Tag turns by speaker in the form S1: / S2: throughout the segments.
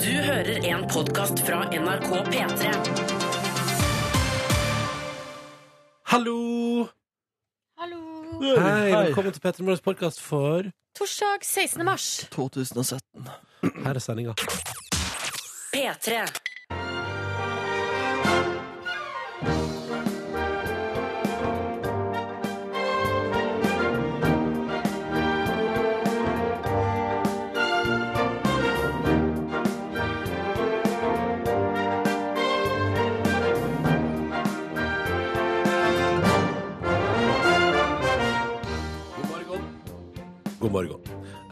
S1: Du hører en podkast fra NRK P3.
S2: Hallo!
S3: Hallo.
S2: Hei, velkommen til Petter Morgens podkast for
S3: Torsdag 16. mars.
S4: 2017.
S2: Her er sendinga.
S1: P3.
S2: God morgen.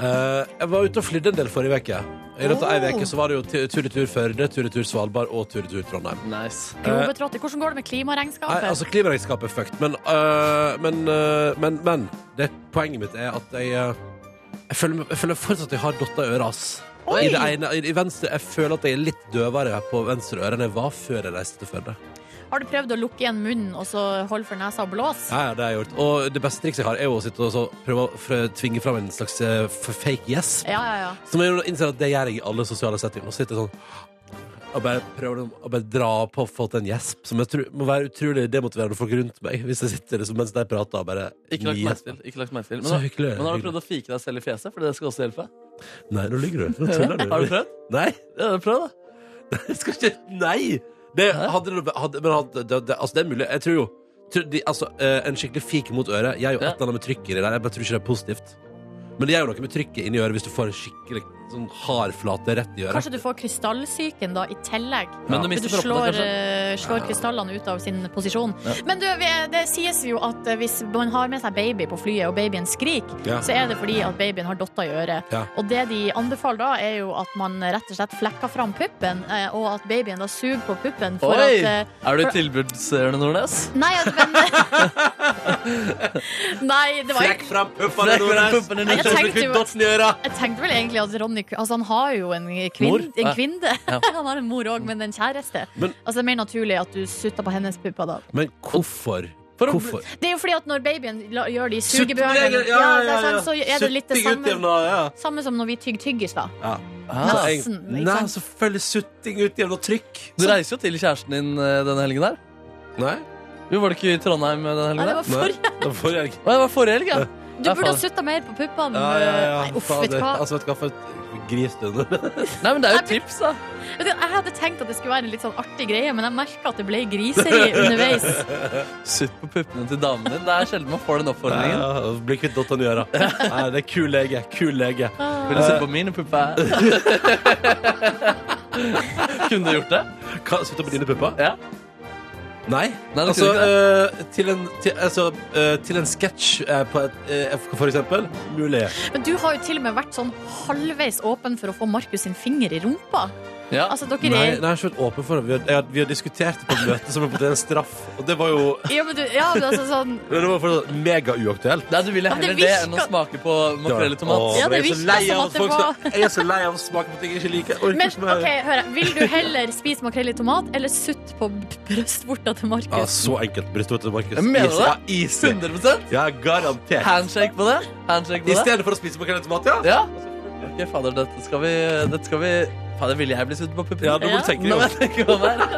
S2: Eh, jeg var ute og flydde en del forrige uke. I løpet av ei uke så var det jo tu- tur-retur Førde, tur-retur Svalbard og tur-retur Trondheim.
S4: Nice.
S3: Globetrotter. Hvordan går det med
S2: Nei,
S3: klimaregnskapet?
S2: altså Klimaregnskapet er fucked, men, øh, men, øh, men, men det, Poenget mitt er at jeg øh, Jeg føler, jeg føler fortsatt at jeg har dotter i øret, ass.
S3: Oi!
S2: I det ene, i, i venstre, Jeg føler at jeg er litt døvere på venstre øre enn jeg var før jeg reiste til Førde.
S3: Har du prøvd å lukke igjen munnen og så holde for nesa og blåse?
S2: Ja, ja, det har jeg gjort. Og det beste trikset jeg har, er jo å sitte og så prøve å f- tvinge fram en slags eh, f- fake yes.
S3: Ja, ja, ja.
S2: Som jeg jo innser at det gjør jeg i alle sosiale settinger. Og sitter sånn og bare prøver liksom å- å bare dra på å få til en gjesp, som jeg tror, må være utrolig demotiverende for folk rundt meg. Hvis jeg sitter liksom, mens de prater og bare
S4: Ikke lagt merke
S2: nijesper.
S4: til. Ikke lagt merke til. Men,
S2: Så
S4: har-
S2: hyggelig.
S4: men har du
S2: hyggelig.
S4: prøvd å fike deg selv i fjeset? For det skal også hjelpe.
S2: Nei, nå ligger du. Nå tuller du.
S4: Har du prøvd?
S2: Nei,
S4: Ja, prøv, da.
S2: jeg skal ikke Nei! Det, hadde, det- hadde, men hadde, det, det, altså, det er mulig. Jeg tror jo tror de, altså, eh, En skikkelig fik mot øret gjør jo et
S4: Ja.
S2: eller annet med trykket i det der. Jeg bare tror ikke det er positivt. Men det gjør jo noe med trykket inni øret hvis du får en skikkelig sånn hard flate rett i øret.
S3: Kanskje du får krystallsyken da, i tillegg.
S2: Ja.
S4: Men du
S3: Men du
S4: mister proppene,
S3: slår,
S4: kanskje?
S3: eh, slår krystallene ut av sin posisjon.
S4: Ja.
S3: Men du, vi- det sies jo at eh, hvis man har med seg baby på flyet, og babyen skriker,
S2: Ja.
S3: så er det fordi at babyen har dotter i øret.
S2: Ja.
S3: Og det de anbefaler da, er jo at man rett og slett flekker fram puppen, eh, og at babyen da suger på puppen for at
S4: Oi!
S3: eh,
S4: Er du i tilbudsørende Nordnes?
S3: Nei, altså, men Nei, det var jo
S2: Flekk fram puppene
S4: Flekk fram puppene
S3: Nei, jeg
S4: Nordnes,
S3: tenkte
S4: klipp
S3: jo-
S4: dotsen i øra.
S3: Jeg tenkte vel egentlig at Ronny Altså Han har jo en kvinne.
S4: Mor?
S3: En
S4: Ja.
S3: kvinne.
S4: Ja.
S3: Han har en mor òg, men en kjæreste.
S2: Men-
S3: altså Det er mer naturlig at du sutter på hennes pupper da.
S2: Men hvorfor?
S4: For å-
S2: hvorfor?
S3: Det er jo fordi at når babyen la, gjør det i
S2: Suttebeveger- ja, ja, ja,
S3: sugebjørnen, det er
S2: ja.
S3: sånn, så er det litt det
S2: Sutting ut
S3: samme.
S2: gjennom, ja.
S3: Samme som når vi tygger tyggis, da.
S2: ja.
S4: Ah.
S3: Nei. Nesen, ikke
S2: Nei,
S3: sant?
S2: selvfølgelig sutting ut gjennom trykk.
S4: Du reiser jo til kjæresten din eh, denne helgen her.
S2: Nei,
S4: Jo, var du ikke i Trondheim eh, denne
S3: Nei, det
S4: helgen her?
S3: var forrige.
S2: da får jeg ikke.
S4: Å, det var forrige helg, ja.
S3: Du
S4: Ja,
S3: burde ha
S4: faen.
S3: sutta mer på puppene.
S2: Ja, ja, ja.
S3: Nei, uff, vet du hva.
S2: Fader, Altså, vet du hva for et gris du er nå.
S4: Nei, men det er
S3: Nei,
S4: jo et tips, da.
S3: Vet du, Jeg hadde tenkt at det skulle være en litt sånn artig greie, men jeg merka at det ble griseri underveis.
S4: Sutt på puppene til damen din. Det er sjelden man får den
S2: Ja,
S4: oppfordringen.
S2: ja, og Bli kvitt dotteren i øra. Nei, det er kul lege. Kul lege.
S3: Ah.
S4: Vil du se på mine pupper? Kunne du gjort det?
S2: Hva, Sitter på dine pupper?
S4: Ja.
S2: Nei.
S4: Nei, det
S2: Altså,
S4: kunne ikke
S2: eh, til en, til, altså, eh, til en sketsj eh, på et eh, For eksempel. Mulig.
S3: Men du har jo til og med vært sånn halvveis åpen for å få Markus sin finger i rumpa.
S4: Ja.
S3: Altså, dere
S2: Nei,
S3: er
S2: nei, jeg har ikke vært åpen for det. Vi har, jeg har, vi har diskutert det på et møte som en potensiell straff, og det var jo
S3: ja, men du, ja, men altså sånn
S2: Men det var fortsatt megauaktuelt.
S4: Nei, du ville
S3: Ja, men det
S4: heller det enn å
S3: virker-
S4: smake på makrell i
S3: Ja,
S4: tomat.
S3: det
S2: jeg, er så
S3: virker
S2: lei
S3: som
S2: av
S3: at det
S2: folk
S3: var-
S2: som- jeg er så lei av å smake på ting jeg ikke liker. Jeg orker
S3: Men
S2: ikke mer.
S3: ok, hør her. Vil du heller spise makrell i tomat eller sutt på brystvorta til
S2: ja,
S3: Markus?
S2: så enkelt brystvorte til Markus.
S4: Jeg mener
S2: Easy. Ja,
S4: det.
S2: easy.
S4: 100
S2: Ja, garantert.
S4: Handshake på det?
S2: I
S4: Handshake på det?
S2: stedet for å spise makrell i tomat, ja.
S4: Ja. Ok, fader, dette skal vi Dette skal vi Fader, ville jeg bli sutt på puppene?
S2: Ja, nå må du
S3: Ja.
S2: tenke
S4: Nå må jeg
S2: deg
S4: tenke meg om her.
S2: om.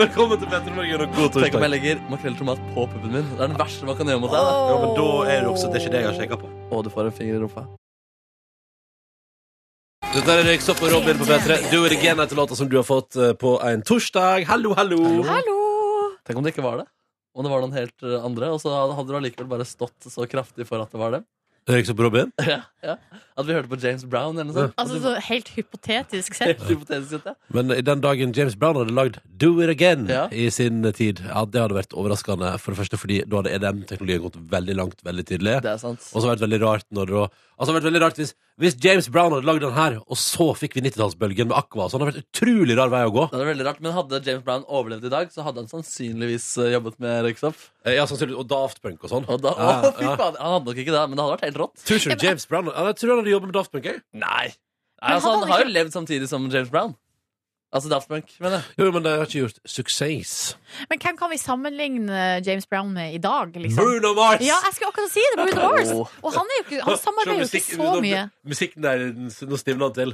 S2: Velkommen til Petter Morgen og god
S4: Tenk om jeg
S2: torsdag.
S4: legger makrell i tomat på puppen min. Det er den verste man kan gjøre mot deg. da.
S2: Ja, men da er det også, det er ikke det jeg har sjekka på.
S4: Å, du får en finger i rumpa.
S2: Dette er Røyksopp og Robin på P3. Do it again etter låta som du har fått eh, på en torsdag. Hallo, hallo.
S3: Hallo!
S4: Tenk om det ikke var det. Om det var noen helt eh, andre, og så hadde du allikevel bare stått så kraftig for at det var dem.
S2: Røyksopp og Robin.
S4: Ja, ja. At vi hørte på James Brown eller noe sånt.
S3: Altså så helt hypotetisk sett.
S4: Helt hypotetisk sett, ja.
S2: Men i den dagen James Brown hadde lagd Do It Again
S4: Ja.
S2: i sin tid, ja, det hadde vært overraskende. For det første fordi da hadde EDM-teknologien gått veldig langt veldig tidlig.
S4: Det er sant.
S2: Og så hadde det vært veldig rart når det da Altså det hadde vært veldig rart hvis, hvis James Brown hadde lagd den her, og så fikk vi 90-tallsbølgen med Aqua. Så det hadde vært utrolig rar vei å gå.
S4: Det er veldig rart, Men hadde James Brown overlevd i dag, så hadde han sannsynligvis eh, jobbet med Røyksopp.
S2: Eh, Ja, sannsynligvis. Og Daft Punk og sånn.
S4: Og da,
S2: Ja,
S4: å, fy
S2: ja.
S4: faen, Han hadde nok ikke det, men det hadde vært helt rått.
S2: Tror ikke du James Brown ja, Jeg tror han hadde jobbet med Daft Punk, jeg.
S4: Nei,
S3: Men
S4: altså,
S3: hadde
S4: Han
S3: han
S4: har
S3: ikke-
S4: jo levd samtidig som James Brown. Altså Daft Punk, mener jeg.
S2: Jo, men de har ikke gjort suksess.
S3: Men hvem kan vi sammenligne James Brown med i dag, liksom?
S2: Bruno Mars!
S3: Ja, jeg skulle akkurat si det! Bruno Mars.
S4: Åh.
S3: Og han, er jo ikke, han samarbeider jo ikke
S2: Musikken-
S3: så mye.
S2: nå- Musikken der, nå stivner han til.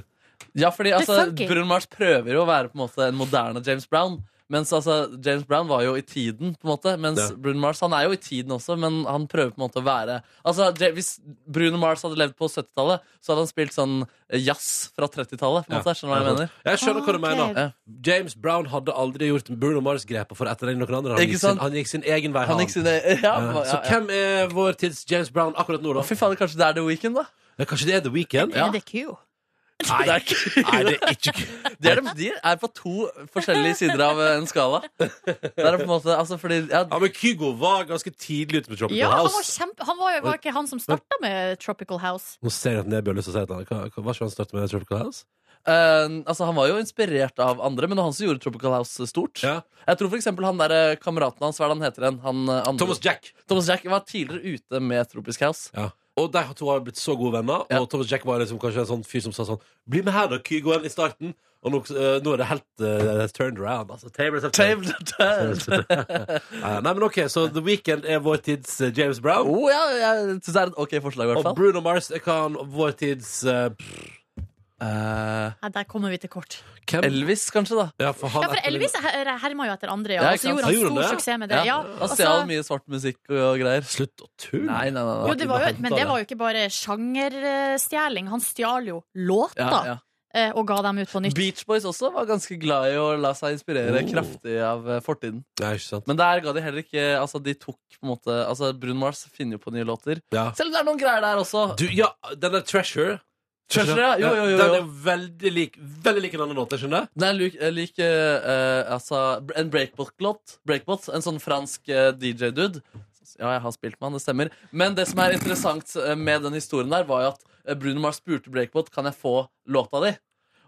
S4: Ja, fordi altså,
S3: funky.
S4: Bruno Mars prøver jo å være på en måte en moderne James Brown. Mens altså, James Brown var jo i tiden, på en måte. Mens
S2: Ja.
S4: Bruno Mars han er jo i tiden også, men han prøver på en måte å være Altså, Ja- Hvis Bruno Mars hadde levd på 70-tallet, så hadde han spilt sånn eh, jazz fra 30-tallet. på en
S2: Ja.
S4: måte, Skjønner du hva jeg mener?
S2: Jeg skjønner hva du
S3: Ah, ok.
S2: mener. James Brown hadde aldri gjort Bruno Mars-grepet for å etterligne noen andre. Han
S4: Ikke
S2: gikk, sin,
S4: sant?
S2: han gikk sin egen vei.
S4: Han
S2: han.
S4: gikk sine, ja,
S2: Eh,
S4: ja,
S2: Så
S4: ja.
S2: hvem er vår tids James Brown akkurat nå, da?
S4: Fy fader, kanskje det er The Weeknd, da?
S2: Ja, Kanskje det er The Weeknd?
S4: Ja.
S3: Er det Q?
S2: Nei.
S4: Det er ikke-
S2: Nei, det er ikke kult.
S4: De er, de er på to forskjellige sider av eh, en skala. Det er på en måte, altså fordi ja,
S2: Ja, men Kygo var ganske tidlig ute med Tropical
S3: Ja, han var,
S2: House.
S3: kjempe, han var jo var ikke han som starta med Tropical House.
S2: Nå ser jeg at Neby har lyst til å si et eller annet. Hva- hva- Var ikke han startet med Tropical House?
S4: eh, altså Han var jo inspirert av andre, men det var han som gjorde Tropical House stort.
S2: Ja.
S4: Jeg tror for eksempel han der eh, kameraten hans, hva er det han heter igjen? Han, eh, andre-
S2: Thomas Jack.
S4: Thomas Jack var tidligere ute med Tropisk House.
S2: Ja. Og de to har blitt så gode venner.
S4: Ja.
S2: Og Thomas Jack var liksom kanskje en sånn fyr som sa sånn Bli med her, da, Kygoen, i starten. Og nå, eh, nå er det helt eh, turned around. Altså, tables have turned.
S4: Table Turn.
S2: Nei, nei, men ok, så The Weeknd er vår tids eh, James Brown.
S4: Oh, ja, jeg synes det er et ok forslag, i hvert
S2: Og
S4: fall.
S2: Bruno Mars er kan vår tids eh, pff,
S4: Eh,
S3: Nei, der kommer vi til kort.
S2: Hvem?
S4: Elvis, kanskje, da.
S2: Ja, for, han
S3: Ja, for
S2: etterligner-
S3: Elvis her- herma jo etter andre, ja.
S4: Ja,
S3: Og så
S4: ikke sant.
S3: gjorde
S2: Han gjorde
S3: han stor
S2: det?
S3: suksess med det. Ja, altså-
S4: Han stjal mye svart musikk og, og greier.
S2: Slutt å tulle.
S4: Nei, nei, nei.
S3: jo,
S4: nei.
S3: det var jo, men det var jo ikke bare sjangerstjeling. Han stjal jo låter
S4: Ja, ja.
S3: eh, og ga dem ut på nytt.
S4: Beach Boys også var ganske glad i å la seg inspirere
S2: Oh.
S4: kraftig av eh, fortiden.
S2: Nei, ikke sant.
S4: Men der ga de heller ikke Altså, de tok på en måte Altså, Brun Mars finner jo på nye låter.
S2: Ja.
S4: Selv om det er noen greier der også.
S2: Du, ja, den der Treasure
S4: Treasure, ja. Jo, jo, jo,
S2: Den
S4: jo.
S2: er veldig lik Veldig lik en annen låt, jeg skjønner
S4: Nei, lik, eh, lik eh, eh, altså, br- En breakbot-låt. Breakbot, en sånn fransk eh, DJ-dude. Ja, jeg har spilt med han, det stemmer. Men det som er interessant eh, med den historien der, var jo at eh, Bruno Mars spurte Breakbot Kan jeg få låta di.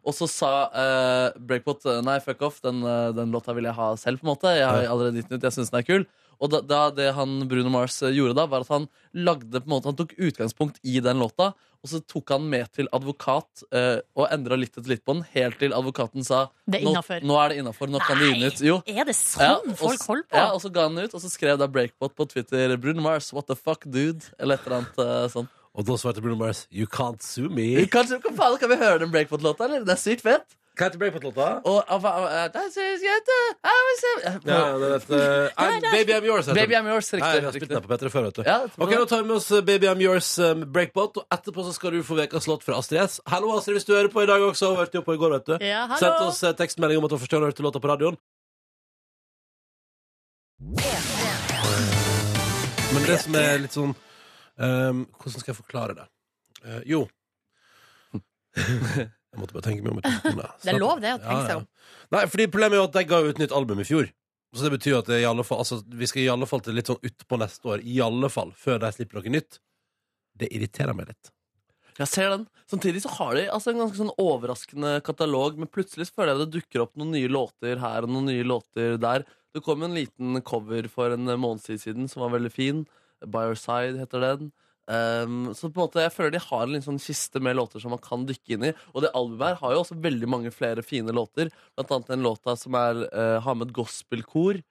S4: Og så sa eh, Breakbot eh, nei, fuck off, den, eh, den låta vil jeg ha selv. på en måte Jeg har allerede gitt den ut, jeg syns den er kul. Og da, da det han Bruno Mars eh, gjorde da, var at han lagde på en måte Han tok utgangspunkt i den låta, og så tok han med til advokat eh, og endra litt etter litt på den, helt til advokaten sa
S3: Det er
S4: nå,
S3: innenfor.
S4: nå er det innafor. Nå kan du gi den ut. Jo.
S3: Er det
S4: Ja,
S3: sånn
S4: og
S3: folk
S4: s-
S3: holder på?
S4: Ja, og så ga han den ut, og så skrev da Breakbot på Twitter Bruno Mars, what the fuck, dude? Eller et eller annet eh, sånt.
S2: jeg Og da svarte Bruno Mars You can't sue me
S4: Kanskje, kan, faen, kan vi høre den Breakbot-låta, eller? Det er sykt fett.
S2: Hva heter Breakpoint-låta?
S4: Og, ah, og, og, og, that's it, get it, I was a-
S2: Ja, ja, det vet eh, I'm- Baby I'm yours heter den.
S4: Baby I'm yours,
S2: Nei,
S4: riktig.
S2: jeg har spilt den
S4: riktig.
S2: på P3 før, vet du
S4: Ja, jeg tror
S2: Ok,
S4: det.
S2: nå tar vi med oss eh, Baby I'm yours eh, med Breakpoint Og etterpå så skal du få vekas låt fra Astrid S Hallo Astrid, hvis du hører på i dag også Hørte jo på i går, vet du
S3: Ja, hallo.
S2: Sett oss eh, tekstmelding om at du forstår når du hørte låta på radioen Men det som er litt sånn ehm, Hvordan skal jeg forklare det? Eh, jo Jeg måtte bare tenke meg om et sekund, da.
S3: Det er lov, det, å tenke seg om.
S2: Nei, fordi Problemet er jo at de ga ut nytt album i fjor. Så det betyr at det i alle fall, altså, vi skal i alle fall til litt sånn utpå neste år. I alle fall, Før de slipper noe nytt. Det irriterer meg litt.
S4: Jeg ser den. Samtidig så har de altså, en ganske sånn overraskende katalog, men plutselig så føler jeg det dukker opp noen nye låter her og noen nye låter der. Det kom en liten cover for en måneds tid siden som var veldig fin. By Your Side heter den. Ehm, så på en måte jeg føler de har en liten sånn kiste med låter som man kan dykke inn i. Og det albumet her har jo også veldig mange flere fine låter. Blant annet den låta som er, eh, har med et gospelkor.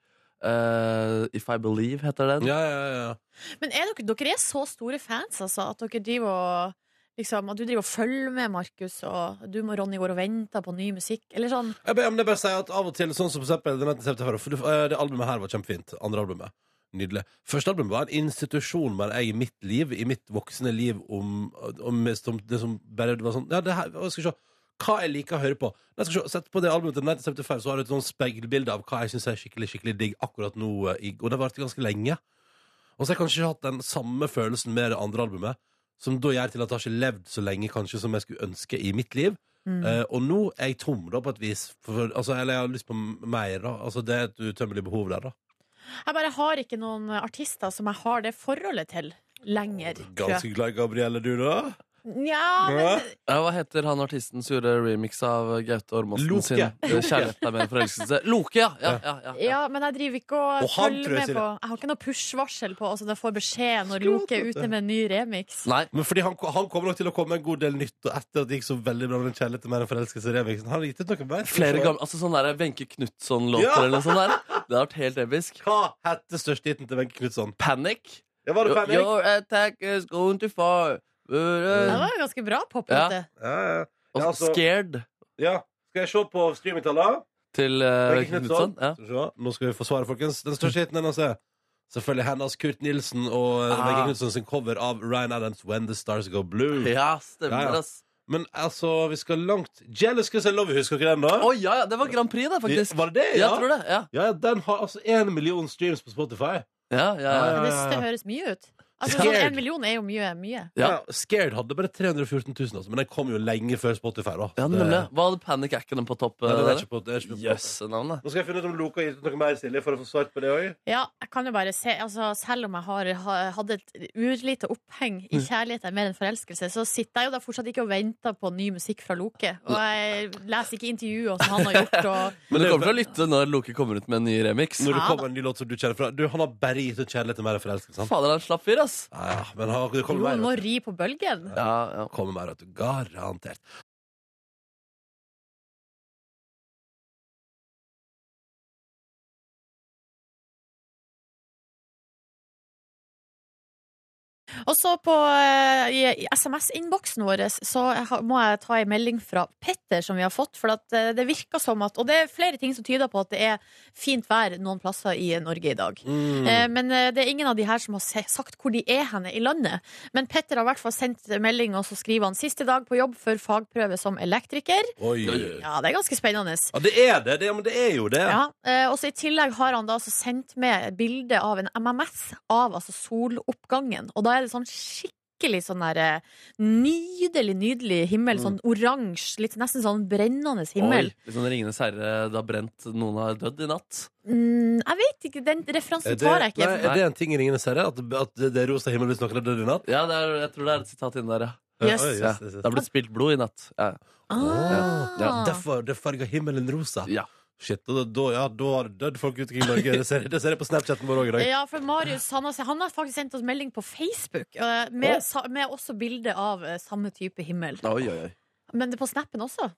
S4: Eh, If I Believe heter den.
S2: Ja, ja, ja.
S3: Men er dere, dere er så store fans, altså, at dere driver og liksom, At du driver og følger med, Markus, og du og Ronny går og venter på ny musikk, eller sånn.
S2: Jeg bare, men jeg bare sier at Av og til, sånn som for eksempel den etter september, for det, eh, det albumet her var kjempefint. Andre albumet. Nydelig. Første albumet var en institusjon, mener jeg, i mitt liv, i mitt voksne liv, om, om som, det som bare det var sånn Ja, det her, å, skal vi se. Hva jeg liker å høre på. Nei, skal vi se, Sett på det albumet til 1975, så har du et sånn speilbilde av hva jeg syns er skikkelig skikkelig digg akkurat nå. eh, i- Og det varte ganske lenge. Og så har jeg kanskje ikke hatt den samme følelsen med det andre albumet, som da gjør til at jeg har ikke levd så lenge kanskje som jeg skulle ønske i mitt liv. Eh, og nå er jeg tom, da, på et vis. For, for, altså, eller jeg har lyst på m- mer, da. Altså, det er et utømmelig behov der, da.
S3: Jeg bare har ikke noen artister som jeg har det forholdet til lenger. tror jeg.
S2: Ganske glad i Gabrielle, du, da?
S3: Nja, men
S4: Ja, hva heter han artisten som gjorde remix av Gaute Ormåsen
S2: Loke.
S4: sin eh,
S2: Loke.
S4: 'Kjærlighet er mer enn forelskelse'? Loke, ja. ja, ja, ja, ja.
S3: Ja, men jeg driver ikke og,
S2: Og han, tror
S3: følger
S2: jeg
S3: med
S2: sier
S3: på Jeg har ikke noe push-varsel på Altså, jeg får beskjed når Loke er ute med en ny remix
S4: Nei.
S2: Men fordi han, han kommer nok til å komme med en god del nytt og etter at det gikk så veldig bra med den kjærligheten med den forelskelse-remixen. Han har gitt ut noen verk.
S4: Flere gamle Altså sånn der Wenche Knutson-låter
S2: Ja.
S4: eller noe sånt der. Det hadde vært helt episk.
S2: Hva heter størstehiten til Wenche Knutson?
S4: Panic.
S2: Ja, var det
S4: Your,
S2: Panic?
S4: your attack is going too far. Uh,
S3: Det
S4: uh,
S3: var jo ganske bra poplåte
S2: Ja, ja.
S4: Og
S2: Ja, altså-
S4: Scared
S2: ja. Skal jeg se på streamingtallene?
S4: til eh,
S2: Wenche
S4: Wenche
S2: Knutson.
S4: Knutson. Ja.
S2: Skal vi se. Nå skal vi få svaret, folkens. Den største hiten hennes er selvfølgelig hennes Kurt Nilsen og ah.
S4: Ah.
S2: Wenche Knutson sin cover av Ryan Adams' When the Stars Go Blue.
S4: ja,
S2: Mm. Ja, ja.
S4: stemmer, ass.
S2: Men altså, vi skal langt Jealous Cause I Love You, husker dere den da?
S4: Å ja, ja, det var Grand Prix, det, faktisk.
S2: Var det det?
S4: Jeg tror det. Ja,
S2: Ja, ja, den har altså én million streams på Spotify.
S4: ja, ja. ja.
S3: Men det,
S2: ja, ja.
S3: det høres mye ut Altså, sånn
S2: Eh, Scared.
S3: en million er jo mye, mye
S4: Ja.
S2: Scared hadde bare 314 000, altså, men den kom jo lenge før Spotify. da
S4: Ja, nemlig. Hva hadde Panic Action på topp?
S2: Nei,
S4: eh,
S2: den er
S4: der?
S2: ikke på, det er ikke på
S4: Jøssenavnet.
S2: Nå skal jeg finne ut om Loka har gitt ut noe mer, Silje, for å få svart på det òg.
S3: Ja, jeg kan jo bare se altså, Selv om jeg har ha- hadde et urlite oppheng
S2: Mm.
S3: I kjærlighet er mer enn forelskelse Så sitter jeg jo da fortsatt ikke og venter på ny musikk fra Loke Og jeg leser ikke intervjuer som han har gjort og...
S4: Men du kommer til å lytte når Loke kommer ut med en ny remix.
S2: Når det
S3: Ja,
S2: kommer en ny låt som du kjenner fra Du, han har bare gitt ut 'Kjærlighet til mer enn forelskelse'. sant?
S4: Ah, Fader, han slapp fyr, ass.
S2: Ja, ja, Ah, men han, det
S3: Jo,
S2: kommer mer.
S3: må
S2: vet du.
S3: ri på bølgen
S4: Ja, ja.
S2: Det kommer mer, vet du. Garantert.
S3: Og så på eh, i, i SMS-innboksen vår så jeg har- må jeg ta en melding fra Petter som vi har fått. For at eh, det virker som at Og det er flere ting som tyder på at det er fint vær noen plasser i Norge i dag.
S2: Mm.
S3: Eh, Men eh, det er ingen av de her som har se- sagt hvor de er henne i landet. Men Petter har i hvert fall sendt melding, og så skriver han siste dag på jobb før fagprøve som elektriker.
S2: Oi.
S3: Ja, det er ganske spennende.
S2: Ja, det er det. det ja, men det er jo det.
S3: Ja, eh, og så I tillegg har han da altså sendt med et bilde av en MMS av altså soloppgangen. Og da er det sånn skikkelig sånn der, eh, nydelig, nydelig himmel.
S2: Mm.
S3: Sånn oransje, litt nesten sånn brennende himmel.
S4: Oi, Litt sånn Ringenes herre, det har brent, noen har dødd i natt.
S3: Mm, jeg vet ikke, den
S2: Er
S3: referansen
S2: det,
S3: tar jeg
S2: nei,
S3: ikke.
S2: er det en ting i Ringenes herre? At, at det er rosa himmel hvis noen er død i natt?
S4: Ja, det er, jeg tror det er et sitat inni der, ja.
S3: Yes.
S2: Oi,
S4: ja.
S2: yes, yes, yes.
S4: Det har blitt spilt blod i natt. Ja.
S3: Ah.
S4: Ja,
S2: Derfor det farger himmelen rosa.
S4: Ja.
S2: Shit, og da, da, ja, da har det dødd folk ute i Norge. Det ser, det ser jeg på Snapchatten vår òg i dag.
S3: Ja, for Marius han har, han har faktisk sendt oss melding på Facebook eh,
S2: Å.
S3: med, sa- med også bilde av eh, samme type himmel.
S4: Oi, oi, oi.
S3: Men det på snappen også.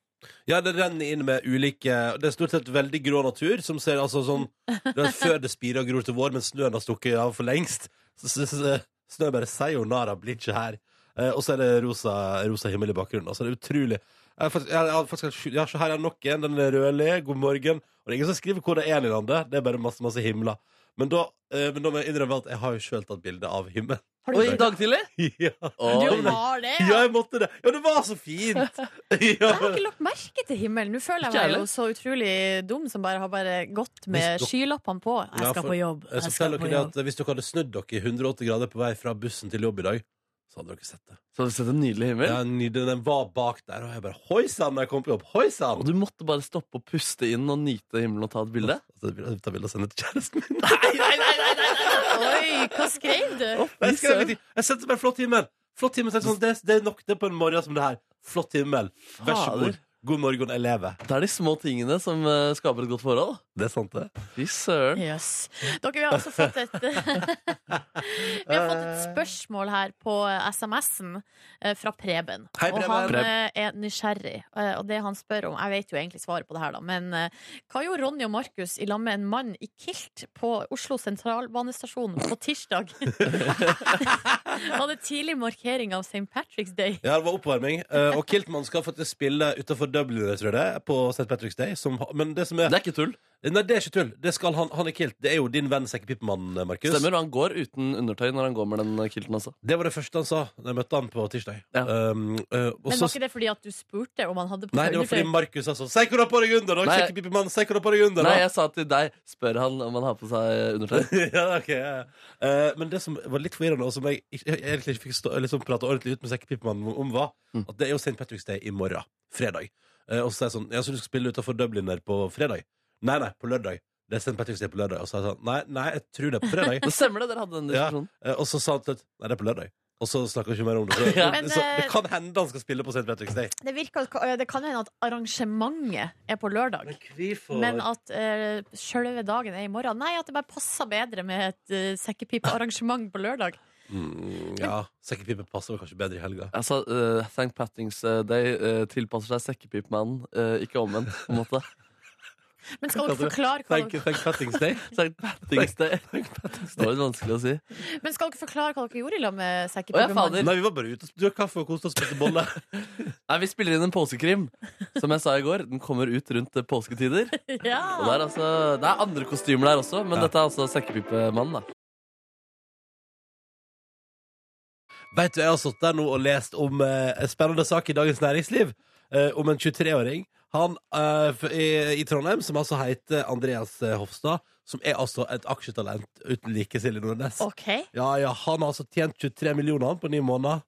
S2: Ja, det renner inn med ulike Det er stort sett veldig grå natur, som ser altså sånn det er Før det spirer og gror til vår, men snøen har stukket av for lengst. Så, så, så, snø bare sayonara, blir ikke her. Eh, og så er det rosa, rosa himmel i bakgrunnen. Altså, det er utrolig. Jeg har faktisk, jeg har faktisk, ja, så her er nok en. Den er rødlig. God morgen. Og det er ingen som skriver hvor det er i landet. Det er bare masse, masse himler. Men da, eh, men da må jeg innrømme at jeg har jo sjøl tatt bilde av himmelen.
S3: Har
S4: Oi, i dag tidlig?
S2: ja.
S4: Oi.
S3: Du har det,
S2: ja, jeg måtte det. Ja, det var så fint! Ja.
S3: Jeg har ikke lagt merke til himmelen. Nå føler
S4: Ikke
S3: jeg meg
S4: heller.
S3: jo så utrolig dum som bare har bare gått med
S2: Hvis
S3: skylappene på.
S2: Ja,
S3: Jeg skal
S2: for-
S3: på
S2: Jeg
S3: jobb.
S2: skal
S3: Jeg skal
S2: fortelle
S3: på
S2: dere
S3: jobb.
S2: det at Hvis dere hadde snudd dere i 180 grader på vei fra bussen til jobb i dag, så hadde dere sett det.
S4: Så har du sett en nydelig himmel?
S2: Ja, ny- den den var bak der, og jeg bare Hoi sann, da jeg kom på jobb! Hoi sann!
S4: Og du måtte bare stoppe og puste inn og nyte himmelen og ta et bilde?
S2: Så jeg vil- jeg tar bilde og sender til kjæresten min.
S3: Oi, hva skrev du?
S2: Jeg, skrev ingenting. jeg sendte bare flott himmel! Flott himmel, tenkte sånn, det, det er nok det på en morgen som det her. Flott himmel. Vær så god.
S4: Fader.
S2: God morgen, jeg lever.
S4: Det er de små tingene som eh, skaper et godt forhold.
S2: Det er sant, det.
S4: Fy søren.
S3: Jøss. Dere, vi har også fått et Vi har fått et spørsmål her på SMS-en eh, fra Preben.
S2: Hei, Preben.
S3: Og han
S4: Preb.
S3: eh, er nysgjerrig, eh, og det han spør om Jeg vet jo egentlig svaret på det her, da, men eh, hva gjorde Ronny og Markus i lag med en mann i kilt på Oslo sentralbanestasjon på tirsdag? Var det tidlig markering av St. Patrick's Day?
S2: Ja, det var oppvarming. Eh, Og Kiltman skal faktisk spille utafor Dublin, jeg tror jeg det er, på St. Patrick's Day. Som, ha- men det som er
S4: Det er ikke tull.
S2: Nei, det er ikke tull. Det skal han, han er kilt. Det er jo din venn sekkepipemann, Markus.
S4: Stemmer. Og han går uten undertøy når han går med den kilten altså. også.
S2: Det var det første han sa da jeg møtte han på tirsdag.
S4: Ja.
S2: Um, uh, og
S3: Men
S2: så-
S3: var ikke det fordi at du spurte om han hadde på
S2: Nei,
S3: seg
S2: det var fordi
S3: undertøy?
S2: Markus sa sånn Si hvor du har på deg under, da!
S4: Nei.
S2: Kjekkepipemann, si hvor du har på deg under,
S4: Nei,
S2: da!
S4: jeg sa til deg, spør han om han har på seg undertøy.
S2: ja, ok, ja. ja. Eh, men det som var litt forvirrende, og som jeg, ikke- jeg egentlig ikke fikk stå, liksom, prate ordentlig ut med Sekkepipemannen om, var
S4: Mm.
S2: at det er jo St. Patrick's Day i morgen. Fredag. Eh, og så sa jeg sånn Ja, så du skal spille utenfor Dublin der på fredag? Nei, nei, på lørdag. Det er St. Patrick's Day på lørdag. Og så sa jeg sånn Nei, nei, jeg tror det er på fredag.
S4: Det stemmer det, dere hadde den
S2: Ja.
S4: diskusjonen.
S2: Eh, og så sa han til slutt Nei, det er på lørdag. og så snakker vi ikke mer om det. Så,
S4: Ja.
S3: Men,
S2: så, det
S3: eh,
S2: kan hende han skal spille på St. Patrick's Day.
S3: Det, virker, det kan hende at arrangementet er på lørdag, men at uh, sjølve dagen er i morgen. Nei, at det bare passer bedre med et eh, sekkepipearrangement på lørdag.
S2: mm, Ja, Sekkepipe passer vel kanskje bedre i helga.
S4: Altså, uh, Thank Pattings eh, Day eh, tilpasser seg sekkepipemannen, eh, ikke omvendt. på en måte
S3: Men skal dere forklare hva
S2: Thank,
S3: dere,
S2: thank Patrick's Day.
S4: Thank Pattings Day. Det var litt vanskelig å si.
S3: men skal dere, forklare hva dere gjorde i lag med
S4: Å, ja, fader.
S3: sekkepipemannen?
S2: Nei, vi var bare ute og drakk kaffe og koste oss og spiste bolle.
S4: Nei, Vi spiller inn en påskekrim. Som jeg sa i går, den kommer ut rundt eh, påsketider. Og det
S3: Ja.
S4: er, altså, det er andre kostymer der også, men
S2: Ja.
S4: dette er altså sekkepipemannen. da
S2: Vet du, Jeg har stått der nå og lest om eh, en spennende sak i Dagens Næringsliv. eh, om en 23-åring Han eh, f- i, i Trondheim som altså heter Andreas eh, Hofstad. Som er altså et aksjetalent uten like, Silje Nordnes.
S3: OK.
S2: Ja, ja, Han har altså tjent 23 millioner på ni måneder.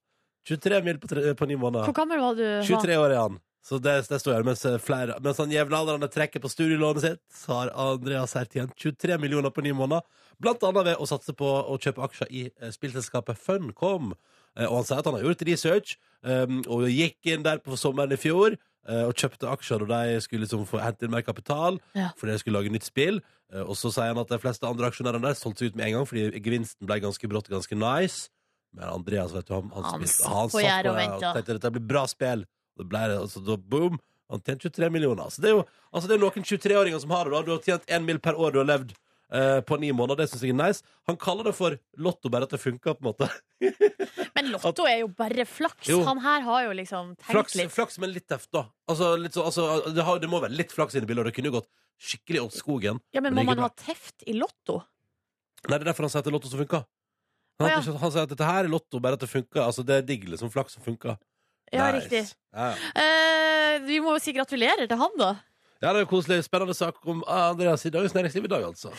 S2: 23 mil på, tre, på ni måneder.
S3: Hvor gammel var du? Hans?
S2: 23 år er han. Så det, det står her mens, eh, flere, mens han jevnaldrende trekker på studielånet sitt, så har Andreas her tjent 23 millioner på ni måneder, blant annet ved å satse på å kjøpe aksjer i eh, spillselskapet Funcom. Eh, Og han sier at han har gjort research, um, og gikk inn der på sommeren i fjor, eh, og kjøpte aksjer da de skulle liksom få hente inn mer kapital,
S3: Ja.
S2: fordi de skulle lage nytt spill. Eh, Og så sier han at de fleste andre aksjonærene der solgte seg ut med en gang, fordi gevinsten ble ganske brått ganske nice. Men Andreas, vet du, han, han,
S3: Han
S2: spilte,
S3: satt
S2: han
S3: på
S2: satt
S3: gjerdet og
S2: på det og
S3: ventet.
S2: tenkte dette blir bra spill. Og det ble det, altså da boom, han tjente 23 millioner. Så det er jo altså, det er noen 23-åringer som har det da. Du har tjent en mil per år du har levd eh, på ni måneder, det synes jeg er nice. Han kaller det for lotto, bare at det funker på en måte.
S3: Men Lotto er jo bare flaks.
S2: Jo.
S3: Han her har jo liksom tenkt
S2: Flaks,
S3: litt.
S2: flaks men litt teft da. Altså, litt så, altså det, har, det må være litt flaks inne i bildet, og det kunne jo gått skikkelig åt skogen.
S3: Ja, Men
S2: Men det gikk
S3: må man
S2: jo
S3: ha teft i Lotto?
S2: Nei, det er derfor han sier at det er lotto som funker.
S3: Å,
S2: Han,
S3: ja.
S2: han sier at dette her er lotto, bare at det funker. Altså, det er digg liksom, flaks som funker.
S3: Ja,
S2: Nice.
S3: riktig.
S2: Ja, ja.
S3: Eh, vi må jo si gratulerer til han, da.
S2: Ja, det er en koselig, spennende sak om ah, Andreas i Dagens Næringsliv i dag, altså.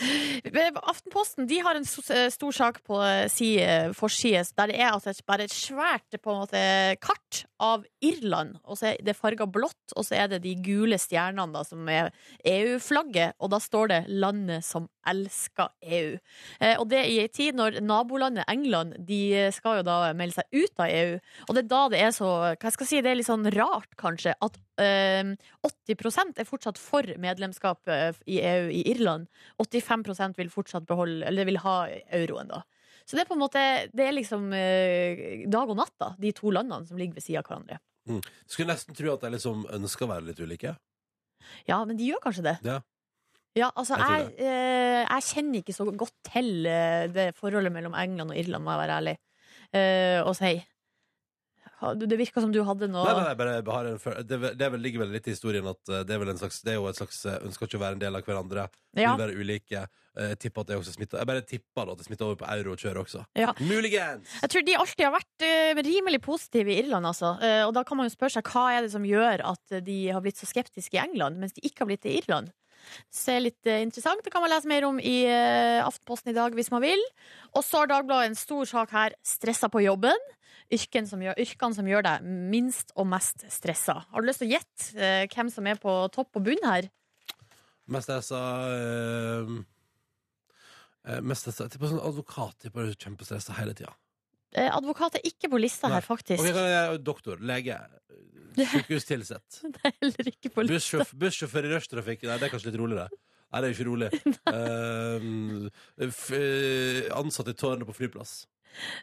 S3: Aftenposten de har en so- eh, stor sak på eh, si eh, forside. Der det er altså et, bare et svært eh, på en måte, kart av Irland. Og så er det farga blått, og så er det de gule stjernene da, som er EU-flagget. Og da står det 'Landet som elsker EU'. Eh, og det i ei tid når nabolandet England de eh, skal jo da melde seg ut av EU. Og det er da det er så hva skal jeg si, Det er litt sånn rart, kanskje, at eh, 80 er fortsatt for medlemskap eh, i EU i Irland. 85 vil fortsatt beholde Eller vil ha euroen da Så det er på en måte Det er liksom eh, dag og natt da De to landene som ligger ved siden av hverandre
S2: Skulle nesten tro at de liksom ønsker å være litt ulike.
S3: Ja, men de gjør kanskje det
S2: Ja.
S3: Ja, altså
S2: Jeg tror
S3: jeg, eh, jeg kjenner ikke så godt til eh, Det forholdet mellom England og Irland Må jeg være ærlig eh, Og si Ha- du- Det virker som du hadde noe
S2: Nei, nei, nei, bare jeg har en føl- det, er vel- det er vel, ligger vel litt i historien at eh, det er, vel en slags, det er jo et slags eh, ønsker ikke å være en del av hverandre,
S3: Ja,
S2: vil være ulike. Eh, Jeg tipper at det også smitter Jeg bare tipper da, at det smitter over på euro og kjører også.
S3: Ja.
S2: Muligens!
S3: Jeg tror de alltid har vært eh, rimelig positive i Irland, altså. Eh, og da kan man jo spørre seg hva er det som gjør at de har blitt så skeptiske i England, mens de ikke har blitt det i Irland. Så det er litt eh, interessant. Det kan man lese mer om i eh, Aftenposten i dag hvis man vil. Og så har Dagbladet en stor sak her. Stressa på jobben. Yrken som gjør, yrkene som gjør deg minst og mest stressa. Har du lyst til å gjette eh, hvem som er på topp og bunn her?
S2: Mest jeg sa ehm, eh, eh, Mest jeg sa Jeg tipper sånn advokat tipper jeg er kjempestressa hele tida.
S3: Eh, advokat er ikke på lista
S2: Nei.
S3: her, faktisk.
S2: Ok, kan jeg- doktor, lege, sykehustilsett.
S3: Heller ikke på lista.
S2: Bussjåf bussjåfør i rushtrafikk, nei, det er kanskje litt roligere. Nei, det er jo ikke rolig. Eh, f eh, ansatt i tårnet på flyplass.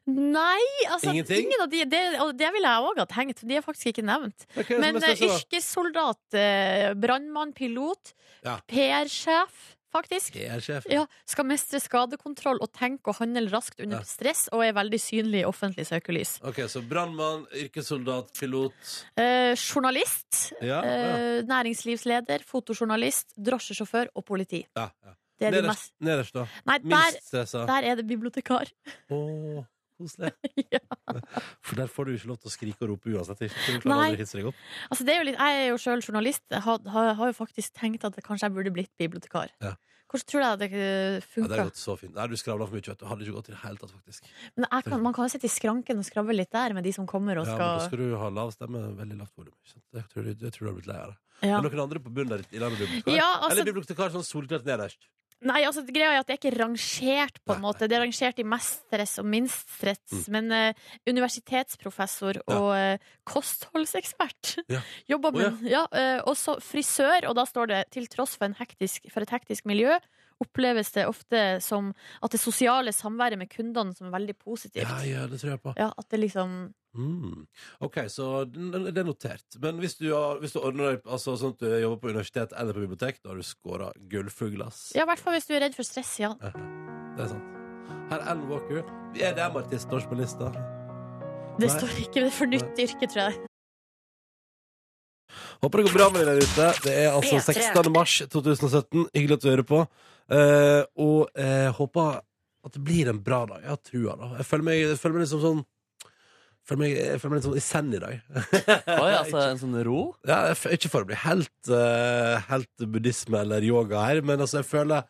S3: Nei, altså
S2: Ingenting?
S3: ingen av de, det, og det ville jeg òg ha tenkt. De er faktisk ikke nevnt.
S2: Hva er det som er
S3: Men eh,
S2: stressa, da?
S3: yrkessoldat, eh, brannmann, pilot,
S2: Ja.
S3: PR-sjef, faktisk.
S2: Jeg er sjef.
S3: Ja, skal mestre skadekontroll og tenke og handle raskt under
S2: Ja.
S3: stress og er veldig synlig i offentlig søkelys.
S2: Ok, så brannmann, yrkessoldat, pilot
S3: Eh, journalist,
S2: Ja. ja,
S3: eh, næringslivsleder, fotojournalist, drosjesjåfør og politi.
S2: ja, ja.
S3: Det er de
S2: Nederst,
S3: mest
S2: nederst, da.
S3: Nei, der,
S2: Minst stressa.
S3: der er det bibliotekar.
S2: Å, koselig.
S3: Ja.
S2: For der får du ikke lov til å skrike og rope uansett. Ikke? for Du
S3: Nei.
S2: klarer aldri å hisse deg opp.
S3: Altså, det er jo litt, jeg er jo sjøl journalist. Jeg har, har, har jo faktisk tenkt at kanskje jeg burde blitt bibliotekar.
S2: Ja.
S3: Hvordan tror jeg det eh,
S2: Ja, det
S3: funker?
S2: har gått så fint. Nei, du skravla for mye, vet du. Hadde ikke gått i det hele tatt, faktisk.
S3: Men jeg kan, man kan jo sitte i skranken og skravle litt der med de som kommer og
S2: Ja, men
S3: skal
S2: da skal du ha lav stemme, veldig lavt volum. ikke sant? Det tror jeg det tror jeg du har blitt lei av. det.
S3: Ja.
S2: Er det noen andre på bunnen der i landet bibliotekar?
S3: Ja, altså-
S2: Eller bibliotekar sånn solklart nederst?
S3: Nei, altså greia er at det er ikke rangert på en måte. Det er rangert i mest stress og minst stress. Men eh, universitetsprofessor
S2: Mm. Ja.
S3: og eh, kostholdsekspert
S2: Ja.
S3: jobber
S2: Å, ja.
S3: med ja. eh, og så frisør, og da står det til tross for, en hektisk, for et hektisk miljø oppleves det ofte som at det sosiale samværet med kundene som er veldig positivt.
S2: Ja, ja, det tror jeg på.
S3: Ja, at det liksom
S2: Mm. OK, så den- den- det er notert. Men hvis du, har, hvis du ordner deg altså, sånn at du jobber på universitet eller på bibliotek, da har du scora gullfugl, ass.
S3: Ja, i hvert fall hvis du er redd for stress, ja.
S2: Det er sant. Her er Alan Walker. Vi er DM-artist norsk på lista.
S3: Det
S2: Nei.
S3: står ikke for nytt yrke, tror jeg.
S2: Håper det går bra med deg der ute. Det er altså
S1: P3.
S2: 16. mars 2017. Hyggelig at du hører på. Eh, og eh, håper at det blir en bra dag. Jeg har trua, da. Jeg føler meg, jeg føler meg liksom sånn Føler meg, jeg føler meg litt sånn i send i dag.
S4: Oi, altså en sånn ro?
S2: Ja, jeg f- ikke for å bli helt, eh, helt buddhisme eller yoga her, men altså, jeg føler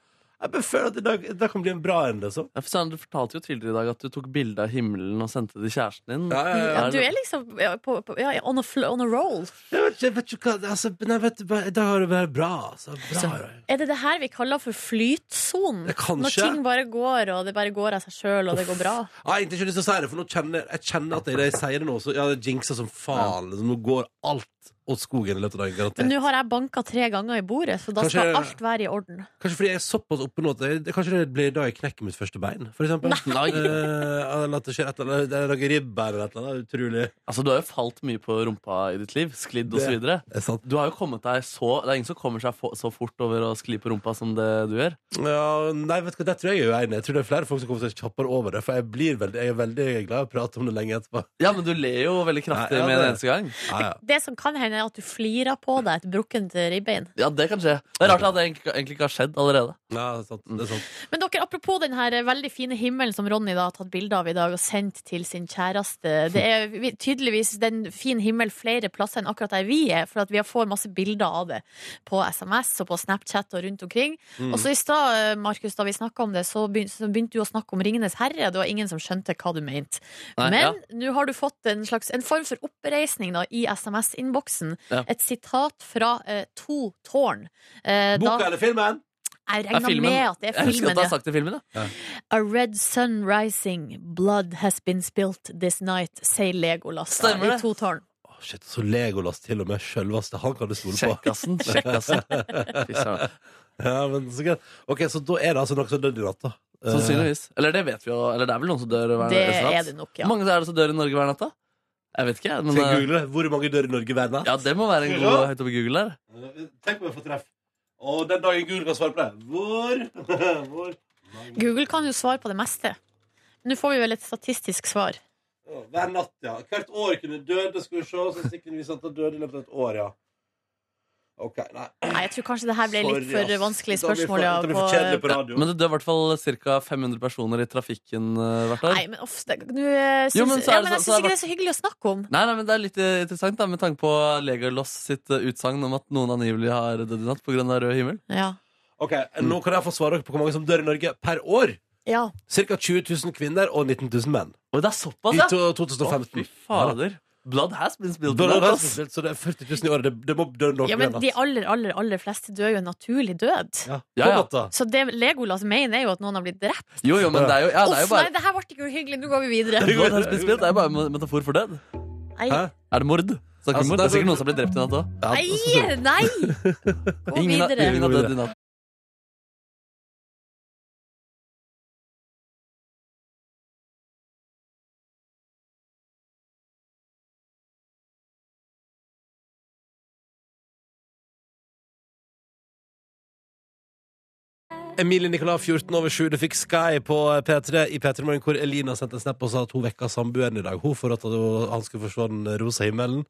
S2: Jeg bare føler at i dag, i dag kan bli en bra en, liksom.
S4: Ja, for Søren, Du fortalte jo tidligere i dag at du tok bilde av himmelen og sendte det til kjæresten din.
S2: Ja, ja, ja.
S3: Ja, du er liksom ja, på, på, ja, on, a fl on a roll.
S2: Jeg vet ikke, jeg vet ikke hva altså, Nei, vet du, bare- i dag har det vært bra. Altså, bra i dag.
S3: Er det det her vi kaller for flytsonen?
S2: Det kan
S3: Når
S2: skje.
S3: ting bare går, og det bare går av seg sjøl, og det går bra.
S2: Ah, Jeg har egentlig ikke lyst til å si det, for nå kjenner jeg kjenner at idet jeg sier det nå, så ja, det jinxer som faen. liksom. Nå går alt åt skogen i løpet av dagen.
S3: Men
S2: Garantert.
S3: nå har jeg banka tre ganger i bordet, så da
S2: Kanskje-
S3: skal alt være i orden.
S2: Kanskje fordi jeg er såpass oppe nå at jeg, det- kanskje det blir da jeg knekker mitt første bein, for eksempel.
S4: Nei.
S2: Eh, eller at det skjer et eller annet, det er noe ribbe eller et eller annet. Utrolig.
S4: Altså, Du har jo falt mye på rumpa i ditt liv. Sklidd
S2: Det-
S4: osv.
S2: Det er sant.
S4: Du har jo kommet deg så Det er ingen som kommer seg fo- så fort over å skli på rumpa som det du gjør.
S2: Ja, nei, vet du hva, der tror jeg jeg er uenig. Jeg tror det er flere folk som kommer seg kjappere over det, for jeg, blir veldig, jeg er veldig glad i å prate om det lenge etterpå.
S4: Ja, men du ler jo veldig kraftig
S2: Nei, ja,
S4: med en
S2: det-
S4: eneste gang.
S2: Ja, ja.
S3: Det som kan hende, er at du flirer på deg et brukkent ribbein.
S4: Ja, det kan skje. Det er rart at det egentlig, egentlig ikke har skjedd allerede.
S2: ja det er sant. Det er sant.
S3: Men dere, apropos den her eh, veldig fine himmelen som Ronny da har tatt bilde av i dag og sendt til sin kjæreste. Det er vi- tydeligvis den fin himmel flere plasser enn akkurat der vi er, for at vi får masse bilder av det på SMS og på Snapchat og rundt omkring.
S4: Mm.
S3: Og så i stad, eh, Markus, da vi snakka om det, så begyn- så begynte du å snakke om Ringenes herre. Det var ingen som skjønte hva du mente.
S4: Nei,
S3: Men
S4: ja.
S3: nå har du fått en, slags, en form for oppreisning da, i SMS-innboksen.
S4: Ja.
S3: Et sitat fra eh, To tårn. Eh,
S2: Boka
S3: da,
S2: eller filmen?
S3: jeg
S4: Det er
S3: regna
S4: filmen.
S3: med at det er
S4: Jeg husker
S3: filmen.
S4: at du
S3: ja.
S4: har sagt det i filmen. Ja.
S3: A red sun rising, blood has been spilt this night, sier Legolas. da,
S4: Stemmer det.
S3: I to tårn.
S2: Å, shit, så Legolas til og med sjølveste. Han kan du stole på.
S4: Kjekkasen. Kjekkasen. Fy søren.
S2: Ja, men så greit. Ok, så da er det altså noen som døde i natt, da. Eh,
S4: Sånn Sannsynligvis. Eller det vet vi jo. Eller det er vel noen som dør hver
S3: Det
S4: eneste natt?
S3: er det nok, ja.
S4: Hvor mange er det som dør i Norge hver natt, da? Jeg vet ikke. Men,
S2: Skal jeg
S4: eh,
S2: google det? Hvor mange dør i Norge hver natt?
S4: ja, det må være en god høyt oppe i Google der.
S2: Tenk om jeg får treff. Og den dagen Google kan svare på det. Hvor? Hvor?
S3: Google kan jo svare på det meste. Nå får vi vel et statistisk svar.
S2: Ja, Hver natt, ja. Hvert år kunne døde. Skal vi se, statistikken viser antall døde i løpet av et år, ja. OK, nei.
S3: Nei, jeg tror kanskje det her ble litt
S2: Sorry,
S3: for
S2: ass.
S3: vanskelig
S2: Da blir for-
S3: spørsmål. Ja,
S2: Det blir for kjedelig
S3: på,
S2: på radio.
S4: Men det dør i hvert fall ca. 500 personer i trafikken eh, hvert år.
S3: nei, men uff, det, nå, eh, syns,
S4: Jo, men så er
S3: ja,
S4: det
S3: men jeg syns
S4: så- så er det-
S3: ikke det er så hyggelig å snakke om.
S4: Nei, nei, men Det er litt eh, interessant da, med tanke på Legolas sitt eh, utsagn om at noen angivelig har dødd i natt pga. rød himmel.
S3: Ja.
S2: Ok, Nå kan jeg få svare dere på hvor mange som dør i Norge per år.
S3: ja.
S2: Ca. 20 000 kvinner og 19 000 menn.
S4: Oi, det er såpass,
S2: I
S4: ja!
S2: to-
S4: Å,
S2: 2015.
S4: fy fader. Blood has been spilled.
S2: Da- da- da-
S4: ass.
S2: Så det er 40 000 i året. Det, det må dø noen
S3: ja,
S2: hver
S3: men
S2: natt.
S3: de aller, aller, aller fleste dør jo en naturlig død.
S2: Ja,
S4: Ja,
S2: på
S4: ja.
S2: natta.
S3: Så det Legolas mener, er jo at noen har blitt drept.
S4: Jo, jo, men det er jo, ja, det er jo
S3: Uff, nei,
S4: bare
S3: det her ble ikke hyggelig. Nå går vi videre.
S4: Blood has been spilled, det er jo bare en metafor for død.
S3: Nei,
S2: Hæ?
S4: Er det mord? Snakker
S2: Altså,
S4: vi om
S2: det
S4: mord? Det
S2: er
S4: er sikkert noen som har blitt drept i natt òg.
S2: Ja, altså,
S3: nei! nei. Gå
S4: altså, Ingen, har-
S3: videre.
S4: ingen har dødd i natt.
S2: Emilie Nicolas 14 over 7. Du fikk Sky på P3 i P3 Morgen, hvor Elina sendte en snap og sa at hun vekka samboeren i dag. Hun for at hun- han skulle forsvare den rosa himmelen.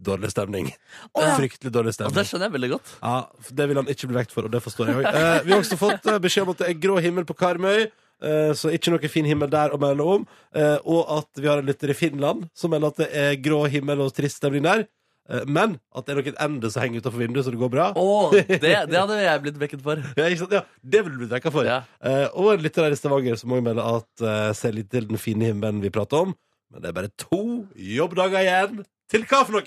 S2: Dårlig stemning.
S3: ja.
S2: Fryktelig dårlig
S4: Og
S2: stemning.
S4: Altså, det skjønner jeg veldig godt.
S2: Ja, for Det vil han ikke bli vekt for, og det forstår jeg òg. Eh, vi har også fått eh, beskjed om at det er grå himmel på Karmøy, eh, så ikke noe fin himmel der å melde om. Eh, og at vi har en lytter i Finland som melder at det er grå himmel og trist stemning der. Eh, men at det er noe ende som henger utenfor vinduet, så det går bra.
S4: Åh, det, det hadde jeg blitt vekket for.
S2: Ja, ikke sant? Ja, det vil du bli dekka for.
S4: Ja.
S2: Eh, og en lytter her i Stavanger som også melder at eh, ser litt til den fine himmelen vi prater om, men det er bare to jobbdager igjen til hva for noe?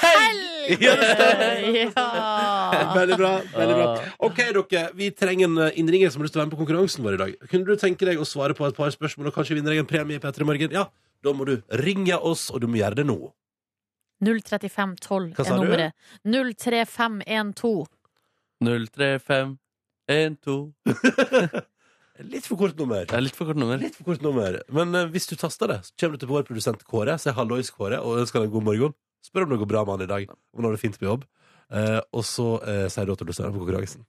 S3: Helg! Ja.
S2: Veldig bra. veldig bra OK, dere. Vi trenger en innringer som har lyst til å være med på konkurransen vår i dag. Kunne du tenke deg å svare på et par spørsmål og kanskje vinne deg en premie i P3 Morgen? Ja, da må du ringe oss, og du må gjøre det nå.
S3: 03512
S2: Hva
S3: er
S2: sa du?
S3: nummeret. 03512.
S4: 03512
S2: Litt for kort nummer.
S4: Det er litt for kort nummer.
S2: Litt for kort nummer. Men eh, hvis du taster det, så kommer du til vår produsent Kåre, sier hallois Kåre, og ønsker deg en god morgen. Spør om det går bra med han i dag, om han har det fint på jobb. Eh, og så eh, sier du at du stiller på konkurransen.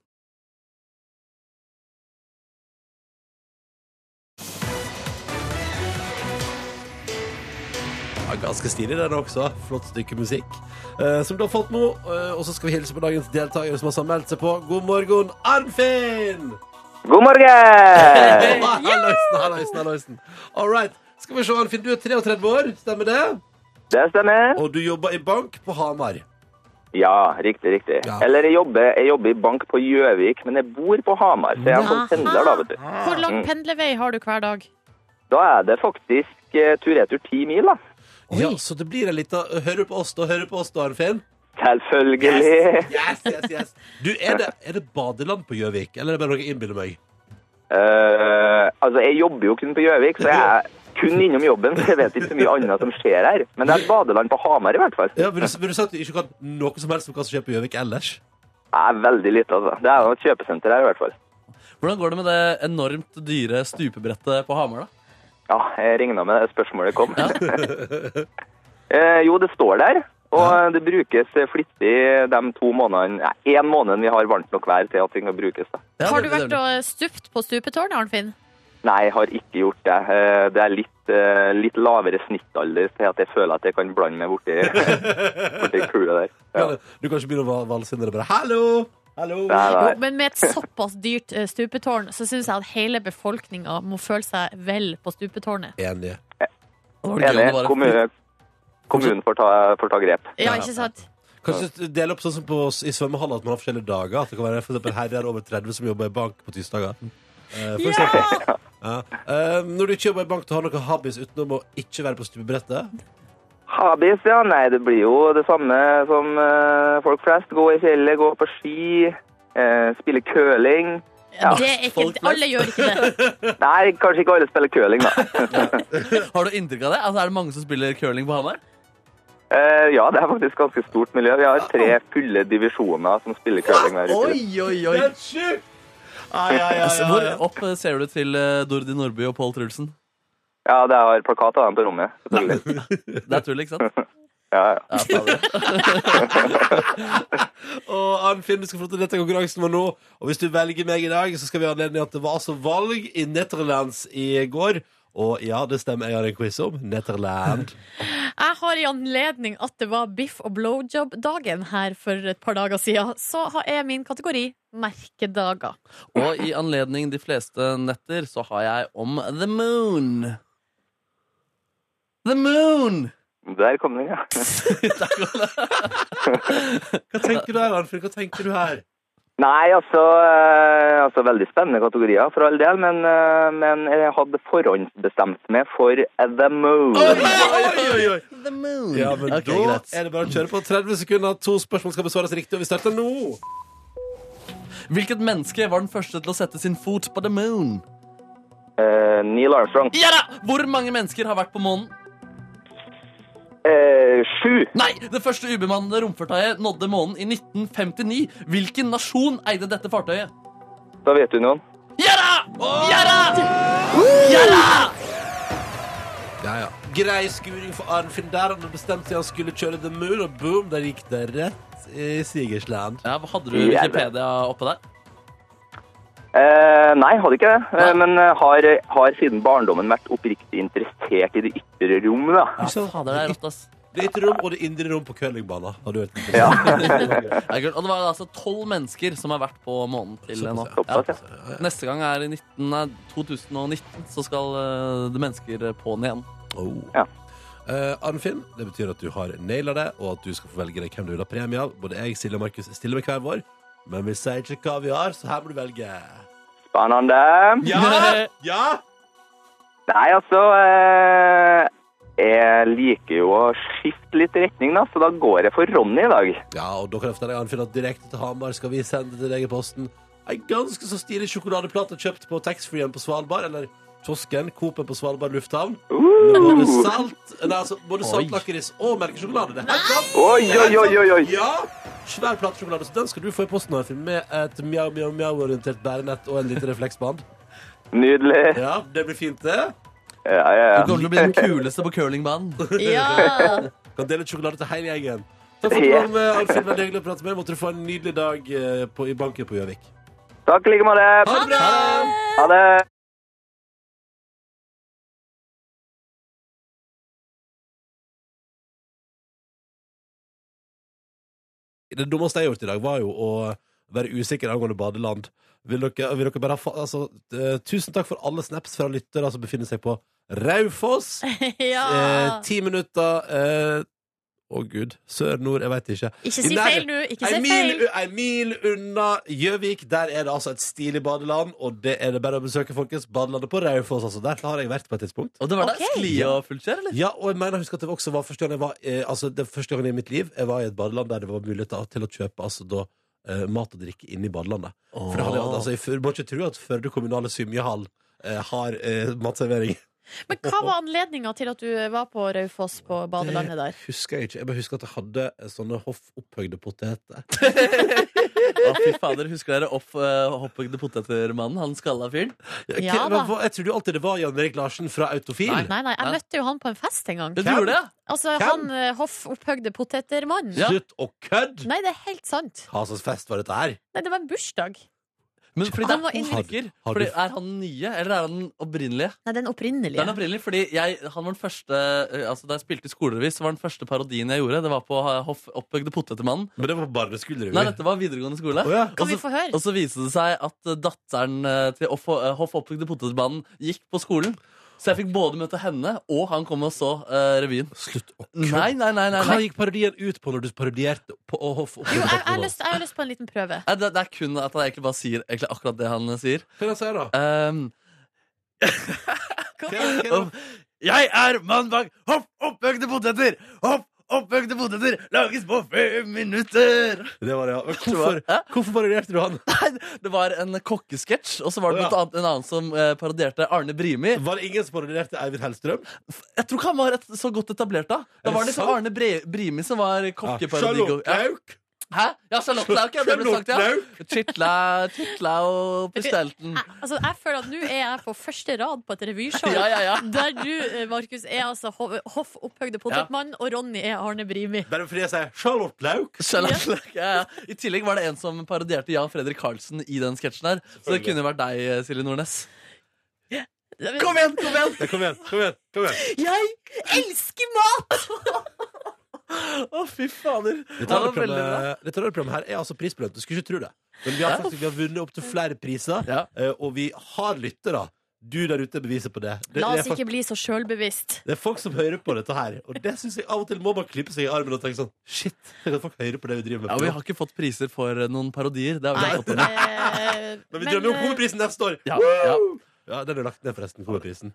S2: Ja, ganske stilig den også. Flott stykke musikk. Eh, som du har fått nå. Eh, og så skal vi hilse på dagens deltaker som har meldt seg på. God morgen, Arnfinn!
S5: God morgen!
S2: Halloisen, halloisen, halloisen. All right. Skal vi se, Arnfinn, du er 33 år, stemmer det?
S5: Det stemmer.
S2: Og du jobber i bank på Hamar.
S5: Ja, riktig, riktig.
S2: Ja.
S5: Eller jeg jobber, jeg jobber i bank på Gjøvik, men jeg bor på Hamar, så jeg er sånn pendler da, vet du.
S3: Hvor lang pendlervei har du hver dag?
S5: Da er det faktisk eh, tur-retur ti mil, da.
S2: Ja, så det blir en liten eh, Hører du på oss, da? Hører du på oss, da, Arnfinn?
S5: Selvfølgelig.
S2: Yes, yes, yes. Du, er det, er det badeland på Gjøvik, eller er det bare noe jeg innbiller meg?
S5: Eh, altså, jeg jobber jo kun på Gjøvik, så jeg er kun innom jobben, så jeg vet ikke så mye annet som skjer her. Men det er et badeland på Hamar i hvert fall.
S2: Ja, vil, du, vil du si at du ikke kan noe som helst om hva som skjer på Gjøvik ellers?
S5: Det er veldig lite, altså. Det er jo et kjøpesenter her i hvert fall.
S4: Hvordan går det med det enormt dyre stupebrettet på Hamar, da?
S5: Ja, jeg regna med det spørsmålet kom. eh, jo, det står der. Og det brukes flittig de to månedene Nei, én måned vi har varmt nok vær til at ting kan brukes. Da.
S4: Ja,
S3: Har
S4: det-
S3: du
S4: det-
S3: vært og stupt på stupetårnet, Arnfinn?
S5: Nei, jeg har ikke gjort det. Eh, Det er litt, eh, litt lavere snittalder til at jeg føler at jeg kan blande meg borti, borti kula der. Ja.
S2: Du kan ikke begynne å va- valse inn i det bare Hallo! Hallo!
S5: Nei,
S3: Jo,
S5: nei.
S3: men med et såpass dyrt eh, stupetårn, så syns jeg at hele befolkninga må føle seg vel på stupetårnet.
S2: Enig.
S4: det var gøy om det var
S5: Enig.
S4: en-
S5: Kommune, kommunen får ta, får ta grep.
S3: Ja, ikke sant?
S2: Kanskje dele opp sånn som på, i svømmehallen at man har forskjellige dager. At det kan være for eksempel herrer over 30 som jobber i bank på tirsdager. Eh, for eksempel. Ja. Eh, når du ikke jobber i bank, du har noen hobbies utenom å ikke være på stupebrettet.
S5: Habis, ja. Nei, det blir jo det samme som eh, folk flest. Gå i fjellet, gå på ski, eh, spille curling. Ja.
S3: Det er ikke,
S4: Folk flest.
S3: alle gjør ikke det.
S5: Nei, kanskje ikke alle spiller curling, da.
S4: Har du inntrykk av det? Altså, er det mange som spiller curling på Hamar?
S5: Eh, ja, det er faktisk ganske stort miljø. Vi har tre fulle divisjoner som spiller curling hver uke.
S4: oi,
S2: sjukt! Ah, ja, ja,
S4: Altså, Hvor opp eh, ser du til eh, Dordi Nordby og Pål Trulsen?
S5: Ja, det har plakat av dem på rommet. selvfølgelig.
S4: Det er tull, ikke sant?
S5: Ja, ja.
S4: Ja, fader.
S2: Og Arnfinn, du skal få lov til å delta i konkurransen vår nå. Og hvis du velger meg i dag, så skal vi ha anledning til at det var altså valg i Netherlands i går. Og ja, det stemmer, jeg har en quiz om Netherland.
S3: Jeg har i anledning at det var biff og blowjob-dagen her for et par dager siden, så har- er min kategori merkedager.
S4: Og i anledning de fleste netter så har jeg om The Moon. The Moon!
S5: Der kom den, ja.
S2: Hva tenker du her, Arnfinn? Hva tenker du her?
S5: Nei, altså, eh, altså Veldig spennende kategorier for all del, men, eh, men jeg hadde forhåndsbestemt meg for The Moon.
S2: Oi, oi, oi!
S4: The Moon.
S2: Ja, men
S4: Ok,
S2: da
S4: greit.
S2: er det bare å kjøre på 30 sekunder. To spørsmål skal besvares riktig, og vi starter nå.
S4: Hvilket menneske var den første til å sette sin fot på The Moon?
S5: Eh, Neil Armstrong.
S4: Ja da! Hvor mange mennesker har vært på månen?
S5: Eh, sju.
S4: Nei! Det første ubemannede romfartøyet nådde månen i 1959. Hvilken nasjon eide dette fartøyet?
S5: Da vet du noen.
S4: Ja da! Ja da! Ja da!
S2: Ja, ja. Grei skuring for Arnfinn der. Han bestemte seg han skulle kjøre The Moon, og boom, der gikk det rett i Sigersland.
S4: Ja, hadde du
S5: Ja da.
S4: Wikipedia oppe der?
S5: Eh, nei, hadde ikke det. Eh,
S4: Nei.
S5: men eh, har, har siden barndommen vært oppriktig interessert i det ytre rom, da.
S4: Ja, fader, det er rått, ass.
S2: Det ytre rom og det indre rom på curlingbanen. Har du hørt det?
S5: Ja.
S4: Det er kult. Og det var altså tolv mennesker som har vært på månen til nå.
S2: Såpass,
S5: Såpass,
S4: Ja. Neste gang er i 19, nei, 2019, så skal eh, det mennesker på den igjen.
S2: Oh.
S5: Ja.
S2: Eh, Arnfinn, det betyr at du har naila det, og at du skal få velge deg hvem du vil ha premie av. Både jeg, Silje og Markus stiller med hver vår, men vi sier ikke hva vi har, så her må du velge.
S5: Spennende.
S2: Ja!
S5: Nei, altså eh, jeg liker jo å skifte litt retning, da, så da går jeg for Ronny i dag.
S2: Ja, og da kan jeg fortelle deg, Arnfinn, at direkte til Hamar skal vi sende til deg i posten en ganske så stilig sjokoladeplate kjøpt på taxfree-en på Svalbard, eller Tosken, Coop-en på Svalbard lufthavn. Med både salt, nei, altså, både salt, lakris og melkesjokolade. Det er helt sant!
S5: Oi, oi, oi, oi, oi.
S2: Ja! Svær plate sjokolade. Så den skal du få i posten, Arnfinn, med et mjau-mjau-mjau-orientert bærenett og en liten refleksband.
S5: Nydelig.
S2: Ja, det blir fint, det.
S5: Ja, ja,
S4: Du
S5: ja.
S4: kommer til å bli den kuleste på curlingbanen.
S3: Ja!
S2: Kan dele ut sjokolade til hele gjengen. Takk for at du var med, Arnfinn. Veldig hyggelig å prate med deg. Måtte du få en nydelig dag eh, på, i banken på Gjøvik.
S5: Takk i like måte.
S2: Ha det bra!
S5: Ha det.
S2: Det dummeste jeg har gjort i dag, var jo å være usikker angående badeland. Vil dere, vil dere bare ha fa altså, eh, Tusen takk for alle snaps fra lyttere som befinner seg på Raufoss. Eh,
S3: ja.
S2: ti minutter eh, Å, gud. Sør-nord, jeg veit ikke.
S3: Ikke si
S2: Nei,
S3: feil nå! Ikke si
S2: Ei mil,
S3: feil!
S2: ei mil unna Gjøvik, der er det altså et stilig badeland. Og det er det bare å besøke, folkens. Badelandet på Raufoss, altså. Der har jeg vært på et tidspunkt.
S4: Og det var der
S3: Ok.
S4: sklie og fullskjær, eller?
S2: Ja, og jeg mener, jeg husker at det også var første gang jeg var eh, Altså, det var første gangen i mitt liv Jeg var i et badeland der det var muligheter til å kjøpe Altså da eh, mat og drikke inne i badelandet For det
S4: Ah.
S2: hadde, jeg- altså, jeg f- må ikke tro at Før du kommunale symjehall eh, Har eh, matservering
S3: Men hva var anledninga til at du var på Raufoss på badelandet der?
S2: Det Husker jeg ikke Jeg bare husker at jeg hadde eh, sånne hoffopphøgde poteter
S4: Å, fy fader, Husker dere opp, uh, hopphøgde potetermannen? Han skalla fyren?
S3: Ja
S2: Hva-
S3: da.
S2: hva- Jeg trodde jo alltid det var Jan-Erik Larsen fra Autofil
S4: Nei.
S3: Nei, nei, jeg
S4: Nei.
S3: møtte jo han på en fest en gang.
S4: Du gjorde det?
S3: Altså,
S2: Hvem?
S3: han eh, hoffopphøgde potetermannen.
S4: Ja.
S2: Slutt og kødd
S3: Nei, det er helt sant.
S2: Hva slags fest var dette her?
S3: Nei, det var en bursdag.
S4: Men fordi det
S3: Han var
S4: er to
S3: inn-
S4: stykker.
S2: Har du-
S4: Fordi Er han den nye, eller er han den opprinnelige?
S3: Nei, den
S4: Det er den
S3: opprinnelige.
S4: opprinnelige, fordi jeg, han var den første eh, Altså Da jeg spilte i skolerevy, så var den første parodien jeg gjorde, Det var på eh, Hoff opphøgde potetermannen.
S2: Men det var bare skuldre
S4: Nei, dette var videregående skole.
S2: Åja
S3: Kan vi
S4: Også-
S3: få
S4: Og
S3: høre?
S4: så viste det seg at eh, datteren eh, til Hoff, eh, Hoff opphøgde potetermannen gikk på skolen. Så jeg fikk både møte henne, og han kom og så eh, revyen.
S2: Slutt og kødd
S4: Nei, nei, nei. nei,
S2: Hva
S4: nei.
S2: gikk parodien ut på når du parodierte på å hoff opphøgde
S3: Jo, jeg, jeg, har
S2: poteter?
S3: lyst, jeg har lyst på en liten prøve.
S4: Nei, Det, det er kun at han egentlig bare sier egentlig akkurat det han eh, sier.
S2: Hva kan jeg si da?
S4: Ehm,
S2: Hva- hva- hva-
S4: om- jeg er mann bak hopp oppøkte poteter! Hopp oppøkte poteter lages på fem minutter!
S2: Det var det, ja. Men hvorfor,
S4: Hæ?
S2: hvorfor parodierte du han?
S4: Nei, det var en kokkesketsj, og så var det
S2: Å, ja.
S4: blant annet en annen som eh, parodierte Arne Brimi.
S2: Var det ingen som parodierte Eivind Hellstrøm?
S4: Jeg tror ikke han var et, så godt etablert da.
S2: Er
S4: Da var
S2: det
S4: det Ah, liksom
S2: sant?
S4: Arne Bre Brimi som var kokkeparodigo.
S2: Ah, Charlotte Lauk?
S4: Hæ? Ja, Charlotte Lauk, ja. Det ble sagt, ja.
S2: Lauk?
S4: Chitla, Chitla og Pustelten.
S3: Jeg, altså, jeg føler at nå er jeg på første rad på et revyshow.
S4: Ja, ja, ja.
S3: Der du, eh, Markus, er altså ho- hoff opphøgde potetmann, og Ronny er Arne Brimi.
S2: Bare fordi jeg sier Charlotte Lauk?
S4: Charlotte Lauk, ja, ja. I tillegg var det en som parodierte Jan Fredrik Karlsen i den sketsjen her. Så det kunne jo vært deg, Silje Nordnes. Kom igjen, kom igjen!
S2: Ja, kom igjen, kom igjen. kom igjen
S3: Jeg elsker mat!
S4: Å, fy fader.
S2: Dette
S4: Ja, det var veldig bra.
S2: radioprogrammet- dette radioprogrammet her er altså prisbelønt. Du skulle ikke tro det. Men vi har faktisk vi har vunnet opp til flere priser,
S4: Ja.
S2: eh, og vi har lyttere. Du der ute er beviset på det. Det,
S3: La
S2: det, er
S3: oss
S2: folk,
S3: ikke bli så sjølbevisst.
S2: det er folk som hører på dette her, og det syns jeg av og til må man klippe seg i armen og tenke sånn Shit, tenk at folk hører på det vi driver med.
S4: Ja, Vi har ikke fått priser for eh, noen parodier. Det har vi
S3: Nei,
S4: ikke fått ennå.
S3: eh,
S2: Men vi drømmer jo om
S3: eh,
S2: hovedprisen neste år!
S4: Ja, ja.
S2: Ja, den er lagt ned forresten, hovedprisen.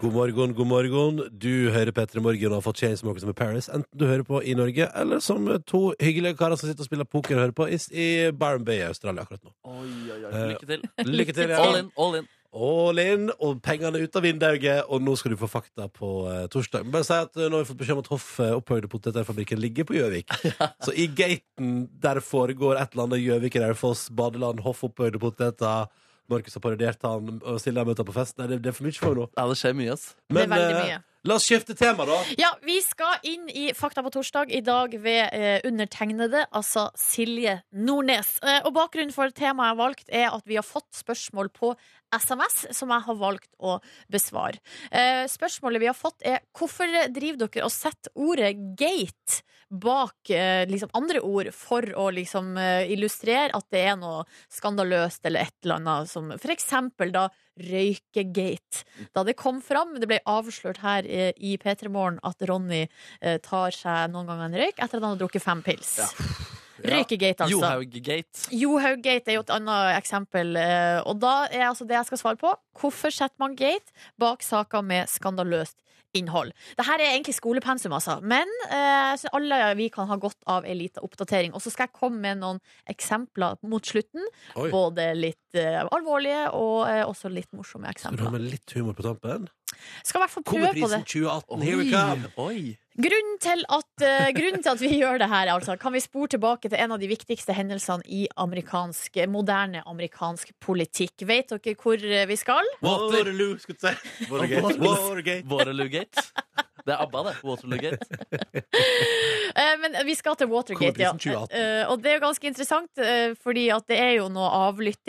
S2: God morgen, god morgen. Du hører Petter Morgen og har fått Chainsmokers med Paris, enten du hører på i Norge, eller som to hyggelige karer som sitter og spiller poker og hører på i, i Byron Bay i Australia akkurat nå.
S4: Oi, oi, oi.
S2: Eh,
S4: Lykke til.
S2: Lykke til.
S4: All in, all in.
S2: All in, og pengene ut av vinduet, og nå skal du få fakta på eh, torsdag. Men bare si at eh, nå har vi fått beskjed om at Hoff eh, opphøyde potetfabrikken ligger på Gjøvik. Så i gaten der foregår et eller annet Gjøvik, Raufoss, badeland, Hoff opphøyde poteter. Markus har parodiert han, og Silje har møtt han på fest. Nei, det, det er for mye for meg nå.
S4: Ja, det skjer mye, ass.
S3: Det er veldig
S2: eh,
S3: mye.
S2: la oss skifte tema, da.
S3: Ja, vi skal inn i Fakta på torsdag i dag ved eh, undertegnede, altså Silje Nordnes. Eh, og bakgrunnen for temaet jeg har valgt, er at vi har fått spørsmål på SMS som jeg har valgt å besvare. Eh, spørsmålet vi har fått, er hvorfor driver dere og setter ordet gate bak eh, liksom andre ord for å liksom eh, illustrere at det er noe skandaløst eller et eller annet som For eksempel da røykegate da det kom fram. Det ble avslørt her eh, i P3 Morgen at Ronny eh, tar seg noen ganger en røyk etter at han har drukket fem pils. Røykegate, altså.
S4: Johaug-gate.
S3: Johaug-gate er jo et annet eksempel. eh, Og da er altså det jeg skal svare på. Hvorfor setter man gate bak saker med skandaløst innhold? Dette er egentlig skolepensum, altså. Men eh, jeg synes alle vi kan ha godt av ei lita oppdatering. Og så skal jeg komme med noen eksempler mot slutten.
S2: Oi.
S3: Både litt eh, alvorlige og eh, også litt morsomme
S2: Skal du ha
S3: eksempler.
S2: med litt humor på tampen?
S3: Skal i hvert fall prøve på det.
S2: Komeprisen 2018, here we
S4: Oi,
S2: come!
S4: oi.
S3: Grunnen til, at, eh, grunnen til at vi gjør det her, er altså, kan vi spore tilbake til en av de viktigste hendelsene i amerikansk, moderne amerikansk politikk. Vet dere hvor eh, vi skal?
S2: Waterloo, skulle jeg si. Watergate. Watergate.
S4: Waterloo-gate. Det er ABBA, det. Waterloo-gate.
S3: Eh, men vi skal til Watergate, ja.
S2: Komeprisen 2018.
S3: Eh, og det er jo ganske interessant, eh, fordi at det er jo noen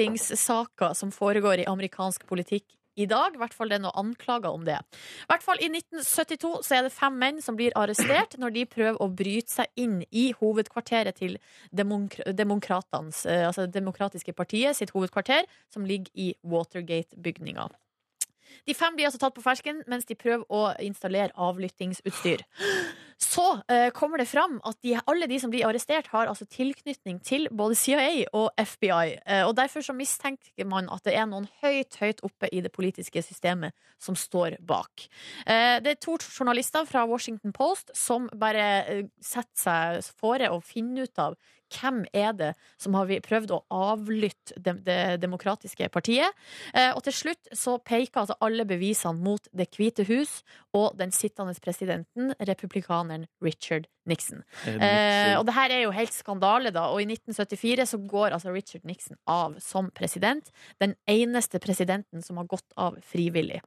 S3: avlyttingssaker som foregår i amerikansk politikk. I dag, i hvert fall det er noen anklager om det. I hvert fall i 1972 så er det fem menn som blir arrestert når de prøver å bryte seg inn i hovedkvarteret til Demok Demokratenes, eh, altså Det demokratiske partiet sitt hovedkvarter, som ligger i Watergate-bygninga. De fem blir altså tatt på fersken mens de prøver å installere avlyttingsutstyr. Så eh, kommer det fram at de, alle de som blir arrestert, har altså tilknytning til både CIA og FBI. Eh, og derfor så mistenker man at det er noen høyt, høyt oppe i det politiske systemet som står bak. Eh, det er to journalister fra Washington Post som bare eh, setter seg fore å finne ut av hvem er det som har vi- prøvd å avlytte det, det demokratiske partiet. Eh, og til slutt så peker altså alle bevisene mot Det hvite hus og den sittende presidenten, republikaneren Richard Nixon. Eh, og det her er jo helt skandale, da. Og i 1974 så går altså Richard Nixon av som president. Den eneste presidenten som har gått av frivillig.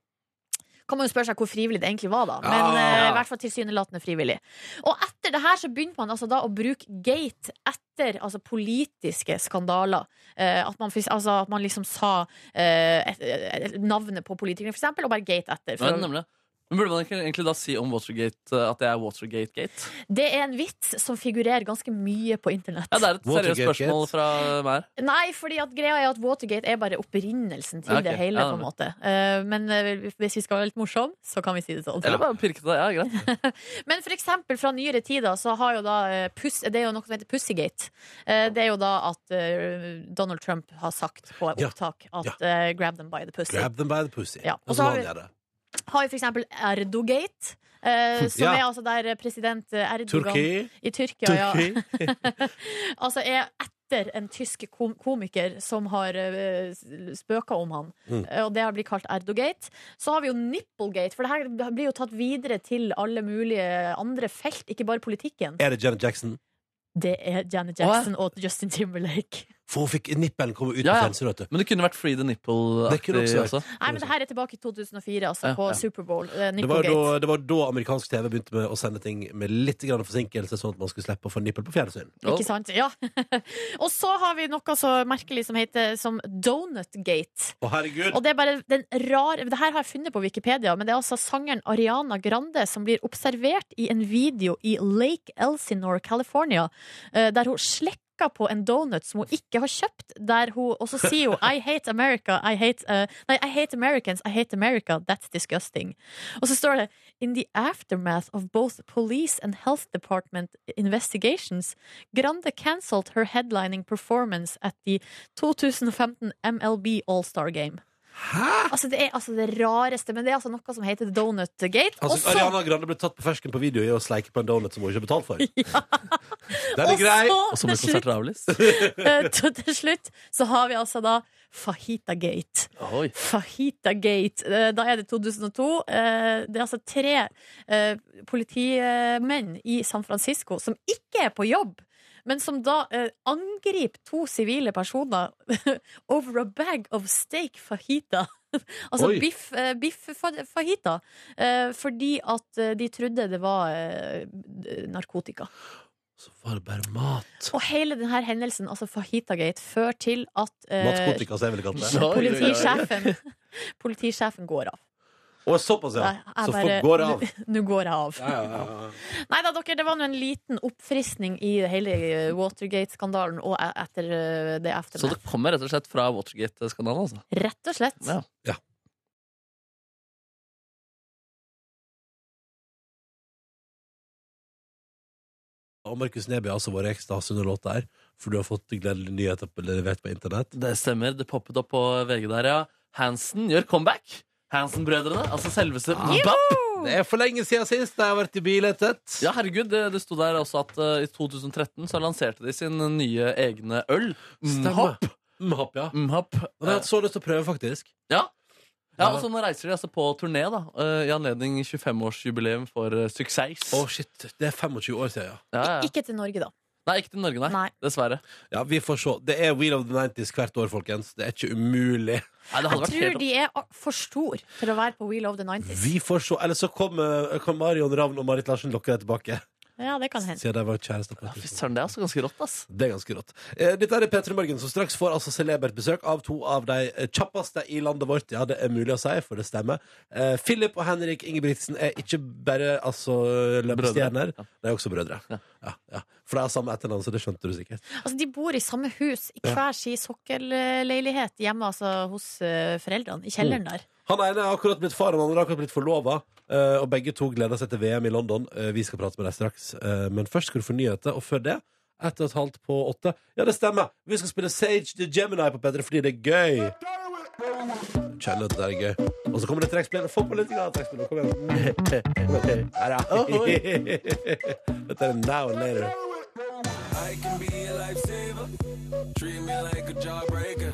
S3: Kan man jo spørre seg hvor frivillig det egentlig var, da. Men
S2: Ja.
S3: eh, i hvert fall tilsynelatende frivillig. Og etter det her så begynte man altså da å bruke gate etter altså politiske skandaler. Eh, at, man, fys- altså, at man liksom sa eh, et, et, navnet på politikerne, for eksempel, og bare gate etter.
S4: Men,
S3: For,
S4: nemlig. Men burde man ikke egentlig da si om Watergate eh, at det er Watergate-gate?
S3: det er en vits som figurerer ganske mye på internett.
S4: Ja, det er et seriøst
S2: Watergate-gate.
S4: spørsmål fra meg her.
S3: Nei, fordi at greia er at Watergate er bare opprinnelsen til
S4: Ja, ok.
S3: det hele.
S4: Ja,
S3: på en måte Eh, Men eh, hvis vi skal være litt morsom, så kan vi si det sånn.
S4: Eller bare pirke det. Ja, greit.
S3: Men for eksempel fra nyere tider så har jo da eh, puss, Det er jo noe som heter Pussygate. Eh, Det er jo da at eh, Donald Trump har sagt på
S2: Ja.
S3: opptak at
S2: Ja.
S3: eh, 'grab them by the pussy'.
S2: Grab them by the pussy.
S3: Ja, og
S2: Og
S3: så
S2: så
S3: har
S2: må
S3: vi-
S2: han gjøre det.
S3: Har jo for eksempel Erdogate. eh, som
S2: Ja.
S3: er altså der president Erdogan
S2: Turki.
S3: i Tyrkia ja,
S2: Turki.
S3: altså er etter en tysk kom komiker som har uh, spøka om han,
S2: Mm.
S3: Eh, og det har blitt kalt Erdogate. Så har vi jo Nipplegate, for det her blir jo tatt videre til alle mulige andre felt, ikke bare politikken.
S2: Er det Janet Jackson?
S3: Det er Janet Jackson og Justin Timberlake.
S2: For hun fikk nippelen komme ut
S4: Ja, ja.
S2: på fjernsynet, vet du.
S4: Men det kunne vært Free the
S2: Det
S4: Nipple-aktig
S2: kunne også vært.
S4: også.
S3: Nei, men det her er tilbake i 2004, altså,
S4: Ja,
S3: på
S4: ja.
S3: Superbowl. Eh,
S2: Det var, jo da,
S3: Nipplegate.
S2: det var da amerikansk TV begynte med å sende ting med litt grann forsinkelse, sånn at man skulle slippe å få nippel på fjernsyn.
S3: Ikke sant? Ja. og så har vi noe så merkelig som heter som Donutgate.
S2: Å, herregud!
S3: Og det er bare den rare Det her har jeg funnet på Wikipedia, men det er altså sangeren Ariana Grande som blir observert i en video i Lake Elsinore, California, eh, der hun slekker på en donut som hun ikke har kjøpt, der hun også sier jo I hate America, I hate eh, Nei, I hate Americans, I hate America, that's disgusting. Og så står det In the aftermath of both police and health department investigations, Grande cancelled her headlining performance at the 2015 MLB All-Star Game. Altså Det er altså det rareste, men det er altså noe som heter Donutgate.
S2: Altså,
S3: Også-
S2: Ariana Grande ble tatt på fersken på video i å sleike på en donut som hun ikke har betalt for. Den er
S3: og
S2: grei!
S3: så
S4: Og så ble
S3: til slutt,
S4: konserten avlyst.
S3: eh, til til slutt så har vi altså da Fahitagate.
S4: Oi.
S3: Fahitagate. Eh, Da er det 2002. Eh, Det er altså tre eh, politimenn i San Francisco som ikke er på jobb. Men som da eh, angriper to sivile personer over a bag of steak fajita. altså
S2: Oi.
S3: biff, eh, biff fa- fajita. Eh, fordi at eh, de trodde det var eh, d- narkotika.
S2: Så var det bare mat.
S3: Og hele denne hendelsen, altså fajitagate, fører til at eh,
S2: Matkotika, som jeg ville kalt det.
S4: Oi, oi, oi.
S3: politisjefen, politisjefen går av.
S2: Og såpass, ja.
S3: Nei, jeg
S2: Så
S3: bare-
S2: folk går av.
S3: Nå går jeg av.
S2: Ja, ja, ja.
S3: Nei da, dere, det var nå en liten oppfriskning i hele eh, Watergate-skandalen og e- etter eh, det
S4: Så det
S3: eftermælet.
S4: kommer rett og slett fra Watergate-skandalen, altså.
S3: Rett og slett.
S4: Ja.
S2: Og Markus Neby har altså vært i ekstase under låta her, for du har fått gledelige nyheter på- levert på internett.
S4: Det stemmer. Det poppet opp på VG der, ja. Hansen gjør comeback. Hansen-brødrene. Altså selveste BAP.
S2: Det er for lenge siden sist da jeg har vært i bilettet.
S4: Ja, herregud, det, det sto der også at eh, i 2013 så lanserte de sin nye egne øl. Mhopp.
S2: Mhopp, ja.
S4: Mhopp.
S2: Og det har jeg hatt så lyst til å prøve, faktisk.
S4: Ja. ja og så nå reiser de altså på turné, da. eh, I anledning 25-årsjubileum for eh, suksess.
S2: Å, shit. Det er 25 år siden, ja.
S4: Ja, ja.
S3: Ikke til Norge, da.
S4: Nei, ikke til Norge, nei.
S3: Nei.
S4: Dessverre.
S2: Ja, vi får se. Det er Wheel of the 90s hvert år, folkens. Det er ikke umulig.
S4: Nei, det
S3: Jeg
S4: hadde vært helt
S3: tror de er a- for store til å være på Wheel of the 90s.
S2: Vi får se. Eller så kommer kom Marion Ravn og Marit Larsen Lokkerød tilbake.
S3: Ja, det kan hende.
S2: Siden de var kjærester på
S4: Ja,
S2: et
S4: Fy
S2: tidspunkt.
S4: søren, det er altså ganske rått, ass.
S2: Det er ganske rått. Eh, Dette er P3 Morgen, som straks får altså celebert besøk av to av de eh, kjappeste i landet vårt. Ja, det er mulig å si, for det stemmer. Eh, Philip og Henrik Ingebrigtsen er ikke bare altså, løpestjerner,
S4: Ja.
S2: de er også brødre.
S4: Ja.
S2: Ja, ja. For de har samme etternavn, så det skjønte du sikkert.
S3: Altså, de bor i samme hus, i hver sin sokkelleilighet hjemme altså, hos eh, foreldrene, i
S4: Mm.
S3: kjelleren der.
S2: Han ene er akkurat blitt far, han andre er akkurat blitt forlova. eh, Og begge to gleder seg til VM i London. Eh, Vi skal prate med deg straks. Eh, Men først skal du få nyheter, og før det ett og et halvt på åtte. Ja, det stemmer! Vi skal spille Sage the Gemini på P3 fordi det er gøy. Kjenner at det er gøy. Og så kommer det trekkspill. Få på litt grann trekkspill. Kom igjen. Kom igjen. Der, ja. Dette er Now and Later.
S6: I can be a lifesaver. Treat me like a jawbreaker.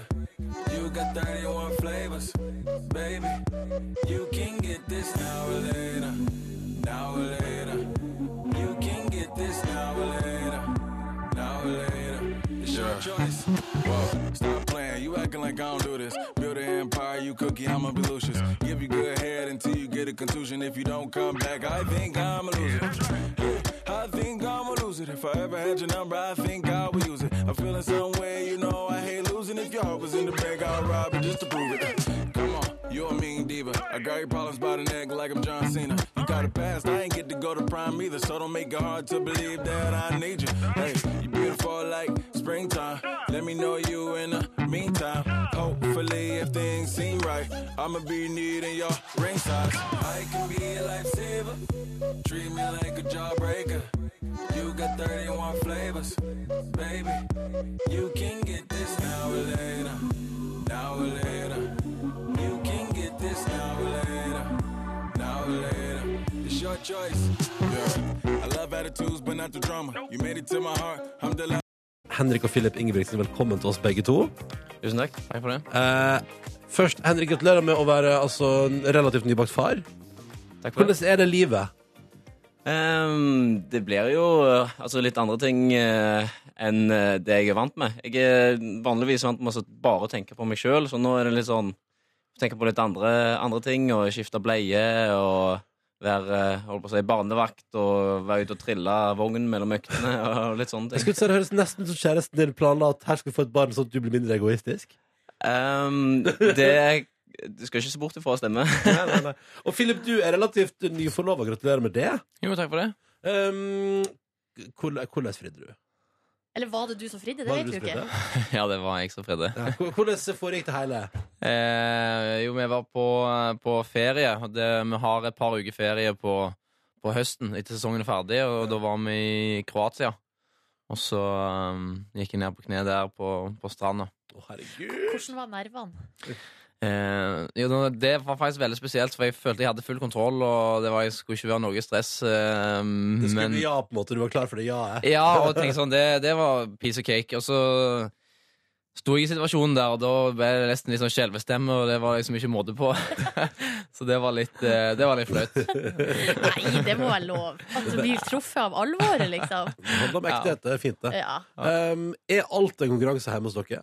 S6: You got 31 flavors, baby. You can get this now or later. Now or later. You can get this now or later. Now or later. It's your choice. Whoa, stop playing. You acting like I don't do this. Build an empire, you cookie, I'm a Belushis. Give you good head until you get a contusion. If you don't come back, I think I'm a loser. I think I'ma lose it. If I ever had your number, I think I would use it. I'm feeling some way, you know I hate losing. If your heart was in the bag, I'll rob it just to prove it. Come on, you're a mean diva. I got your problems by the neck like I'm John Cena. You got a past, I ain't get to go to prime either. So don't make it hard to believe that I need you. Hey, you beautiful like springtime. Let me know you in the meantime. Hopefully, if things seem right, I'ma be needing your ring size. I can be a lifesaver. Treat me like a jawbreaker. You got 31 flavors, baby. You can get this now or later. Now or later. You can get this now or later. Now or later. It's your choice. Yeah. I love attitudes, but not the drama. You made it to my heart. I'm the
S2: Henrik og Philip Ingebrigtsen, velkommen til oss begge to.
S4: Tusen takk. Takk for det.
S2: Eh, først, Henrik, gratulerer med å være altså, en relativt nybakt far.
S7: Takk for det.
S2: Hvordan er det livet?
S7: Ehm, det blir jo eh, altså litt andre ting eh, enn eh, det jeg er vant med. Jeg er vanligvis vant med å bare tenke på meg sjøl, så nå er det litt sånn Tenke på litt andre, andre ting, og skifte bleie og være eh, holdt på å si, barnevakt og være ute og trille vogn mellom øktene og litt sånne
S2: Jeg
S7: ting.
S2: skulle si Det høres nesten ut som kjæresten din planla at her skal du få et barn sånn at du blir mindre egoistisk.
S7: Ehm, det Du skal ikke se bort ifra å stemme.
S2: Nei, nei, nei. Og Philip, du er relativt nyforlova. Gratulerer med det.
S4: Jo, takk for det.
S2: Um, hvordan hvordan fridde du?
S3: Eller var det du som fridde? Det
S2: Var det
S3: vet
S2: du
S3: vi
S2: som
S3: jo ikke.
S2: fridde?
S8: Ja, det var jeg som fridde.
S2: Ja, hvor- Hvordan foregikk det hele?
S8: Eh, jo, vi var på, på ferie. og Det, vi har et par uker ferie på, på høsten etter sesongen er ferdig, og da var vi i Kroatia. Og så um, gikk jeg ned på kne der på, på stranda.
S2: Å, herregud.
S3: Hvordan var nervene?
S8: Eh, jo, da- det var faktisk veldig spesielt, for jeg følte jeg hadde full kontroll, og det var, jeg skulle ikke være noe stress. Eh,
S2: Det skulle
S8: men-
S2: bli ja, på en måte. Du var klar for det eh. ja-et.
S8: Ja, og tenkte sånn, det, det var piece of cake. Og så sto jeg i situasjonen der, og da ble det nesten litt sånn skjelvestemme, og det var liksom ikke måte på. så det var litt, eh, det var litt flaut.
S3: Nei, det må være lov. At du blir truffet av alvoret, liksom.
S2: Det handler om ekthet. Det er fint, det.
S3: Ja.
S2: Um, er alt en konkurranse hjemme hos dere?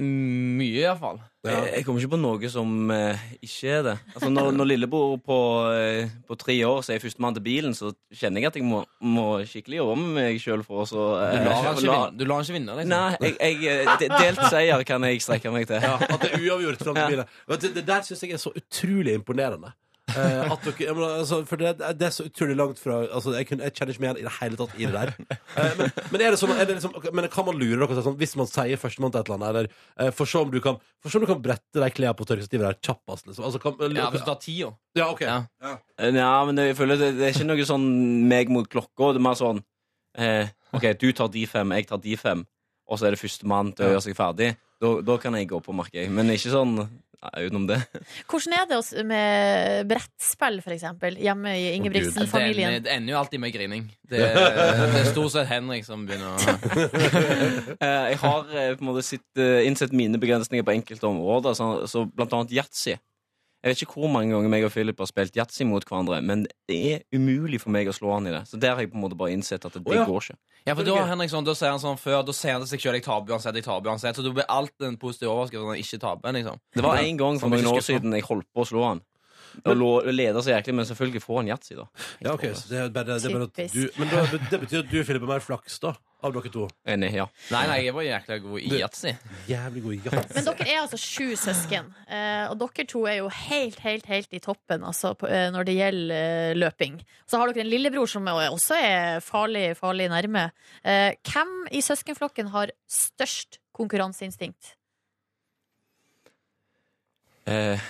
S8: Mye, iallfall.
S2: Ja.
S7: Jeg, jeg kommer ikke på noe som eh, ikke er det. Altså, når, når lillebror på, eh, på tre år så er førstemann til bilen, så kjenner jeg at jeg må, må skikkelig jobbe med meg sjøl for å så
S8: Du
S7: eh,
S8: lar han ikke
S7: la-
S8: vinne, du lar han ikke vinne liksom.
S7: Nei, jeg, jeg, eh, de- delt seier kan jeg strekke meg til.
S2: Ja, at det er uavgjort fram til bilen. Vet du, Det der syns jeg er så utrolig imponerende. Eh, at dere, jeg mener, altså, for det, det er så utrolig langt fra altså, jeg, kunne, jeg kjenner ikke meg igjen i det hele tatt i det der. Eh, men, men er det sånn er det liksom, ok, Men kan man lure dere sånn, hvis man sier førstemann til et eller annet, eller eh, for se om du kan For se om du kan brette de klærne på tørkestativet der kjappest, liksom? Altså, kan,
S8: Ja, hvis du tar ti år.
S2: ja, ok.
S8: Ja.
S7: Eh, Ja, men det, jeg føler det, det er ikke noe sånn meg mot klokka. Det er mer sånn eh, OK, du tar de fem, jeg tar de fem, og så er det førstemann til å gjøre seg ferdig. Da, da kan jeg gå på, merker jeg. Men ikke sånn ja, utenom det.
S3: Hvordan er det oss med brettspill, for eksempel, hjemme i
S8: Det
S3: Ingebrigtsen-familien?
S8: ender- det ender jo alltid med grining. Det, det er stort sett Henrik som begynner å
S7: Eh, jeg har eh, på en måte sitt, eh, innsett mine begrensninger på enkelte områder, så, så blant annet yatzy. Jeg vet ikke hvor mange ganger meg og Philip har spilt yatzy mot hverandre, men det er umulig for meg å slå han i det. Så der har jeg på en måte bare innsett at det,
S2: Å, ja.
S7: går ikke.
S8: Ja, for da er Henrik sånn, da sier han sånn før, da sier han til seg sjøl 'jeg taper uansett', jeg taper uansett. Så da blir alt en positiv overraskelse når han ikke taper. liksom
S7: Det var én gang for
S8: Som
S7: noen
S8: ikke
S7: år
S8: skuffer.
S7: siden jeg holdt på å slå han. Og lå, leder så jæklig, men selvfølgelig får han yatzy, da.
S2: Ja, ok, så det er bare, det er bare at
S3: Typisk.
S2: du, men da, det betyr at du, Philip, er mer flaks, da? Av dere to?
S7: Enig, ja.
S8: Nei, nei, jeg var jækla god i yatzy.
S2: Jævlig god i jazz.
S3: Men dere er altså sju søsken, eh, og dere to er jo helt, helt, helt i toppen altså, på, eh, når det gjelder eh, løping. Så har dere en lillebror som er- også er farlig, farlig nærme. Eh, Hvem i søskenflokken har størst konkurranseinstinkt?
S7: Eh,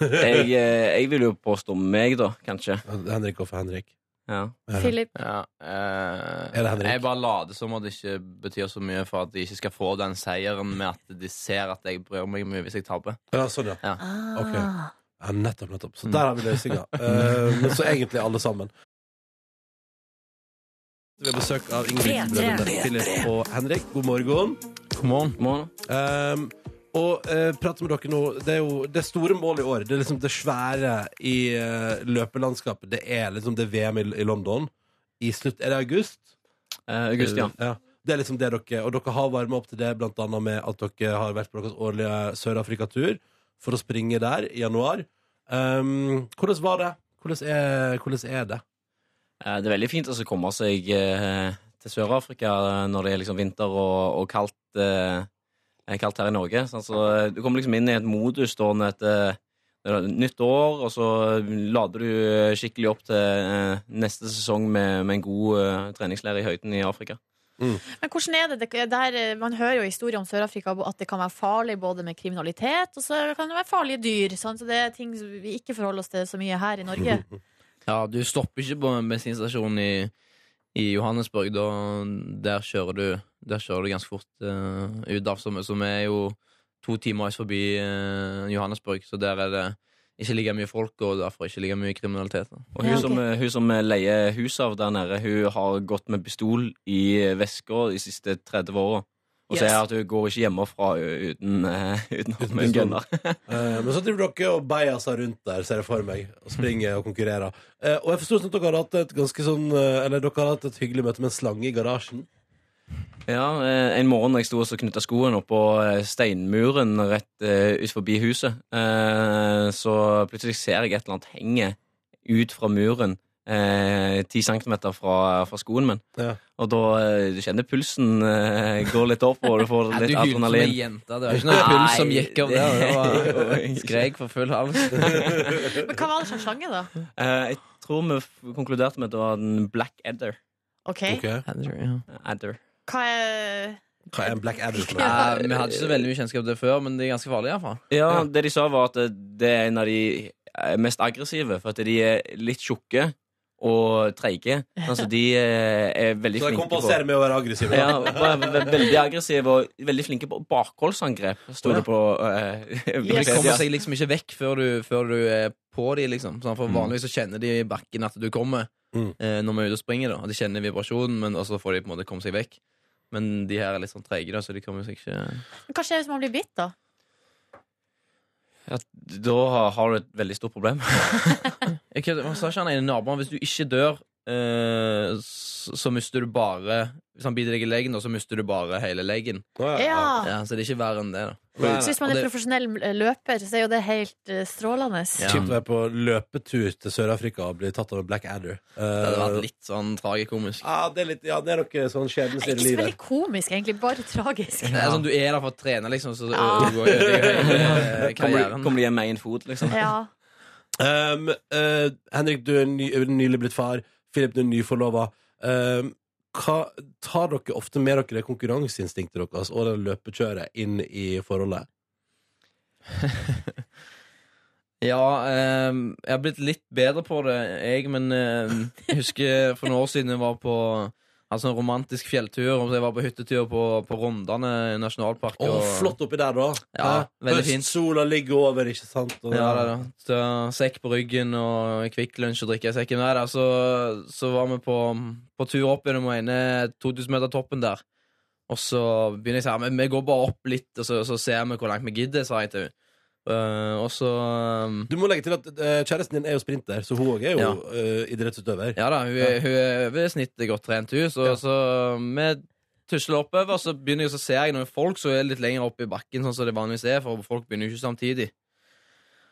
S7: jeg, eh, jeg vil jo påstå meg, da, kanskje.
S2: Henrik og for Henrik.
S7: Ja.
S2: Ja.
S3: Philip,
S8: Ja, eh,
S2: Er det Henrik?
S8: Jeg bare later som at det ikke betyr så mye for at de ikke skal få den seieren med at de ser at jeg bryr meg mye hvis jeg taper.
S2: Ja, sånn, ja.
S3: ah,
S2: Ok. Ja, nettopp, nettopp. Så der har vi løsninga. Eh, men så egentlig alle sammen. Vi har besøk av Ingrid Brødrene, Philip og Henrik. God morgen.
S8: Come on.
S7: Må,
S2: Um, og eh, prate med dere nå Det er jo det store målet i år. Det er liksom det svære i eh, løpelandskapet. Det er liksom det VM i, i London. I slutt, er det august?
S7: eh, August, ja.
S2: Det er liksom det dere Og dere har varma opp til det blant annet med at dere har vært på deres årlige Sør-Afrika-tur for å springe der i januar. Um, hvordan var det? Hvordan er, hvordan er det?
S7: Eh, Det er veldig fint altså, å komme seg eh, til Sør-Afrika eh, når det er liksom vinter og, og kaldt, eh, eh, kaldt her i Norge. Sånn, så, eh, du kommer liksom inn i et modus da, når et eh, når det er nytt år, og så lader du eh, skikkelig opp til eh, neste sesong med, med en god eh, treningsleir i høyden i Afrika.
S3: Men hvordan er det? det der, eh, man hører jo historier om Sør-Afrika bo- at det kan være farlig både med kriminalitet og så kan det være farlige dyr. Sant? Så det er ting som vi ikke forholder oss til så mye her i Norge.
S8: Ja, du stopper ikke på en bensinstasjon i, i Johannesburg. Da, der, kjører du, der kjører du ganske fort eh, ut av, som, som er jo to timer øst forbi eh, Johannesburg. Så der er det ikke like mye folk, og derfor ikke like mye kriminalitet. da.
S7: Og hun,
S3: Ja, ok.
S7: som, eh, hun som leier hus av der nede, hun har gått med pistol i veska de siste 30 åra. Og
S3: Yes.
S7: sier at hun går ikke hjemmefra uten, eh, uten,
S2: Uten
S7: uten en
S2: pistol.
S7: gunner.
S2: Eh, men så driver dere og beier seg rundt der, ser jeg for meg, og springer og konkurrerer. Eh, og jeg forstår sånn at dere har hatt et ganske sånn eh, Eller dere har hatt et hyggelig møte med en slange i garasjen.
S7: Ja, eh, En morgen når jeg sto og knytta skoen oppå eh, steinmuren rett eh, ut forbi huset, eh, så plutselig ser jeg et eller annet henge ut fra muren eh, ti centimeter fra, fra skoen min.
S2: Ja.
S7: Og da eh, du kjenner pulsen eh, går litt opp, og du får
S8: Nei, du
S7: litt
S8: hylte som ei
S7: adrenalin.
S8: jente. Det var ikke noe puls som gikk av det. det var, skrek for full hals.
S3: Men hva var det som slange, da?
S7: Eh, jeg tror vi f- konkluderte med at det var en black adder.
S3: Ok,
S2: Ok.
S7: adder.
S3: Hva er
S2: Hva er en black adder for
S8: Nei,
S2: noe?
S8: Eh, vi hadde ikke så veldig mye kjennskap til det før, men det er ganske farlig iallfall.
S7: Ja, det de sa var at eh, det er en av de eh, mest aggressive, for at de er litt tjukke og treige. Altså, de eh, er
S2: Så
S7: veldig
S2: jeg
S7: flinke på
S2: kompenserer med å være aggressiv. da.
S7: ja, bare ve- ve- veldig aggressive og veldig flinke på bakholdsangrep, sto det på eh,
S8: De
S3: Yes.
S8: kommer
S7: Wikipedia.
S8: seg liksom ikke vekk før du, før du er på de liksom. Sånn, For vanligvis så kjenner de i bakken at du kommer
S2: Mm.
S8: eh, når vi er ute og springer. da Og De kjenner vibrasjonen, men og så får de på en måte komme seg vekk. Men de her er litt sånn treige, da, så de kommer seg ikke
S3: Hva skjer hvis man blir bitt, da?
S7: Ja, da har- har du et veldig stort problem.
S8: Jeg kødder, Hva sa ikke han ene naboen? Hvis du ikke dør, eh, så, så mister du bare Hvis han biter deg i leggen, da, så mister du bare hele leggen.
S2: Å,
S3: Ja.
S8: Ja, så det er ikke verre enn det, da.
S3: Så hvis man
S8: Og
S3: er
S8: det-
S3: profesjonell eh, løper, så er jo det helt eh, strålende.
S8: Ja.
S2: Kjipt å være på løpetur til Sør-Afrika og bli tatt av en black adder. Eh,
S8: Det hadde vært litt sånn tragikomisk.
S2: ja, det er litt, ja, det er noe sånn
S3: Det er
S2: skjebneslig i
S3: ikke så veldig
S2: livet.
S3: komisk, egentlig. Bare tragisk.
S8: Det er sånn, du er der for å trene, liksom, så
S3: Ja.
S8: du går ødelegger hele eh,
S7: Kommer,
S8: karrieren.
S7: kommer de hjem med én fot, liksom?
S3: Ja.
S2: Um, eh, Henrik, du er ny, nylig blitt far. Philip, du er nyforlova. Um, hva tar dere ofte med dere det konkurranseinstinktet deres og det løpekjøret inn i forholdet?
S8: Ja, ehm, jeg har blitt litt bedre på det, jeg, men ehm, jeg husker for noen år siden jeg var på altså en romantisk fjelltur. og Jeg var på hyttetur på, på Rondane nasjonalpark.
S2: Å,
S8: og-
S2: flott oppi der, da!
S8: Ja,
S2: Hæ?
S8: veldig fint.
S2: Høstsola ligger over, ikke sant? Og-
S8: Ja, det, er det. Så, sekk på ryggen og Kvikk Lunsj og drikke i sekken. Nei, da, så, så var vi på, på tur opp gjennom den ene 2000-metertoppen der. Og så begynner jeg å si «Men vi går bare opp litt, og så, så ser vi hvor langt vi gidder, sa jeg til henne. Eh, og så eh,
S2: Du må legge til at eh, kjæresten din er jo sprinter, så hun òg er jo eh, idrettsutøver.
S8: Ja da, hun, er- hun er over snittet godt trent, hun. Så, så um, vi tusler oppover, og så begynner jeg så ser jeg noen folk som er litt lenger oppe i bakken, sånn som det vanligvis er, for folk begynner jo ikke samtidig.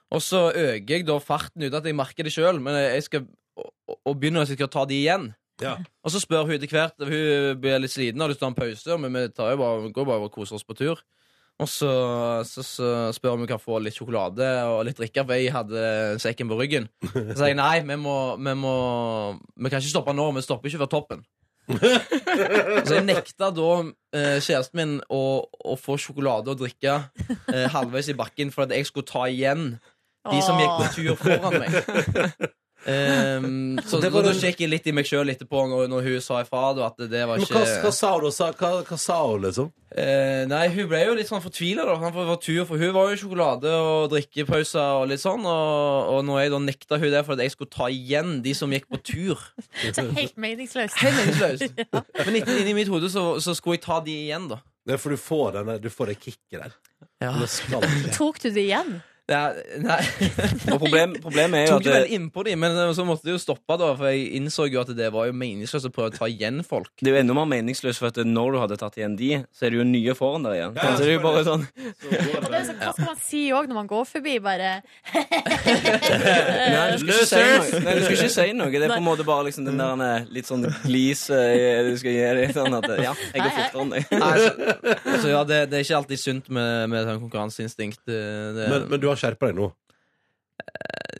S8: Og så øker jeg da farten uten at jeg merker det sjøl, men jeg skal og- og- og begynner jeg skal ta de igjen.
S2: Ja.
S8: Og så spør hun etter hvert Hun blir litt sliten og har lyst til å ha en pause, men vi tar jo bare, går bare og koser oss på tur. Og så, så, så spør hun om hun kan få litt sjokolade og litt drikke, for jeg hadde sekken på ryggen. Så sier jeg nei, vi må, vi må Vi kan ikke stoppe nå, vi stopper ikke før toppen. Så jeg nekta da eh, kjæresten min å, å få sjokolade og drikke eh, halvveis i bakken for at jeg skulle ta igjen de som gikk på tur foran meg. Ehm, så
S2: Det
S8: det
S2: var
S8: da
S2: den-
S8: sjekket jeg litt i meg sjøl etterpå når, når hun sa ifra. Da, at det var
S2: Men
S8: ikke
S2: hva, hva sa hun, da? Sa- Hva, hva sa hun, liksom?
S8: Eh, Nei, hun ble jo litt sånn fortvila, da. For, for, tur, for hun var jo i sjokolade og drikkepauser og litt sånn. Og, og når jeg da nekta hun det for at jeg skulle ta igjen de som gikk på tur
S3: Så helt meningsløst.
S8: Helt meningsløst. Men inni, inni mitt hode så, så skulle jeg ta de igjen, da.
S2: Det er for du får denne, du får det kicket der.
S8: Ja.
S2: Det skal ikke.
S3: Tok du det igjen?
S8: nei.
S7: Og problem, problemet er jo
S8: Tok
S7: at
S8: jo vel
S7: det,
S8: innpå de, men eh, så måtte de jo stoppe, da, for jeg innså jo at det var jo meningsløst å prøve å ta igjen folk.
S7: det er jo enda mer meningsløst, for at når du hadde tatt igjen de, så er det jo nye foran der igjen.
S2: Ja, ja,
S7: så det er jo bare sånn
S3: Og det er sånn, hva skal man si òg når man går forbi? Bare
S7: Nei, du skal ikke si noe. Nei, du skal ikke si noe. Det er på en måte bare liksom den der eh, litt sånn glis eh, du skal gi deg. Sånn at eh, ja, jeg
S3: Hei,
S7: går
S3: hei.
S7: fortere enn deg.
S8: Nei, så, så ja, det, det er ikke alltid sunt med, med sånn konkurranseinstinkt. eh, Det,
S2: Men, men du har skjerpa deg nå?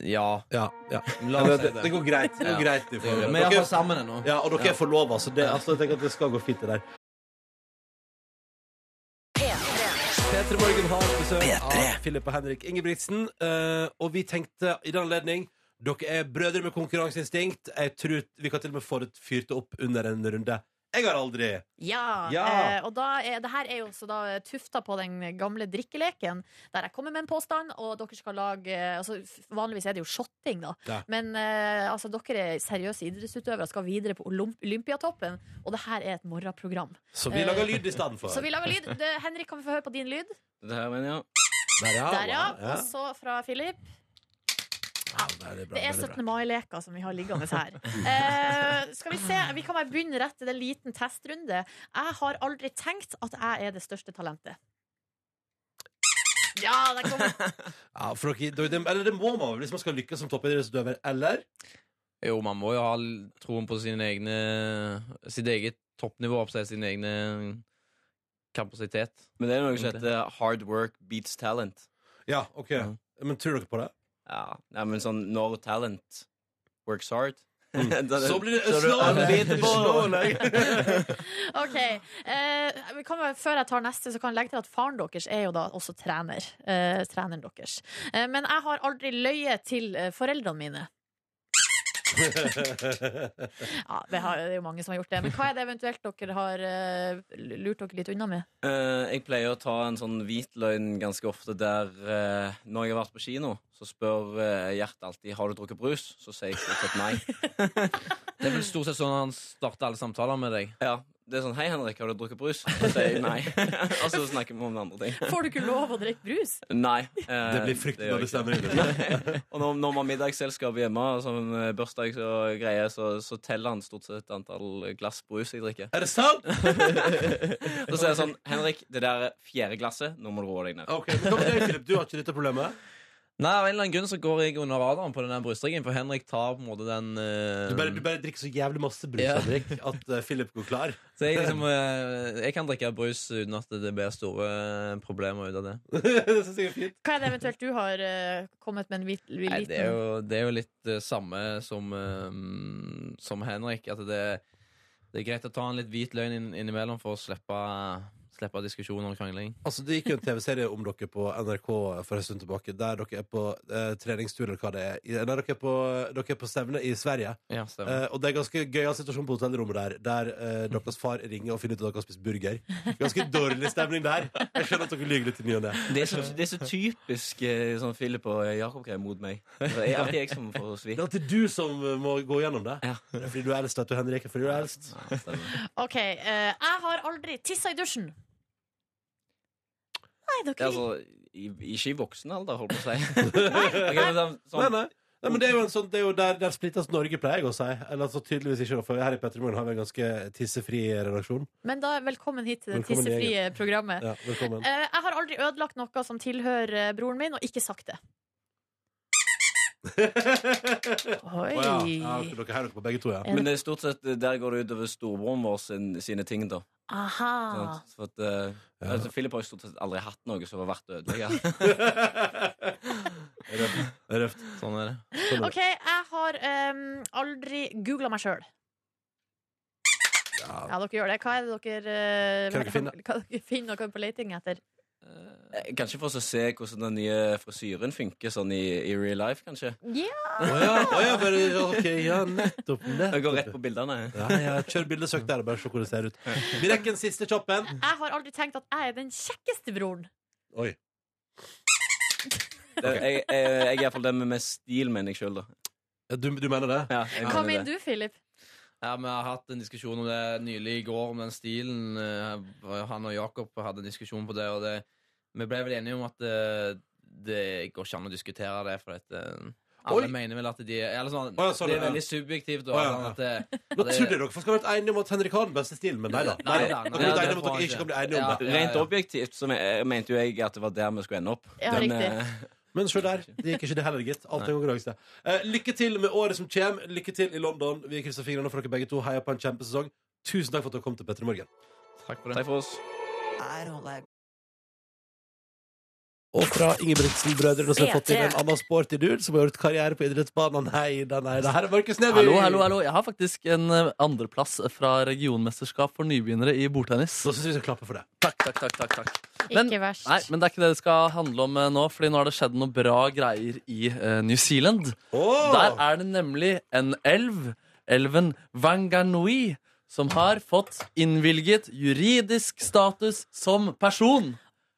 S8: ja.
S2: Ja. ja.
S8: La oss si
S2: det
S8: det.
S2: går greit. Det går
S8: Ja.
S2: greit i forhold.
S8: Vi er
S2: Dere-
S8: iallfall sammen ennå.
S2: Ja, og dere er forlova, så det, altså, jeg tenker at det skal gå fint, det der. P3 Morgen har besøk av Philip og Henrik Ingebrigtsen. eh, og vi tenkte i den anledning Dere er brødre med konkurranseinstinkt. Jeg tror Vi kan til og med få det fyrt opp under en runde. Jeg har aldri
S3: Ja.
S2: Ja.
S3: Eh, og da er, det her er jo også da tufta på den gamle drikkeleken, der jeg kommer med en påstand, og dere skal lage eh, altså, f- Vanligvis er det jo shotting, da.
S2: Ja.
S3: Men eh, altså, dere er seriøse idrettsutøvere, skal videre på Olymp Olympiatoppen, og det her er et morgenprogram.
S2: Så vi
S3: Eh,
S2: lager lyd i stedet for.
S3: Så vi lager lyd. Det, Henrik, kan vi få høre på din lyd?
S7: Det her, men ja.
S2: Der, ja.
S3: Der, ja.
S2: ja.
S3: Og så fra Philip.
S2: Ja, der er bra,
S3: Det er
S2: der er bra.
S3: 17. mai-leker som vi har liggende her. Eh, skal vi se, vi kan bare begynne rett til en liten testrunde. Jeg har aldri tenkt at jeg er det største talentet. Ja, der kom den.
S2: Ja, for dere, dere- det, eller det må man vel hvis man skal lykkes som toppidrettsutøver, eller?
S8: Jo, man må jo ha l- troen på sine egne, sitt eget toppnivå, oppsett sin egne kapasitet.
S7: Men det er noe som heter hard work beats talent.
S2: Ja, ok. Men tror dere på det?
S7: Ja, Nei, men sånn når talent works hard
S8: Mm.
S7: Da er det-
S2: Så blir det
S7: så er du
S2: slående!
S3: OK. Eh, vi kan, bare- før jeg tar neste, så kan jeg legge til at faren deres er jo da også trener. Eh, treneren deres. Eh, men jeg har aldri løyet til eh, foreldrene mine. Ja, det, har, det er jo mange som har gjort det. Men hva er det eventuelt dere har eh, lurt dere litt unna med?
S7: Eh, jeg pleier å ta en sånn hvit løgn ganske ofte der eh, Når jeg har vært på kino, så spør eh, Gjert alltid har du drukket brus. Så sier jeg stort sett nei.
S8: Det er vel stort sett sånn han starter alle samtaler med deg.
S7: Ja, det er sånn Hei, Henrik, har du drukket brus? Så sier jeg nei. Og så snakker vi om andre ting.
S3: Får du ikke lov å drikke brus?
S7: Nei. eh,
S2: Det blir fryktelig
S7: gjør
S2: dårlig
S7: jeg ikke.
S2: stemning.
S7: Og når, når vi har middagsselskap hjemme, sånn eh, bursdag og greier, så, så teller han stort sett antall glass brus jeg drikker.
S2: Er det sant?
S7: Så sier han sånn Henrik, det der er fjerde glasset. Nå må du roe deg ned.
S2: Ok, men da, Philip, Du har ikke dette problemet?
S8: Nei, av en eller annen grunn så går jeg under radaren på den der brystringen, for Henrik tar på en måte den eh,
S2: Du bare, du bare drikker så jævlig masse brus,
S8: Ja.
S2: Henrik, at eh, Philip går klar.
S8: Så jeg liksom eh, Jeg kan drikke brus uten at det blir store problemer ut av det.
S2: det syns jeg er fint.
S3: Hva er det eventuelt du har eh, kommet med en hvit-
S8: Nei,
S3: liten
S8: det er jo, det er jo litt eh, samme som, eh, som Henrik. At det, det er greit å ta en litt hvit løgn inn, innimellom for å slippe, slippe diskusjoner og krangling.
S2: Altså, Det gikk jo en TV-serie om dere på NRK for en stund tilbake, der dere er på eh, treningstur, eller hva det er. I- Der dere er på, dere er på stevne i Sverige.
S8: Ja,
S2: Eh,
S8: stemmer.
S2: og det er ganske gøyal situasjon på hotellrommet der, der eh, deres far ringer og finner ut at dere har spist burger. Ganske dårlig stemning der. Jeg skjønner at dere lyver litt i ny og ne.
S7: Det er så, det er så typisk eh, sånn Philip og Jakob-greier mot meg. Altså, Det er alltid jeg som får svi.
S2: Det er alltid du som eh, må gå gjennom det.
S7: Ja.
S2: Det er Fordi du er eldst, vet du, Henrik. Fordi du er eldst.
S3: OK. eh, jeg har aldri tissa i dusjen. Nei, dere
S7: Altså, i- ikke i voksen alder, holdt på å si. Ok, men sånn-
S2: Nei,
S7: sånn,
S2: nei. Nei, men det er jo, en sånn, det er jo der, der splittes Norge, pleier jeg å si. Eller altså, tydeligvis ikke, da, for her i Petremorgen har vi en ganske tissefri redaksjon.
S3: Men da velkommen hit til det
S2: Velkommen i
S3: tissefrie programmet.
S2: Ja, velkommen.
S3: Eh, jeg har aldri ødelagt noe som tilhører eh, broren min, og ikke sagt det. Oi.
S2: Å ja. ja, dere heier dere på begge to, ja.
S7: men det er stort sett eh, der går det utover storebroren vår sin, sine ting, da.
S3: Aha.
S7: Sant? For at, eh, altså, Philip har jo stort sett aldri hatt noe som har vært å ødelegge.
S2: Det er røft.
S8: Sånn er det.
S3: OK, jeg har em, aldri googla meg sjøl. Ja. dere gjør det. Hva er det dere, eh,
S2: Kan dere finne?
S3: hva dere finner og er på leting etter?
S7: Eh, Kanskje for å se hvordan den nye frisyren funker sånn i, i real life, kanskje.
S3: Ja,
S2: Å ja, å ja, bare, ja, ok, ja, nettopp.
S7: Jeg går rett
S2: nettopp.
S7: på bildene.
S2: Ja, ja, kjør bildesøk der og bare se hvordan det ser ut. Vi rekker en siste kjapp en.
S3: jeg har aldri tenkt at jeg er den kjekkeste broren.
S2: Oi.
S7: Det, jeg, jeg, jeg er iallfall den med mest stil, mener jeg sjøl, da.
S2: Ja, Du, du mener det?
S7: Ja, jeg
S3: Hva
S7: mener
S3: mener
S7: det.
S3: du, Philip?
S8: Ja, Vi har hatt en diskusjon om det nylig i går, om den stilen. eh, Han og Jakob hadde en diskusjon på det, og det, vi ble vel enige om at eh, det går ikke an å diskutere det, for at eh, alle
S2: Oi.
S8: mener vel at de er eller sånn,
S2: Å, ja, sånn,
S8: Det er
S2: ja.
S8: veldig subjektivt. Og,
S2: Å, ja, ja.
S8: At eh, det,
S2: Nå
S8: at det-
S2: trodde jeg dere faktisk hadde vært enige om at Henrik har den beste stilen, men nei da. Nei,
S8: Nei
S2: da.
S8: da,
S2: Dere
S8: nei,
S2: ble
S8: det
S2: enige om at
S8: får
S2: dere
S8: han
S2: ikke
S8: ikke.
S2: kan bli enige om
S8: Ja.
S2: det.
S7: Rent objektivt så me- mente jo jeg at det var der vi skulle ende opp.
S3: Ja,
S7: Men,
S3: riktig.
S7: eh,
S2: Men se der, det gikk ikke det heller, gitt. Alt er konkurranse. Eh, lykke til med året som kommer. Lykke til i London. Vi krysser fingrene for dere begge to. Heia på en kjempesesong. Tusen takk for at dere kom til Petter i Morgen.
S8: Takk for det.
S7: Takk for oss.
S2: Og fra Ingebrigtsen-brødrene så har vi fått inn en annen sporty dude som har gjort karriere på idrettsbanen. Nei da, nei da. Her er Markus Neby.
S4: Hallo, hallo, hallo. Jeg har faktisk en eh, andreplass fra regionmesterskap for nybegynnere i bordtennis.
S2: Så syns jeg vi skal klappe for det.
S4: Takk, takk, takk, takk, takk. Men-
S3: Ikke verst.
S4: Nei, men det er ikke det det skal handle om eh, nå, Fordi nå har det skjedd noen bra greier i eh, New Zealand. Der er det nemlig en elv, elven Wanganui, som har fått innvilget juridisk status som person.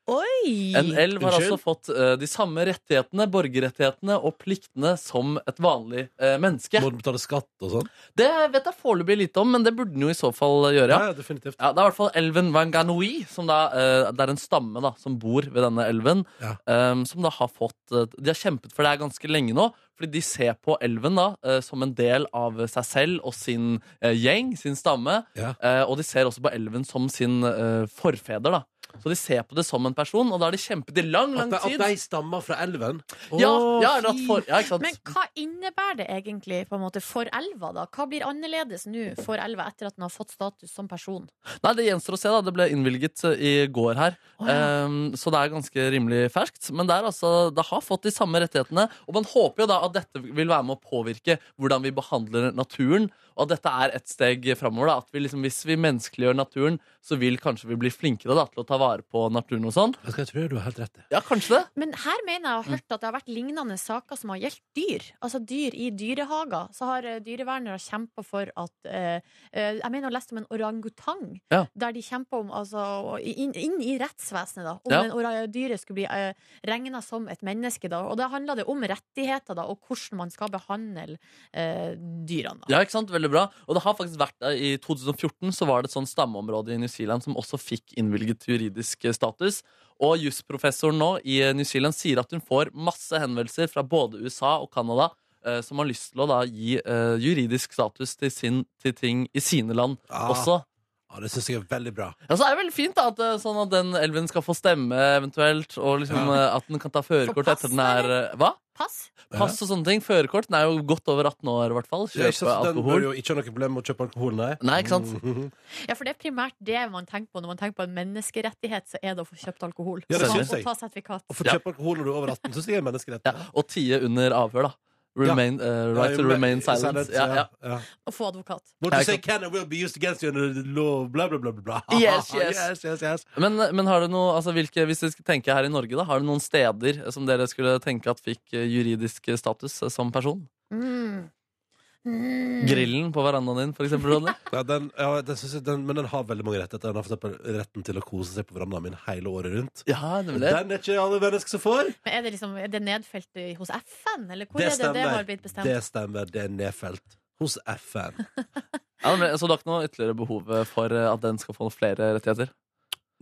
S4: En
S3: Oi!
S4: elv har
S2: Unnskyld?
S4: altså fått eh, de samme rettighetene, borgerrettighetene og pliktene som et vanlig eh, menneske.
S2: Må du betale skatt og sånn?
S4: Det vet jeg foreløpig lite om, men det burde den jo i så fall gjøre.
S2: Ja,
S4: Ja.
S2: ja, definitivt.
S4: Ja, det er i hvert fall elven Wanganui, som da, eh, det er en stamme da, som bor ved denne elven.
S2: Ja.
S4: eh, som da har fått eh, De har kjempet for det her ganske lenge nå, fordi de ser på elven da eh, som en del av seg selv og sin eh, gjeng, sin stamme.
S2: Ja.
S4: eh, og de ser også på elven som sin eh, forfeder. da Så de ser på det som en person, og da har de kjempet i lang, lang
S2: At de,
S4: tid.
S2: at de stammer fra elven?
S4: ja,
S2: Å,
S4: ja, eller at
S2: fy.
S4: for, ja, ikke sant?
S3: Men hva innebærer det egentlig på en måte for elva? da? Hva blir annerledes nå for elva etter at den har fått status som person?
S4: Nei, det gjenstår å se. da Det ble innvilget eh, i går her.
S3: Å, ja.
S4: Ehm, så det er ganske rimelig ferskt. Men det, er altså, det har fått de samme rettighetene. Og man håper jo da at dette vil være med å påvirke hvordan vi behandler naturen. Og at dette er et steg framover. da, At vi liksom, hvis vi menneskeliggjør naturen, så vil kanskje vi bli flinkere da, til å ta vare på naturen og sånn.
S2: Vet du hva, Jeg tror du har helt rett i.
S4: Ja, kanskje det.
S3: Men her mener jeg å ha hørt at det har vært lignende saker som har gjeldt dyr. Altså dyr i dyrehager. Så har eh, dyrevernere kjempa for at eh, eh, Jeg mener å ha lest om en orangutang.
S4: Ja.
S3: Der de kjempa om altså, å- inn, inn i rettsvesenet, da. Om
S4: Ja.
S3: en ora- dyret skulle bli uh, regna som et menneske, da. Og da handla det om rettigheter, da, og hvordan man skal behandle eh, dyrene. Da.
S4: Ja, ikke sant? Veldig bra. Og det har faktisk vært der I 2014 så var det et sånn stammeområde i New Zealand som også fikk innvilget juridisk eh, status. Og jusprofessoren nå i eh, New Zealand sier at hun får masse henvendelser fra både USA og Canada eh, som har lyst til å da gi eh, juridisk status til, sin, til ting i sine land
S2: Ah.
S4: også.
S2: Ja, det syns jeg er veldig bra.
S4: Ja, så er det veldig fint da at, eh, sånn at den elven skal få stemme eventuelt, og liksom eh, at den kan ta førerkort
S3: pass,
S4: etter den er eh, Hva?
S3: Pass?
S4: Pass og sånne ting. Førerkort. Den er jo godt over 18 år, i hvert fall.
S2: Ja, ikke
S4: Kjøpe
S2: sant? Den bør
S4: alkohol.
S2: jo ikke ha noe problem med å kjøpe alkohol, nei.
S4: Nei, ikke sant?
S2: Mhm.
S3: Ja, for det er primært det man tenker på når man tenker på en menneskerettighet, så er det å få kjøpt alkohol.
S2: Ja,
S4: det
S3: Og-
S2: synes jeg.
S3: Og ta sertifikat.
S2: Å få
S4: Ja.
S2: kjøpe alkohol når du er over 18, syns jeg er en menneskerett.
S4: Ja, og tie under avhør, da. Remain, eh, right to remain silent. Ja, ja.
S2: ja.
S3: Og få advokat.
S2: What
S4: Ja,
S2: you
S4: ikke
S2: say
S4: sant.
S2: can and will be used against you under the law, bla, bla, bla, bla. bla.
S4: Yes, yes.
S2: yes, yes, yes.
S4: Men, men har du noe, altså hvilke, hvis dere skulle tenke her i Norge, da, har du noen steder som dere skulle tenke at fikk eh, juridisk status eh, som person?
S3: Mm. Mm.
S4: Grillen på verandaen din, for eksempel, Ronny?
S2: Ja, den, ja, den synes jeg, den, men den har veldig mange rettigheter. Den har for eksempel retten til å kose seg på verandaen min hele året rundt.
S4: Ja, nemlig.
S2: Den er ikke alle mennesker som får.
S3: Men er det, liksom, er det nedfelt i- hos FN, eller hvor
S2: Det
S3: er det det
S2: stemmer.
S3: har blitt bestemt?
S2: Det stemmer. Det er nedfelt hos FN.
S4: Ja, nemlig. Så du har ikke noe ytterligere behov for eh, at den skal få flere rettigheter?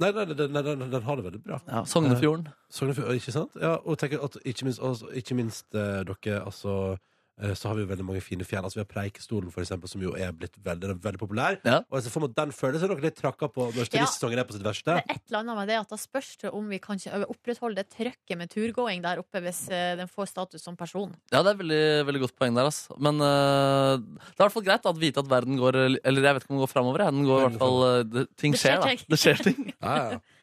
S2: Nei, nei, nei, nei, nei, nei den har det veldig bra.
S4: Ja, Sognefjorden.
S2: Sognefjord, ikke sant? Ja, og tenker at ikke minst, altså, ikke minst eh, dere, altså eh, så har vi jo veldig mange fine fjell. Altså, vi har Preikestolen, for eksempel, som jo er blitt veldig, den er veldig populær.
S4: Ja.
S2: Og jeg ser for meg at den følelsen dere litt trakka på når
S3: Ja.
S2: turistsesongen er på sitt verste.
S3: Det er et eller annet med det at da spørs det om vi kan ikke opprettholde det trøkket med turgåing der oppe hvis eh, den får status som person.
S4: Ja, det er veldig, veldig godt poeng der, ass. Men eh, det er i hvert fall greit at vite at verden går Eller jeg vet ikke om den går framover, den går i hvert fall eh, det, Ting
S3: Det skjer
S4: skjer, da.
S3: ting.
S4: Det skjer ting.
S2: Ja, ja.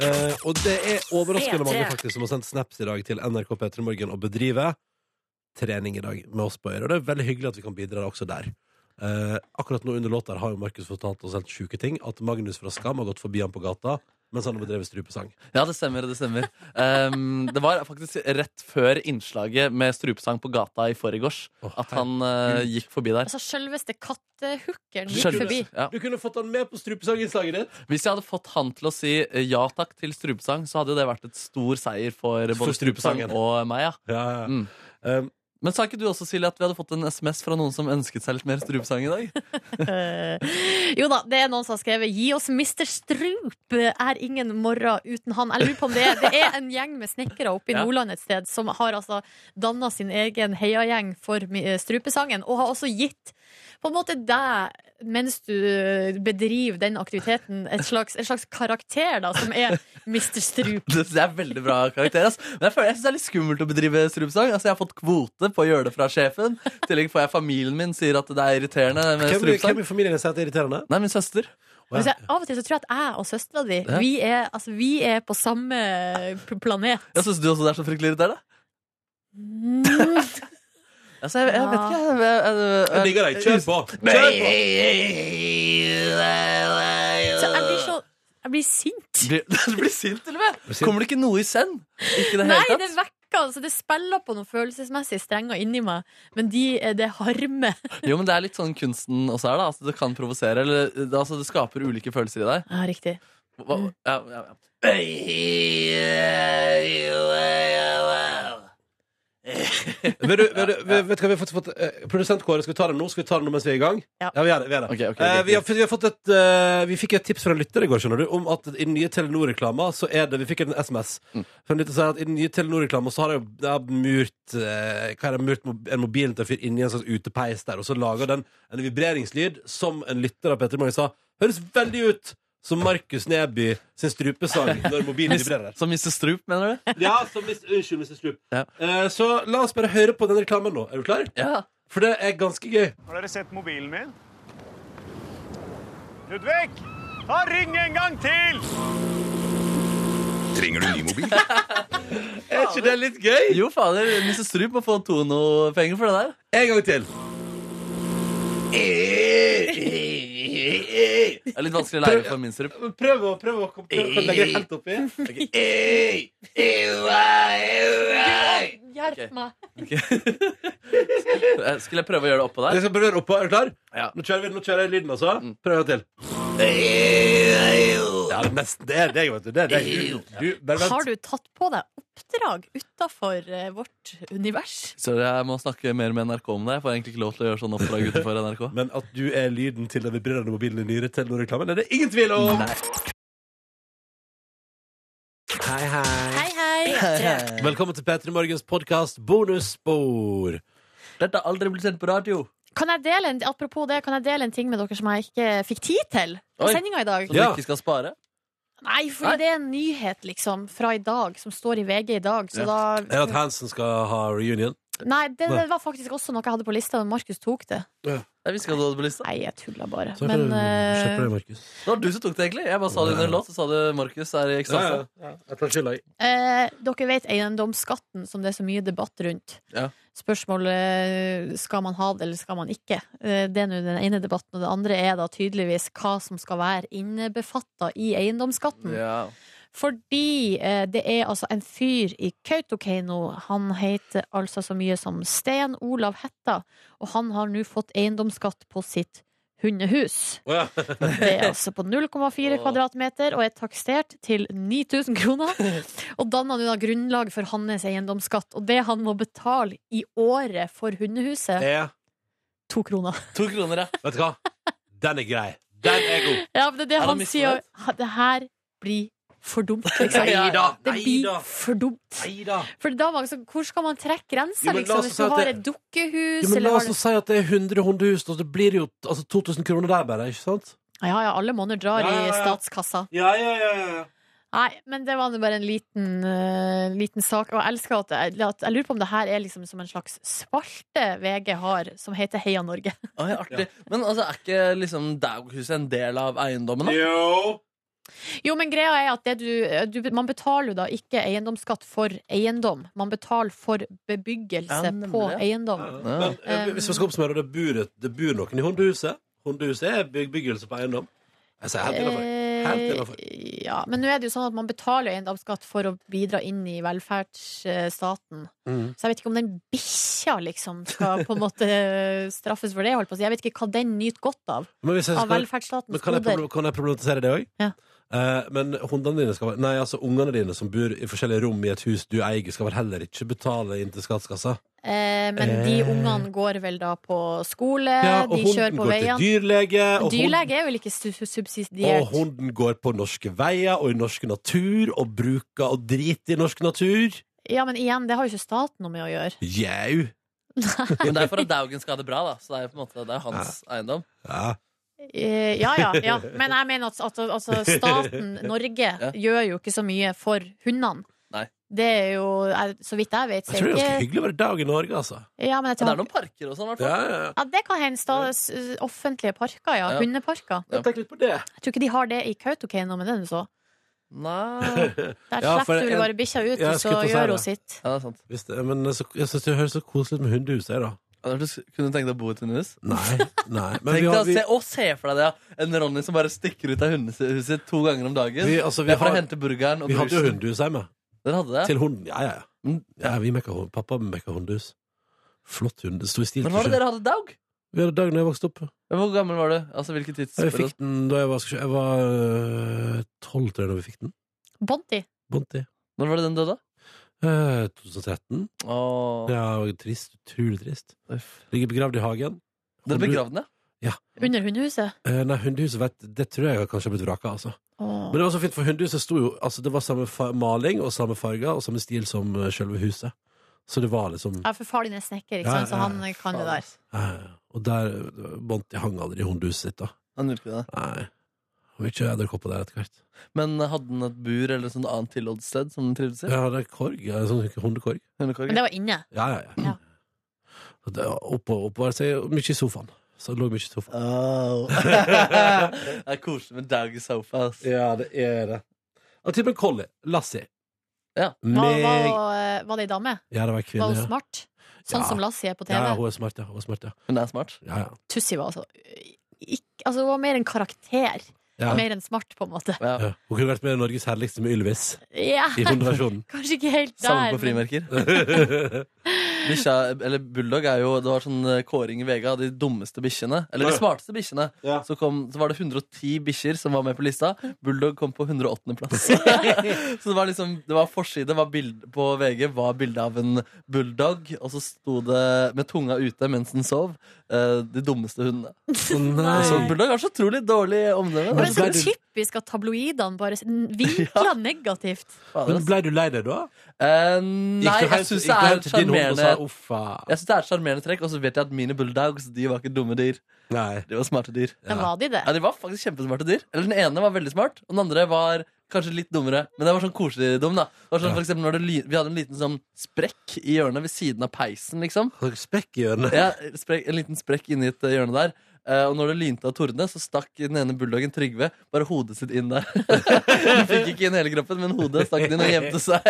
S2: Eh, og det er overraskende
S1: P3.
S2: mange faktisk som har sendt snaps i dag til NRK P3 Morgen og bedriver trening i dag med oss på Øyre. Og det er veldig hyggelig at vi kan bidra også der. Eh, akkurat nå under låta her har jo Markus fortalt oss helt sjuke ting. At Magnus fra Skam har gått forbi han på gata mens han har bedrevet strupesang.
S4: Ja, det stemmer. det stemmer Ehm, Det var faktisk rett før innslaget med strupesang på gata i forgårs
S2: Å,
S4: at han eh, gikk forbi der.
S3: Altså selveste kattehookeren gikk
S4: Skjønner du?
S3: forbi.
S4: Ja.
S2: Du kunne fått han med på strupesanginnslaget ditt!
S4: Hvis jeg hadde fått han til å si eh, ja takk til strupesang, så hadde jo det vært et stor seier for
S2: For
S4: både strupesang
S2: strupesangen.
S4: og meg. ja
S2: Ja, ja.
S4: Mm.
S2: Eh,
S4: Men sa ikke du også, Silje, at vi hadde fått en SMS fra noen som ønsket seg litt mer strupesang i dag?
S3: Eh, jo da, det er noen som har skrevet 'Gi oss Mr. Strup'. Er ingen morgen uten han. Jeg lurer på om det er Det er en gjeng med snekkere oppe i
S4: Ja.
S3: Nordland et sted som har altså danna sin egen heiagjeng for mi- eh, strupesangen, og har også gitt på en måte deg, mens du bedriver den aktiviteten, et slags, en slags karakter, da, som er Mr. Strup.
S4: Det synes jeg er veldig bra karakter. Ass. Men jeg føler jeg synes det er litt skummelt å bedrive strupesang. Altså, jeg har fått kvote på å gjøre det fra sjefen. I tillegg får jeg familien min sier at det er irriterende med
S2: Hvem, hvem
S4: strupesang.
S2: i familien sier at det er irriterende?
S4: Nei, min søster.
S3: Men så jeg- Av og til så tror jeg at jeg og søstera di,
S4: Ja.
S3: vi er, altså, vi er på samme p- planet.
S4: Jeg synes du også det er så fryktelig irriterende.
S3: Mm.
S4: Altså, jeg, jeg vet ikke jeg, jeg, jeg, jeg,
S2: Jeg digger deg. Kjør på! Kjør på!
S3: Så jeg blir så Jeg blir sint.
S4: Blir, du blir sint, til og med!
S2: sint.
S4: Kommer det ikke noe i send? Ikke i det
S3: Nei,
S4: hele
S3: det
S4: tatt?
S3: vekker altså, Det spiller på noen følelsesmessige strenger inni meg, men de, eh, det harmer.
S4: Jo, men det er litt sånn kunsten også her, da. Altså, det kan provosere. Eller det, altså, det skaper ulike følelser i deg.
S3: Ja, riktig.
S4: Hva, ja, ja, ja.
S2: Vil du, vil du, vet du hva, vi har fått, fått eh, Produsent Kåre, skal vi ta det nå? Skal vi ta det nå mens vi er i gang?
S3: Ja.
S2: vi gjør det. Vi, gjør det.
S4: Ok, ok,
S2: Eh,
S4: greit,
S2: vi, har, fått- vi, har fått et, eh, vi fikk et tips fra en lytter i går, skjønner du, om at i den nye Telenor-reklama så er det Vi fikk en SMS
S4: Mm.
S2: fra en lytter som sier at i den nye Telenor-reklama så har jeg, jeg har murt eh, Hva er det, murt mob- en mobil til en fyr inni en slags utepeis der, og så lager den en vibreringslyd som en lytter av Petter Mange sa høres veldig ut som Markus Neby sin strupesang når mobilen vibrerer.
S4: Som Mr. Strup, mener du?
S2: Ja, så mis, unnskyld, Mr. Strup.
S4: Ja.
S2: Eh, så la oss bare høre på den reklamen nå. Er du klar?
S4: Ja.
S2: For det er ganske gøy.
S9: Har dere sett mobilen min? Ludvig! Ta ring en gang til!
S10: Trenger du ny mobil?
S2: Er ikke det litt gøy?
S4: Jo, fader. Mr. Strup må få Tono-penger for det der.
S2: En gang til.
S4: Det er litt vanskelig å lære for min Strup.
S2: Prøv å, prøv å kom- prøv å legge helt oppi.
S3: Hjelp meg.
S4: Eh, Skulle jeg prøve å gjøre det oppå
S2: Jeg
S4: der?
S2: skal prøve å gjøre oppå. Er du klar?
S4: Ja.
S2: Nå kjører, vi, nå kjører jeg lyden, altså. Prøv en gang til. Ja, det er nesten det er deg, vet du. Det er deg. Du, du, bare
S3: Har
S2: vent.
S3: du tatt på deg oppdrag utafor vårt univers?
S4: Sorry, jeg må snakke mer med NRK om det. Jeg får egentlig ikke lov til å gjøre sånn oppdrag utenfor NRK.
S2: Men at du er lyden til den vibrerende mobilen i nyere Telenor-reklamen, er det ingen tvil om!
S3: Hei, hei.
S2: Velkommen til P3 Morgens podkast Bonusspor.
S4: Dette har aldri blitt sendt på radio.
S3: Kan jeg dele en, apropos det, kan jeg dele en ting med dere som jeg ikke fikk tid til på
S4: Oi.
S3: sendinga i dag?
S4: Som
S2: Ja.
S4: du ikke skal spare?
S3: Nei, for det er en nyhet liksom fra i dag, som står i VG i dag. Så
S2: Er det at
S3: da
S2: Hansen skal ha reunion?
S3: Nei, det,
S2: Nei.
S3: det var faktisk også noe jeg hadde på lista, men Markus tok det.
S4: Jeg visste ikke at du hadde på lista.
S3: Nei, jeg tulla bare.
S2: Så
S3: Men
S2: Skjerp deg,
S3: eh,
S2: Markus.
S4: Det var du som tok det, egentlig. Jeg bare sa det under en låt, så sa det Markus er i ekstase.
S2: Jeg tar skylda, jeg.
S3: eh, dere vet eiendomsskatten, som det er så mye debatt rundt.
S4: Ja.
S3: Spørsmålet eh, skal man ha det, eller skal man ikke? Eh, Det er nå den ene debatten, og det andre er da tydeligvis hva som skal være innebefatta i eiendomsskatten.
S4: Ja.
S3: Fordi eh, det er altså en fyr i Kautokeino. Han heter altså så mye som Sten Olav Hætta, og han har nå fått eiendomsskatt på sitt hundehus.
S2: Å, ja.
S3: Det er altså på 0,4 kvadratmeter og er takstert til 9000 kroner. Og danner nå da grunnlag for hans eiendomsskatt. Og det han må betale i året for hundehuset,
S2: Er-
S3: to kroner.
S4: To kroner, ja.
S2: Vet du hva? Den er grei. Den er god.
S3: Ja, men det er det
S4: Er han
S3: han sier.
S4: misfornøyd?
S3: ha- Det her blir for dumt, liksom.
S2: Neida,
S3: Det blir
S2: neida.
S3: for dumt. For da var liksom, Hvor skal man trekke
S2: Jo,
S3: grensa,
S2: men la
S3: liksom?
S2: oss
S3: Hvis
S2: si
S3: du
S2: at
S3: har
S2: det-
S3: et dukkehus,
S2: Jo, men la
S3: eller har
S2: oss
S3: du
S2: nå si at det er 100 hundehus, og så blir det jo altså, 2000 kroner der bare, ikke sant?
S3: Ja ja, alle monner drar
S2: Ja, ja,
S3: i
S2: ja.
S3: statskassa.
S2: Ja, ja, ja, ja.
S3: Nei, men det var nå bare en liten, eh, liten sak. Og jeg elsker at, at Jeg lurer på om det her er liksom som en slags spalte VG har, som heter Heia Norge.
S4: Oi, artig. Men altså, er ikke liksom Daughuset en del av eiendommen? da?
S2: Jo.
S3: Jo, men greia er at det du, du Man betaler jo da ikke eiendomsskatt for eiendom. Man betaler for
S4: Ja,
S3: bebyggelse
S4: nemlig.
S3: på eiendom.
S2: Men eh, hvis vi skal oppsummere, det bor, et- det bor noen i hundehuset. Hundehuset er bebyggelse på eiendom. Jeg sier helt innenfor. Helt innenfor.
S3: Eh, ja, men nå er det jo sånn at man betaler eiendomsskatt for å bidra inn i velferdsstaten.
S2: Mhm.
S3: Så jeg vet ikke om den bikkja liksom skal på en måte straffes for det. Holdt på. å si. Jeg vet ikke hva den nyter godt av.
S2: Men hvis jeg
S3: Av
S2: skal, men
S3: velferdsstatens
S2: kan, jeg,
S3: goder.
S2: proble- kan jeg problematisere det òg?
S3: Ja.
S2: men hundene dine skal være Nei, altså ungene dine som bor i forskjellige rom i et hus du eier, skal vel heller ikke betale inn til statskassa?
S3: Eh, men de
S2: Eh.
S3: ungene går vel da på skole,
S2: Ja, og
S3: Eh, de kjører
S2: hunden
S3: på
S2: går til
S3: veiene.
S2: dyrlege. Og
S3: Dyrlege er vel ikke su-
S2: Og
S3: subsidiert?
S2: hunden går på norske veier og i norsk natur og bruker og driter i norsk natur.
S3: Ja, men igjen, det har jo ikke staten noe med å gjøre.
S2: Jau!
S4: Men det er for at Daugen skal ha det bra, da. Så det er jo på en måte det er hans eiendom.
S2: Ja.
S3: Eh, ja, ja, ja. Men jeg mener at, at altså, staten, Norge, gjør jo ikke så mye for hundene.
S4: Nei.
S3: Det er jo, jeg- så vidt jeg vet, så
S2: Jeg tror
S3: er
S2: det er ganske
S3: ikke
S2: hyggelig å være dag i Norge, altså.
S3: ja, men jeg
S4: Men det
S3: tror,
S4: er noen parker og sånn, i hvert
S2: Ja,
S4: fall.
S2: ja, ja.
S3: ja, det kan hende. sta- s- offentlige parker, ja.
S4: Ja.
S3: Hundeparker.
S4: Ja.
S2: Tenk litt på det.
S3: Jeg tror ikke de har det i Kautokeino, men det er nå så.
S4: Nei
S3: Der
S2: Ja, for
S3: slipper du vel
S2: en-
S3: bare bikkja ut,
S2: Ja, jeg
S3: og så
S2: skulle til å si
S3: gjør hun
S2: det.
S3: sitt.
S4: Ja, det er sant.
S2: Hvis det men så, jeg synes det høres så koselig ut med hundehus her, da.
S4: Ja, Du kunne tenkt deg å bo i et hundehus?
S2: Nei, nei. Men vi
S4: Tenk deg å
S2: har, vi,
S4: se, å, se for deg det, ja. En Ronny som bare stikker ut av hundehuset to ganger om dagen.
S2: vi, altså,
S4: det
S2: vi,
S4: er for å
S2: har,
S4: hente burgeren og
S2: vi hadde jo
S4: brusen.
S2: hundehus hjemme.
S4: Dere hadde det?
S2: Til hunden. Ja, ja, ja.
S4: Mm.
S2: ja vi mekka, hund- pappa mekka hundehus. Flott hund. Det sto i stil
S4: Men hva var det
S2: for seg.
S4: dere hadde daug?
S2: Vi hadde dag da jeg vokste opp.
S4: Ja, Hvor gammel var du? Altså, hvilket
S2: Jeg fikk
S4: tidspunkt?
S2: den da jeg var Jeg var øh, tolv, tror jeg, da vi fikk den.
S3: Bonti.
S2: Bonti.
S4: Når var det den døde?
S2: Eh, 2013.
S4: Åh,
S2: Ja, og trist. Utrolig trist.
S4: uff.
S2: Ligger begravd i hagen.
S4: Dere
S2: Hunde-
S4: begravde den, ja?
S3: Under hundehuset.
S2: Eh, nei, hundehuset vet Det tror jeg har kanskje har blitt vraka, altså.
S3: Åh.
S2: Men det var så fint, for hundehuset sto jo Altså, det var samme fa- maling og samme farger og samme stil som eh, selve huset. Så det var liksom
S3: Ja, for far din er snekker, ikke
S2: Ja,
S3: sant? så
S2: ja,
S3: han kan det
S4: Faen,
S3: der.
S4: ass.
S2: eh, Og der eh, Bonti hang aldri i hundehuset sitt, da.
S4: Han gjorde ikke det.
S2: Nei. Og ikke edderkopper der etter hvert.
S4: Men eh, hadde den et bur eller et sånt annet tilholdssted som den trivdes i?
S2: Ja, det er korg. Ja, sånn hundekorg.
S3: Men
S4: Hundekorg?
S3: det var inne.
S2: Ja, ja, ja.
S3: Ja.
S2: Og det- Oppå, oppå der, så jeg- mye i sofaen. Så det lå mye i sofaen.
S4: Au. det er koselig med daug i sofa. ass.
S2: Ja, det er det. Og typen collie. Lassie.
S4: Ja.
S3: Var,
S2: Meg...
S3: var, var det ei dame?
S2: Ja, det var en kvinne.
S3: Var hun
S2: ja.
S3: smart? Sånn
S2: Ja.
S3: som Lassie er på TV?
S2: Ja, ja, hun er smart, ja. Hun er smart, ja.
S4: Hun er smart.
S2: ja, ja.
S3: Tussi var altså ikke, Altså, hun var mer en karakter.
S2: ja.
S3: Mer enn smart, på en måte.
S4: Ja.
S2: Ja. Hun kunne vært med i Norges herligste med Ylvis
S3: Ja,
S2: i hundeversjonen.
S3: kanskje ikke helt der.
S4: Samme på
S3: men-
S4: frimerker. Bikkja, eller Bulldog er jo Det var sånn eh, kåring i VG av de dummeste bikkjene. Eller de smarteste bikkjene.
S2: Ja.
S4: Så, kom- så var det 110 bikkjer som var med på lista. Bulldog kom på 108. plass. så det var liksom Det var forside var bild, på VG var bilde av en bulldog, og så sto det med tunga ute mens den sov. eh, de dummeste hundene.
S2: Nei.
S4: Så bulldog har så utrolig dårlig omdømme.
S3: Men
S4: da.
S2: Men
S3: så
S2: ble du-
S3: typisk at tabloidene bare s- vinkler negativt.
S2: Men
S4: Fader, ass.
S2: ble du lei deg da?
S4: Eh, nei,
S2: Gikk du
S4: jeg
S2: helt-
S4: syns
S2: gikk
S4: det
S2: du
S4: er
S2: helt
S4: et
S2: til din hund og sa "Oh,
S4: sjarmerende jeg-
S2: uffa.
S4: Jeg synes det er et sjarmerende trekk, og så vet jeg at mine bulldogs De var ikke dumme dyr.
S2: Nei.
S4: De var smarte dyr.
S3: Men var de det?
S4: Ja, De var faktisk kjempesmarte dyr. Eller Den ene var veldig smart, og den andre var kanskje litt dummere. Men det var sånn koselig dum. da det var sånn, for eksempel, når det, ly- Vi hadde en liten sånn sprekk i hjørnet ved siden av peisen, liksom.
S2: Har dere Spekk i hjørnet.
S4: Ja, sprekk, en liten sprekk inni et eh, hjørne der. Eh, og når det lynte av tordene, så stakk den ene bulldoggen Trygve bare hodet sitt inn der. Den fikk ikke inn hele kroppen, men hodet stakk den inn og gjemte seg.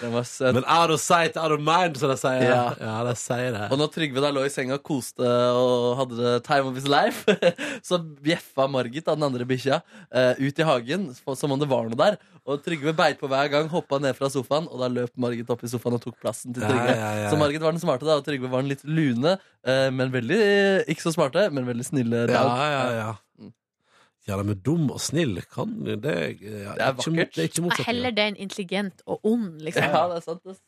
S4: Den var søt.
S2: Men out of sight, out of mind, som de sier. Ja,
S4: Ja.
S2: de sier det.
S4: Og når Trygve da lå i senga og koste og hadde det time of his life, så bjeffa Margit, da, den andre bikkja, eh, ut i hagen for- som om det var noe der. Og Trygve beit på hver gang, hoppa ned fra sofaen, og da løp Margit opp i sofaen og tok plassen til
S2: Ja,
S4: Trygve.
S2: ja, ja, ja.
S4: Så Margit var den smarte, da, og Trygve var den litt lune, eh, men veldig ikke så smarte, men veldig snille.
S2: Ja,
S4: dog.
S2: ja, ja. Ja, de er dum og snill. Kan det ja,
S4: Det er
S2: ikke-
S4: vakkert.
S2: Det er ikke motsatt.
S3: Heller den intelligent og ond, liksom.
S4: Ja, det er sant. ass.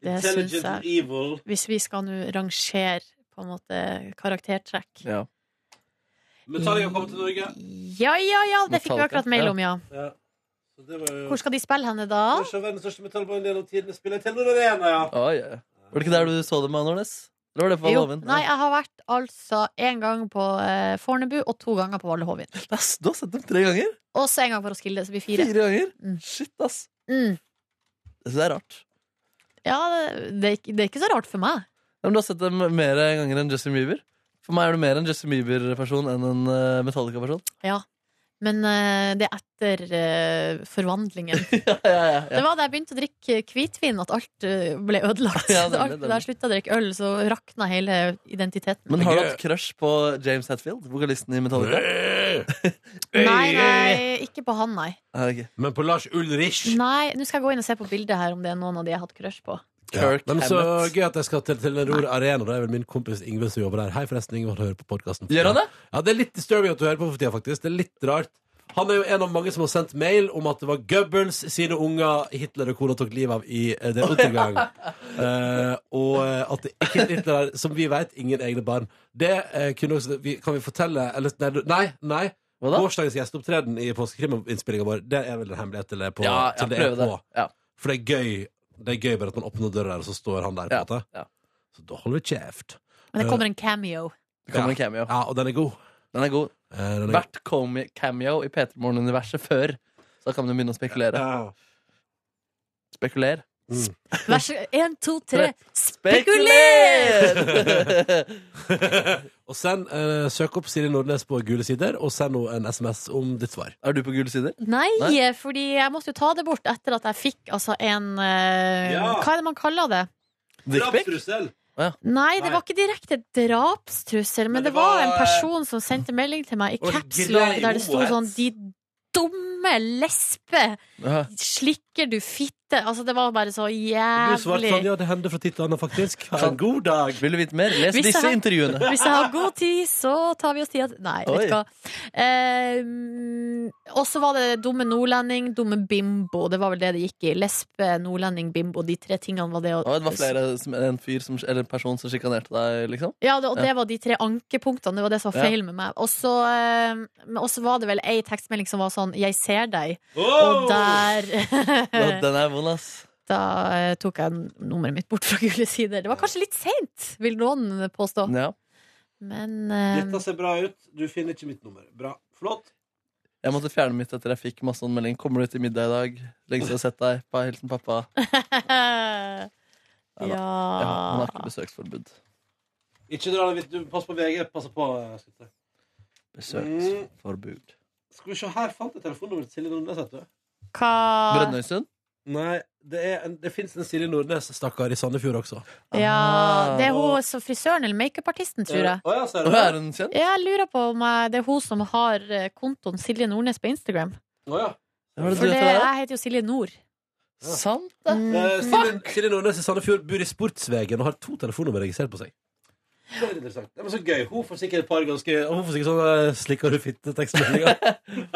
S3: Det syns jeg.
S2: evil.
S3: Hvis vi skal nå rangere på en måte karaktertrekk.
S4: Ja.
S2: Men tar jeg å komme til Norge.
S3: Ja, ja, ja, det fikk vi
S4: Metallica,
S3: akkurat mail
S4: ja.
S3: om, ja.
S2: Ja. Så det var jo
S3: Hvor skal de spille henne da?
S2: Kanskje verdens største metallband gjennom tidene spiller i Telenor Arena, ja.
S4: Oi, ja. Var det ikke der du så dem, Nornes? Eller var det på
S3: Jo,
S4: Valhoven?
S3: nei, jeg har vært altså én gang på eh, Fornebu og to ganger på Valhovin.
S4: Ass, Du har sett dem tre ganger?
S3: Og så en gang på Roskilde, så blir det
S4: Fire
S3: fire.
S4: ganger?
S3: Mm.
S4: Shit, ass.
S3: Mm.
S4: Jeg synes det er rart.
S3: Ja, det, det, er ikke- det er ikke så rart for meg.
S4: Ja, Men du har sett dem mer ganger enn Justin Bieber. For meg er du mer en Justin Bieber-person enn en eh, Metallica-person.
S3: Men eh, det er etter eh, forvandlingen.
S4: ja, ja, ja, ja.
S3: Det var da jeg begynte å drikke hvitvin at alt eh, ble ødelagt.
S4: Ja,
S3: Da
S4: nemlig,
S3: alt- da jeg slutta å drikke øl, så rakna hele identiteten.
S4: Men har du hatt crush på James Hatfield, vokalisten i Metallica?
S3: Nei, nei, ikke på han, nei.
S4: Ah, ok.
S2: Men på Lars Ulrich
S3: Nei, Nå skal jeg gå inn og se på bildet her om det er noen av de jeg har hatt crush på.
S4: Kirk
S2: Men så
S4: Hammett.
S2: gøy at jeg skal til Telenor Arena. Det er vel min kompis Ingve som jobber der. Hei, forresten. Ingve hører på podkasten.
S4: Gjør han det?
S2: Ja, det er litt disturbing at du hører på for tida, faktisk. Det er litt rart. Han er jo en av mange som har sendt mail om at det var Goebbels sine unger Hitler og kona tok livet av i eh, Den undergang. Eh, og eh, at det ikke er Hitler der, som vi vet, ingen egne barn. Det eh, kunne også, vi, kan vi fortelle eller, Nei, du- nei. nei.
S4: Hva da?
S2: Gårsdagens gjesteopptreden i påskekriminspillinga vår, det er vel en hemmelighet til det er på,
S4: Ja,
S2: til
S4: jeg
S2: det er
S4: prøver det.
S2: på.
S4: Ja.
S2: For det er gøy Det er gøy bare at man åpner døra der, og så står han der. på en
S4: Ja,
S2: måte
S4: ja.
S2: Så da holder vi kjeft.
S3: Men det kommer en cameo.
S4: Det kommer en cameo.
S2: Ja, Og den er god.
S4: Den er god.
S2: Eh, den er god.
S4: Hvert comi- cameo i P3 Morgen-universet før. Så da kan du begynne å spekulere.
S2: Ja.
S4: Spekuler.
S3: Vær så Én, to, tre. Spekuler!
S4: Spekuler!
S2: Og send, eh, søk opp Siri Nordnes på gule sider, og send henne en SMS om ditt svar.
S4: er du på gule sider?
S3: Nei,
S4: Nei?
S3: fordi jeg måtte jo ta det bort etter at jeg fikk altså en eh,
S2: Ja.
S3: Hva er det man kaller det?
S4: Dickpic?
S3: Nei, det
S2: Nei.
S3: var ikke direkte drapstrussel, men,
S2: Men
S3: det
S2: det
S3: var en
S2: var, eh,
S3: person som sendte melding til meg i
S2: og
S3: caps
S2: grei
S3: lock der det sto
S2: homohets.
S3: sånn De dumme lesbe!
S4: Ja.
S3: Slikker du fitte? Altså, det var bare så
S2: Du svarte sånn,
S3: jævlig.
S2: ja, det hender fra tid til annen, faktisk. Ha en god dag.
S4: Vil du vite mer? Les
S3: Hvis jeg
S4: disse
S3: har-
S4: intervjuene.
S3: Hvis jeg har god tid, så tar vi oss tid til Nei, vet
S4: Oi.
S3: du hva. Eh, og så var det dumme nordlending, dumme bimbo. Det var vel det det gikk i. Lesbe, nordlending, bimbo. De tre tingene var det. Og,
S4: Å, det var flere som, en fyr som, eller en person som sjikanerte deg, liksom?
S3: Ja, det, og det var de tre ankepunktene. Det var det som var
S4: Ja.
S3: feil med meg. Og så eh, men også var det vel ei tekstmelding som var sånn 'Jeg ser deg', og
S4: Den
S3: der
S4: den er vond, ass.
S3: Da eh, tok jeg nummeret mitt bort fra gule sider. Det var kanskje litt seint, vil noen påstå.
S4: Ja.
S3: Men eh,
S2: ser bra ut. Du finner ikke mitt nummer. Bra. Flott.
S4: Jeg måtte fjerne mitt etter jeg fikk masse sånn melding. Kommer du til middag i dag? Lenge siden jeg har sett deg. Bare hilsen pappa.
S3: Ja,
S4: Ja, han har ikke besøksforbud.
S2: Ikke dra deg vidt. Pass på VG. Pass på. eh,
S4: Besøksforbud.
S2: Skal vi se, her fant jeg telefonnummeret til Silje Nordnes, vet du.
S3: Hva
S4: Brønnøysund?
S2: Nei, det, er en- det fins en Silje Nordnes, stakkar, i Sandefjord også.
S4: Ah.
S3: Ja, det er hun som frisøren eller makeupartisten, tror jeg.
S2: Å, ja, ser du
S4: Å,
S2: det?
S4: er hun kjent?
S3: Jeg lurer på om jeg, det er hun som har eh, kontoen Silje Nordnes på Instagram.
S2: Å, ja.
S4: Hva
S3: For
S4: er det du
S3: det,
S4: heter der? da?
S3: jeg heter jo Silje Nord.
S4: Sant, det.
S2: Eh, Silje, Silje Nordnes i Sandefjord bor i Sportsvegen og har to telefonnummer registrert på seg. Det er interessant. Det er så gøy. Hun får sikkert et par ganske Hun får sikkert sånne eh, 'slikker du fitte'-tekstmeldinger.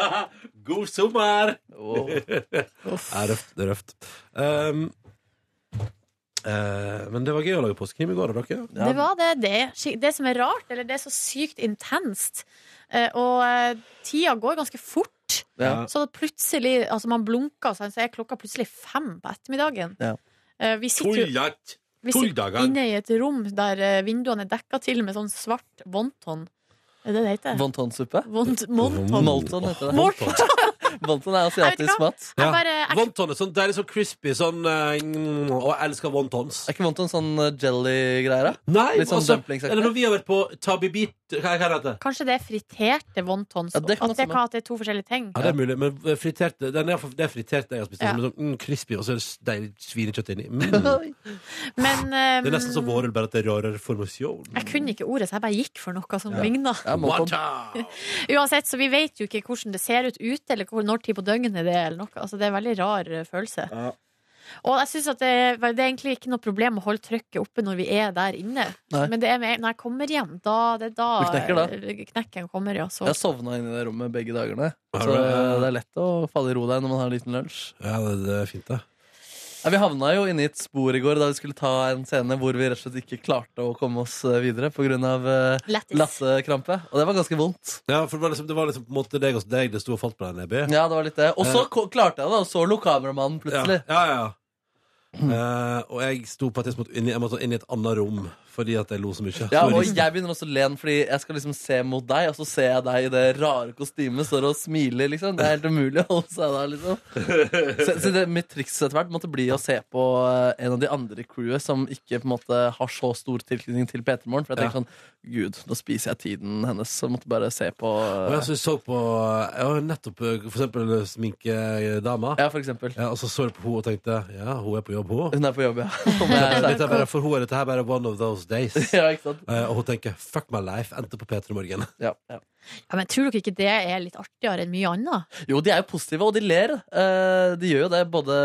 S2: God sommer!
S4: Wow.
S2: Det er røft. Det er røft. Um, eh, men det var gøy å lage påskekrim i går, og dere?
S4: Ja.
S3: Det var det. Det, er skik- det som er rart, eller det er så sykt intenst. Eh, Og eh, tida går ganske fort.
S4: Ja.
S3: Så da plutselig, altså man blunker, sånn, så er klokka plutselig fem på ettermiddagen.
S4: Ja.
S3: Eh, Vi sitter jo Vi
S2: Tolv
S3: sitter
S2: dager.
S3: inne i et rom der eh, vinduene er dekka til med sånn svart wonton. Er det det heter?
S4: Wontonsuppe?
S3: Wont- Monton.
S4: Molton heter det.
S2: Wonton.
S4: Wonton er
S3: Jeg vet
S4: asiatisk
S3: hva.
S4: mat.
S3: Jeg
S2: Ja.
S3: bare, jeg,
S2: Wonton er sånn deilig sånn crispy sånn eh, mm, Og jeg elsker wontons.
S4: Er ikke wonton sånn eh, jelly-greier, da?
S2: Nei,
S4: Litt sånn
S2: altså,
S4: dumplingsaktig.
S2: eller når vi har vært på Tabibit Hva hva heter det?
S3: kanskje det er friterte wontons?
S4: Ja, det kan
S3: at, det
S4: også
S3: kan, at det er to forskjellige ting?
S2: Ja, det er mulig, men eh, friterte den er, Det er friterte jeg har spist.
S3: Ja.
S2: Men sånn, mm, crispy, og så er det s- deilig svinekjøtt inni. Mm.
S3: Men eh,
S2: Det er nesten sånn- som vårrull, bare at det er rarere formasjon.
S3: jeg kunne ikke ordet, så jeg bare gikk for noe som ligna.
S4: Ja, wonton.
S2: Wonton.
S3: Uansett, så vi vet jo ikke hvordan det ser ut ute, eller hvor, når tid på døgnet det er, eller noe. Altså, det er en veldig rar eh, følelse.
S2: Ja.
S3: Og jeg synes at det, det er egentlig ikke noe problem å holde trykket oppe når vi er der inne.
S4: Nei.
S3: Men det er med, når jeg kommer hjem, da det er da,
S4: Du knekker da?
S3: eh, knekken kommer, ja. Så.
S4: Jeg sovna inne i det rommet begge dagene.
S2: Har
S4: Så
S2: du det?
S4: eh, det er lett å falle i ro der når man har en liten lunsj.
S2: Ja, det, det er fint, det.
S4: Ja, vi havna jo inne i et spor i går da vi skulle ta en scene hvor vi rett og slett ikke klarte å komme oss eh, videre pga. Uh,
S3: Lættis.
S4: latterkrampe. Og det var ganske vondt.
S2: Ja, for det var liksom, det var liksom på en måte deg og deg det sto og falt på der, Neby.
S4: Ja, det var litt det. Og så ko- klarte jeg det, og så lo kameramannen
S2: Eh. ja,
S4: plutselig.
S2: ja. ja. Eh, og jeg sto på at jeg måtte inn i, jeg måtte inn i et annet rom fordi at jeg lo så liksom- mye.
S4: Ja,
S2: Sorry.
S4: og jeg begynner også å le fordi jeg skal liksom se mot deg, og så ser jeg deg i det rare kostymet står og smiler, liksom. Det er helt umulig å holde seg der, liksom. Så, så det, mitt triks etter hvert måtte bli å se på eh, en av de andre i crewet som ikke på en måte har så stor tilknytning til P3 Morgen. For jeg
S2: Ja.
S4: tenker sånn Gud, nå spiser jeg tiden hennes. Så jeg måtte bare se på
S2: Og
S4: eh,
S2: jeg så, så på Jeg har nettopp eh, for eksempel sminkedama. Ja.
S4: Ja, for eksempel.
S2: og så så jeg på henne og tenkte ja, hun er på jobb, hun.
S4: Hun er på jobb, ja. Om jeg
S2: Men
S4: er der.
S2: dette er bare, for hun er dette her bare one of those days.
S4: ja, ikke sant?
S2: Eh, og hun tenker 'fuck my life', endte på P3 Morgen.
S4: Ja, ja.
S3: Ja, men tror dere ikke det er litt artigere enn mye annet?
S4: Jo, de er jo positive, og de ler. Eh, de gjør jo det. Både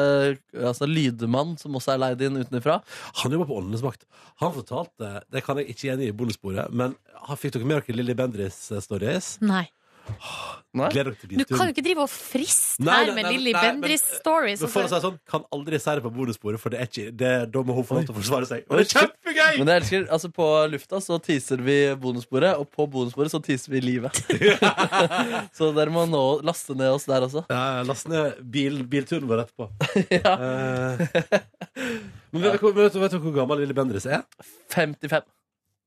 S4: altså, Lydmann, som også er leid inn utenfra.
S2: Han jobber på Åndenes makt. Han fortalte Det kan jeg ikke gjengi i bonussporet, men han fikk dere med dere Lilly Bendris' eh, stories?
S3: Nei.
S4: Nei.
S2: Gleder dere til
S3: Du kan
S2: bilturen.
S3: jo ikke drive og friste
S2: Nei,
S3: her
S2: nei,
S3: med
S2: nei,
S3: Lilly
S2: nei, men-
S3: Bendris stories.
S2: Men for å
S3: Altså.
S2: si det sånn, kan aldri si det på bonussporet, for det er ikke, det, da må hun få lov til å forsvare seg. Og det er kjempegøy!
S4: Men jeg elsker, altså På lufta så teaser vi bonussporet, og på bonussporet så teaser vi livet. så dere må nå laste ned oss der også.
S2: Ja, last ned bil, bilturen vår etterpå.
S4: Ja.
S2: Eh, men vet, du hvor- vet, du- vet du hvor gammel Lilly Bendriss er?
S4: 55.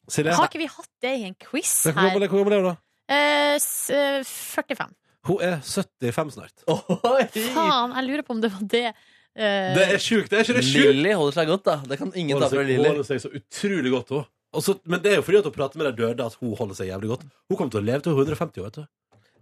S2: Silje?
S3: Har ikke vi hatt det i en quiz
S2: Hvor
S3: her?
S2: gammel, hvor gammel er hun, da?
S3: Eh, s- eh, 45.
S2: Hun er 75 snart.
S4: Oi!
S3: Faen, jeg lurer på om det var det. eh,
S2: Det er sjukt! Det er ikke det sjukt!
S4: Lilly holder seg godt, da. Det kan ingen
S2: Hun holder
S4: ta fra
S2: seg, hun
S4: Lilly.
S2: holder seg så utrolig godt, hun. Og så- men det er jo fordi at hun prater med de døde at hun holder seg jævlig godt. Hun kommer til å leve til hun er 150 år, vet du.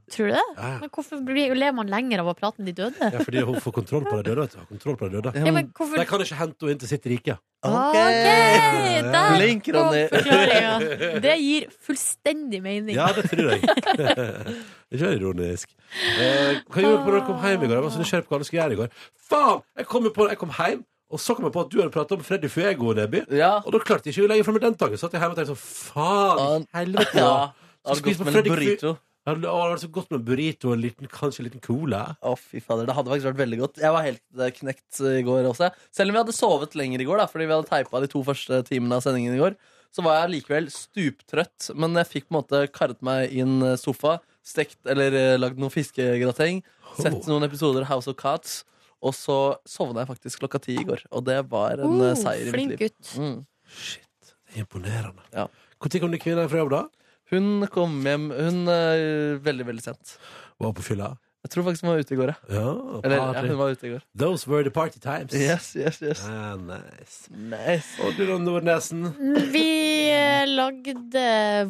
S3: Tror du det?
S2: Ja, ja.
S3: Men hvorfor blir, lever man lenger av å prate med de døde?
S2: ja, fordi hun får kontroll på de døde, vet du. Har Kontroll på de døde.
S3: Ja, men hvorfor
S2: De kan ikke hente henne inn til sitt rike.
S3: Ok,
S4: Ok.
S3: Der
S4: Blink,
S3: kom
S4: Ronny.
S3: forklaringa. Det gir fullstendig mening.
S2: Ja, det tror jeg. Ikke vær ironisk. Eh, hva gjorde du når du kom hjem i går? Jeg var så nysgjerrig på hva du skulle gjøre i går. Faen! Jeg kom, jo på, jeg kom hjem, og så kom jeg på at du hadde pratet om Freddy Fuego, Neby.
S4: Ja.
S2: Og da klarte jeg ikke å legge frem den tanken. Så satt jeg hjemme og tenkte sånn Faen!
S4: Han-
S2: i Helvete!
S4: ja.
S2: da.
S4: Han
S2: Skal
S4: har
S2: vi
S4: gått
S2: spise
S4: med
S2: Freddy Fu-
S4: en burrito.
S2: Ja, Det hadde vært så godt altså med en burrito og en liten, kanskje en liten cola.
S4: Å, fy fader, Det hadde faktisk vært veldig godt. Jeg var helt eh, knekt eh, i går også. Selv om vi hadde sovet lenger i går, da, fordi vi hadde teipa de to første timene av sendingen i går, så var jeg likevel stuptrøtt. Men jeg fikk på en måte karret meg i en eh, sofa, stekt eller eh, lagd noe fiskegrateng, sett
S2: Oh.
S4: noen episoder House of Cats, og så sovna jeg faktisk klokka ti i går. Og det var en
S3: Oh,
S4: eh, seier i
S3: flink
S4: mitt liv.
S3: gutt.
S4: Mm.
S2: Shit, det er imponerende.
S4: Ja.
S2: Når kom du kvinne fra jobb, da?
S4: Hun kom hjem hun eh, veldig, veldig sent.
S2: Var på fylla?
S4: Jeg tror faktisk hun var ute i går, ja.
S2: Ja,
S4: Eller ja,
S2: party.
S4: hun var ute i går.
S2: Those were the party times.
S4: Ah, Yes, yes, yes.
S2: Ah, nice.
S4: Nice.
S2: Og du, da, Nordnesen?
S3: Vi eh, lagde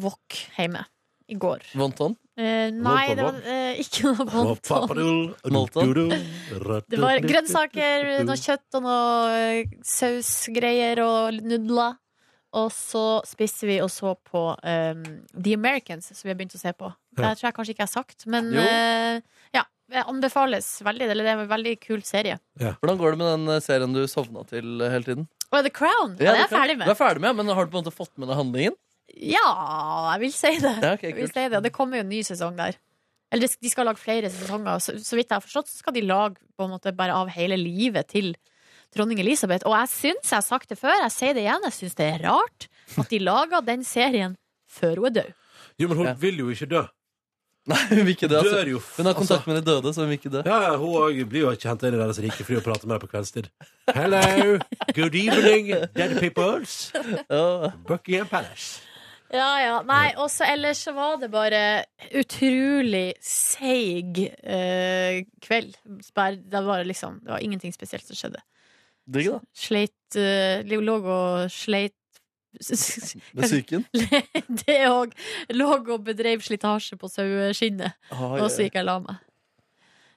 S3: wok hjemme i går.
S4: Wonton.
S3: Eh, nei,
S2: Wok,
S3: det var
S2: wok.
S3: eh, ikke noe
S2: Og
S3: bonton.
S2: papadul,
S4: Molton.
S2: dududul,
S3: Det var grønnsaker, noe kjøtt og noe eh, sausgreier og nudler. Og så spiste vi og så på eh, The Americans, som vi har begynt å se på. Det
S2: Ja.
S3: tror jeg kanskje ikke jeg har sagt, men
S4: Jo.
S3: eh, ja. Det anbefales veldig. Eller det er en veldig kul serie.
S4: Hvordan går det med den eh, serien du sovna til eh, hele tiden?
S3: Og The Crown! Ja, det er jeg ferdig
S4: Du
S3: med.
S4: er ferdig med, Men har du på en måte fått med deg handlingen?
S3: Ja, jeg vil si det.
S4: Ja, ok,
S3: Jeg vil
S4: kult.
S3: si det. det kommer jo en ny sesong der. Eller de- de skal lage flere sesonger. Så, så vidt jeg har forstått, så skal de lage på en måte bare av hele livet til dronning Elisabeth. Og jeg syns, jeg har sagt det før, jeg sier det igjen, jeg syns det er rart at de lager den serien før hun er død.
S2: Jo, men hun
S4: Ja.
S2: vil jo ikke dø.
S4: Nei, hun vil ikke dø.
S2: Dør jo,
S4: Altså.
S2: f-
S4: Hun har kontakt med de døde, så hun vil ikke dø.
S2: Ja, ja, hun òg blir jo ikke henta inn i deres rike fri og prater med dem på kveldstid. Hello, good evening, dead peoples.
S4: Ja.
S2: Buckingham Palace.
S3: Ja, ja. Nei, og så ellers så var det bare utrolig seig eh, kveld. Bare- Det var liksom Det var ingenting spesielt som skjedde.
S4: Digg, da.
S3: Sleit eh, Lå og sleit
S4: Med psyken.
S3: Det òg. Lå og bedrev slitasje på saueskinnet,
S4: Oi,
S3: og så
S4: oi.
S3: gikk jeg og la meg.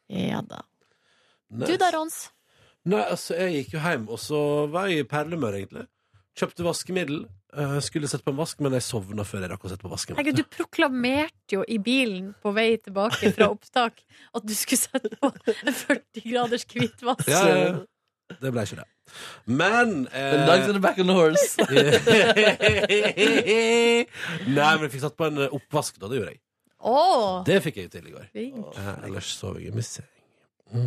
S3: Ja da. Du
S2: Nice.
S3: da, Rons?
S2: Nei, altså, jeg gikk jo hjem, og så var jeg i perlemør, egentlig. Kjøpte vaskemiddel. eh, skulle sett på en vask, men jeg sovna før jeg rakk å sette på vasken.
S3: Herregud, du proklamerte jo i bilen på vei tilbake fra opptak at du skulle sette på en 40 graders hvitvask.
S2: ja, ja, ja. Det ble ikke det. Men eh,
S4: The dogs on the back on the horse.
S2: Nei, men jeg fikk satt på en eh, oppvask, da. Det gjorde jeg.
S3: Å,
S2: Det fikk jeg jo til i går.
S3: flink.
S2: Eh, ellers sov jeg i missing.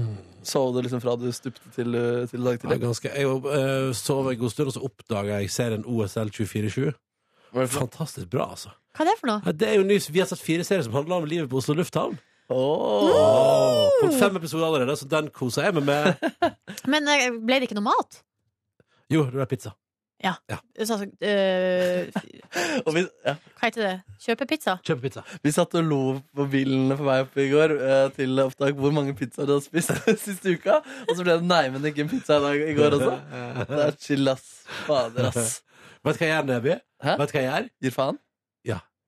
S4: Sov du liksom fra du stupte til, eh, til dag
S2: Det var
S4: tidlig?
S2: ganske, jeg eh, sov en god stund, og så oppdaga jeg serien OSL 24-7.
S4: Hva er det for noe?
S2: Fantastisk bra, altså.
S3: Hva er det for noe?
S2: Ja, Det er jo nys. Vi har sett fire serier som handler om livet på Oslo lufthavn.
S4: Åh.
S2: Fått fem episoder allerede, så den koser jeg meg med.
S3: Men eh, ble det ikke noe mat?
S2: Jo, det ble pizza.
S3: Så, altså, eh,
S4: Og vi, ja,
S3: hva heter det? Kjøpepizza?
S2: Kjøpe pizza.
S4: vi satt og lo på bilen på vei opp i går eh, til opptak hvor mange pizzaer du hadde spist siste uka. Og så ble det nei, men ikke en pizza i dag i går også. Det er chill, ass. Fader, ass.
S2: Vet du Eh, hva jeg gjør, Neby?
S4: Hæ?
S2: Vet du hva jeg gjør?
S4: Gir faen?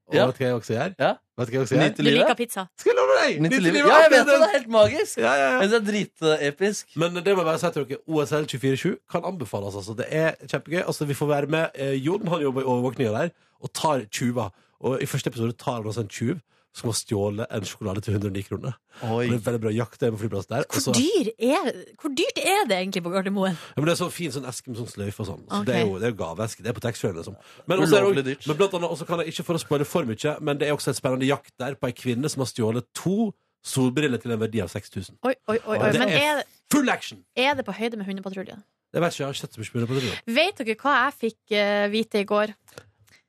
S2: Og
S4: Ja.
S2: vet du hva jeg også gjør?
S4: Ja.
S2: Vet du hva jeg også gjør?
S4: Nyt
S3: Du liker
S4: livet?
S3: pizza?
S2: Skal jeg love deg!
S4: Nyt
S2: Nytt i
S4: livet.
S2: livet.
S4: Ja, jeg vet det! Det er helt magisk.
S2: Ja, ja, ja.
S4: Jeg synes det er dritepisk.
S2: Men det må jeg bare si til dere, OSL 24-7 kan anbefales. Altså. Det er kjempegøy. Altså, vi får være med. Eh, Jon han jobber i overvåkninga der og tar tjuver. Og I første episode tar han også en tjuv som har stjålet en sjokolade til 109 kroner. Og Det er veldig bra jakt det er på flyplassen der. Og
S3: Hvor,
S2: så-
S3: dyr er, hvor dyrt er det egentlig på Gardermoen?
S2: ja, men det er sånn fin sånn eske med sånn sløyfe og sånn. Så
S3: Ok.
S2: Det er jo det er jo gaveeske. Det er på taxfree-en, liksom. Men, også er det
S4: Ulovlig
S2: også-
S4: dyrt.
S2: men blant annet også kan jeg ikke for å spoile for mye, men det er også et spennende jakt der på ei kvinne som har stjålet to solbriller til en verdi av 6000.
S3: Oi, oi, oi. oi.
S2: Det
S3: Men
S2: er
S3: er,
S2: full action!
S3: er det på høyde med hundepatruljen?
S2: Jeg vet ikke, jeg har ikke sett så mye på det.
S3: Vet dere hva jeg fikk eh, vite i går?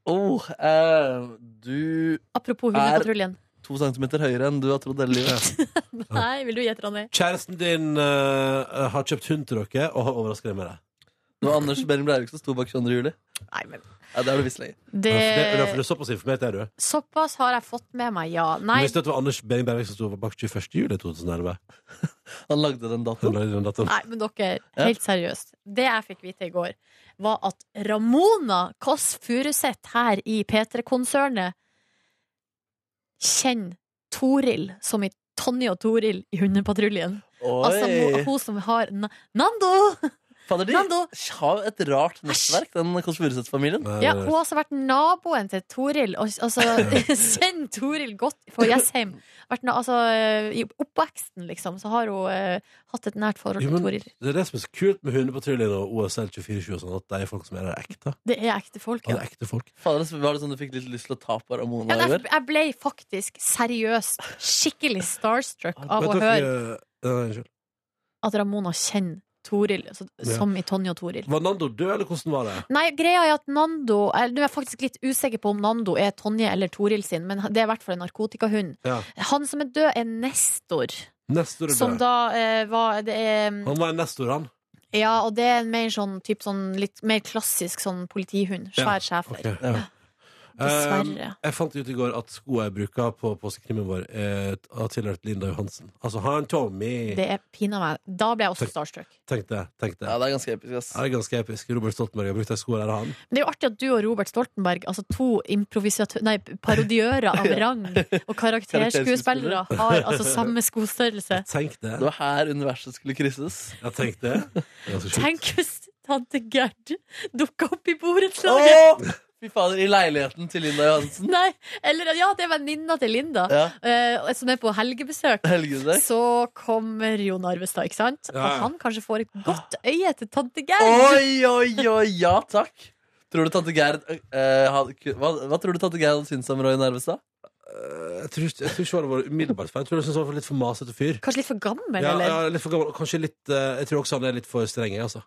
S4: Oh, eh, du
S3: Apropos
S4: Er-
S3: hundepatruljen.
S4: to centimeter høyere enn du har trodd hele livet.
S3: Nei, vil du gjette, Ronny?
S2: Kjæresten din eh, har kjøpt hund til dere og har overrasket deg med det.
S4: Det var Anders Behring Breivik som sto bak 22. juli.
S3: Nei, men
S4: Ja, det har du visst lenge.
S3: Eh,
S2: Det... er
S3: det
S2: Derfor du er såpass informert, er du.
S3: Såpass har jeg fått med meg, ja.
S2: Du
S3: Nei,
S2: visste at det var Anders Behring Bergvik som sto bak 21. juli 2011.
S4: Han lagde den
S2: Den
S4: datoen.
S2: la i den datoen.
S3: nei, men dere, helt seriøst. Det jeg fikk vite i går, var at Ramona Kåss Furuseth her i P3-konsernet kjenner Toril som i Tonje og Toril i Hundepatruljen.
S4: Oi.
S3: Altså hun, hun som har na Nando!
S4: Fader, de
S3: Nando!
S4: har jo et rart nettverk, den Kåss Furuseth-familien.
S2: Nei,
S3: Ja,
S2: nei,
S3: hun
S2: nei.
S3: har altså vært naboen til Toril. og- Altså, kjenn Toril godt fra Jessheim. Vært na altså, I oppveksten, liksom, så har hun eh, hatt et nært forhold
S2: Jo,
S3: til
S2: men
S3: Toril.
S2: det er det som er så kult med Hundepatruljen og OSL 24-7 og sånn, at de er folk som er der ekte.
S3: Det er ekte folk,
S2: Ja. Det
S3: ja.
S2: er ekte folk.
S4: Fader, så var det sånn du fikk litt lyst til å ta på
S3: Ja,
S4: Ramona i
S3: men jeg,
S4: går?
S3: jeg ble faktisk seriøst skikkelig starstruck av
S2: Vet
S3: å
S2: dere-
S3: høre
S2: Nei, nei, eh, unnskyld.
S3: at Ramona kjenner Toril, altså,
S2: Ja.
S3: som i Tonje og Toril.
S2: Var Nando død, eller hvordan var det?
S3: Nei, greia er at Nando eller, Nå er jeg faktisk litt usikker på om Nando er Tonje eller Toril sin, men det er i hvert fall en narkotikahund.
S2: Ja.
S3: Han som er død, er Nestor,
S2: Nestor er
S3: som
S2: død.
S3: da eh, var det er,
S2: Han var en Nestor, han.
S3: Ja, og det er en mer sånn, typ, sånn litt mer klassisk sånn politihund. Svær schæfer.
S2: Ok, ja.
S3: Dessverre.
S2: Eh, jeg fant ut i går at skoene jeg bruker på påskekrimmen vår, eh, har tilhørt Linda Johansen. Altså, han Tommy
S3: Det er pinadø meg Da ble jeg også starstruck.
S2: Tenkte jeg. Tenkte
S4: Ja,
S2: jeg.
S4: det er ganske episk, ass.
S2: Ja, det er ganske episk. Robert Stoltenberg har brukt de skoene der, han.
S3: Men det er jo artig at du og Robert Stoltenberg, altså to improvisatø- nei, parodiører av rang og karakterskuespillere, har altså samme skostørrelse.
S2: Tenk det.
S4: Det var her universet skulle krysses.
S2: Jeg tenkte det. Ganske sjukt.
S3: Tenk hvis tante Gerd dukka opp i borettslaget!
S4: Åh! Fy fader, i leiligheten til Linda Johansen.
S3: Nei, eller ja, det er venninna til Linda,
S4: Ja,
S3: eh, som er på helgebesøk.
S4: helgedag.
S3: Så kommer Jo Narvestad, ikke sant?
S2: Ja, ja.
S3: Og han kanskje får et godt
S4: Ah.
S3: øye til tante Gerd.
S4: Oi, oi, oi, ja takk! Tror du tante Gerd eh, hadde, hva, hva tror du tante Gerd hadde syntes om Roy Nervestad?
S2: Eh, Jeg tror ikke jeg tror ikke det var umiddelbart feil. Jeg tror jeg synes han var litt for masete fyr.
S3: Kanskje litt for gammel,
S2: Ja,
S3: eller?
S2: ja, litt for gammel. og Kanskje litt eh, Jeg tror også han er litt for streng, jeg, altså.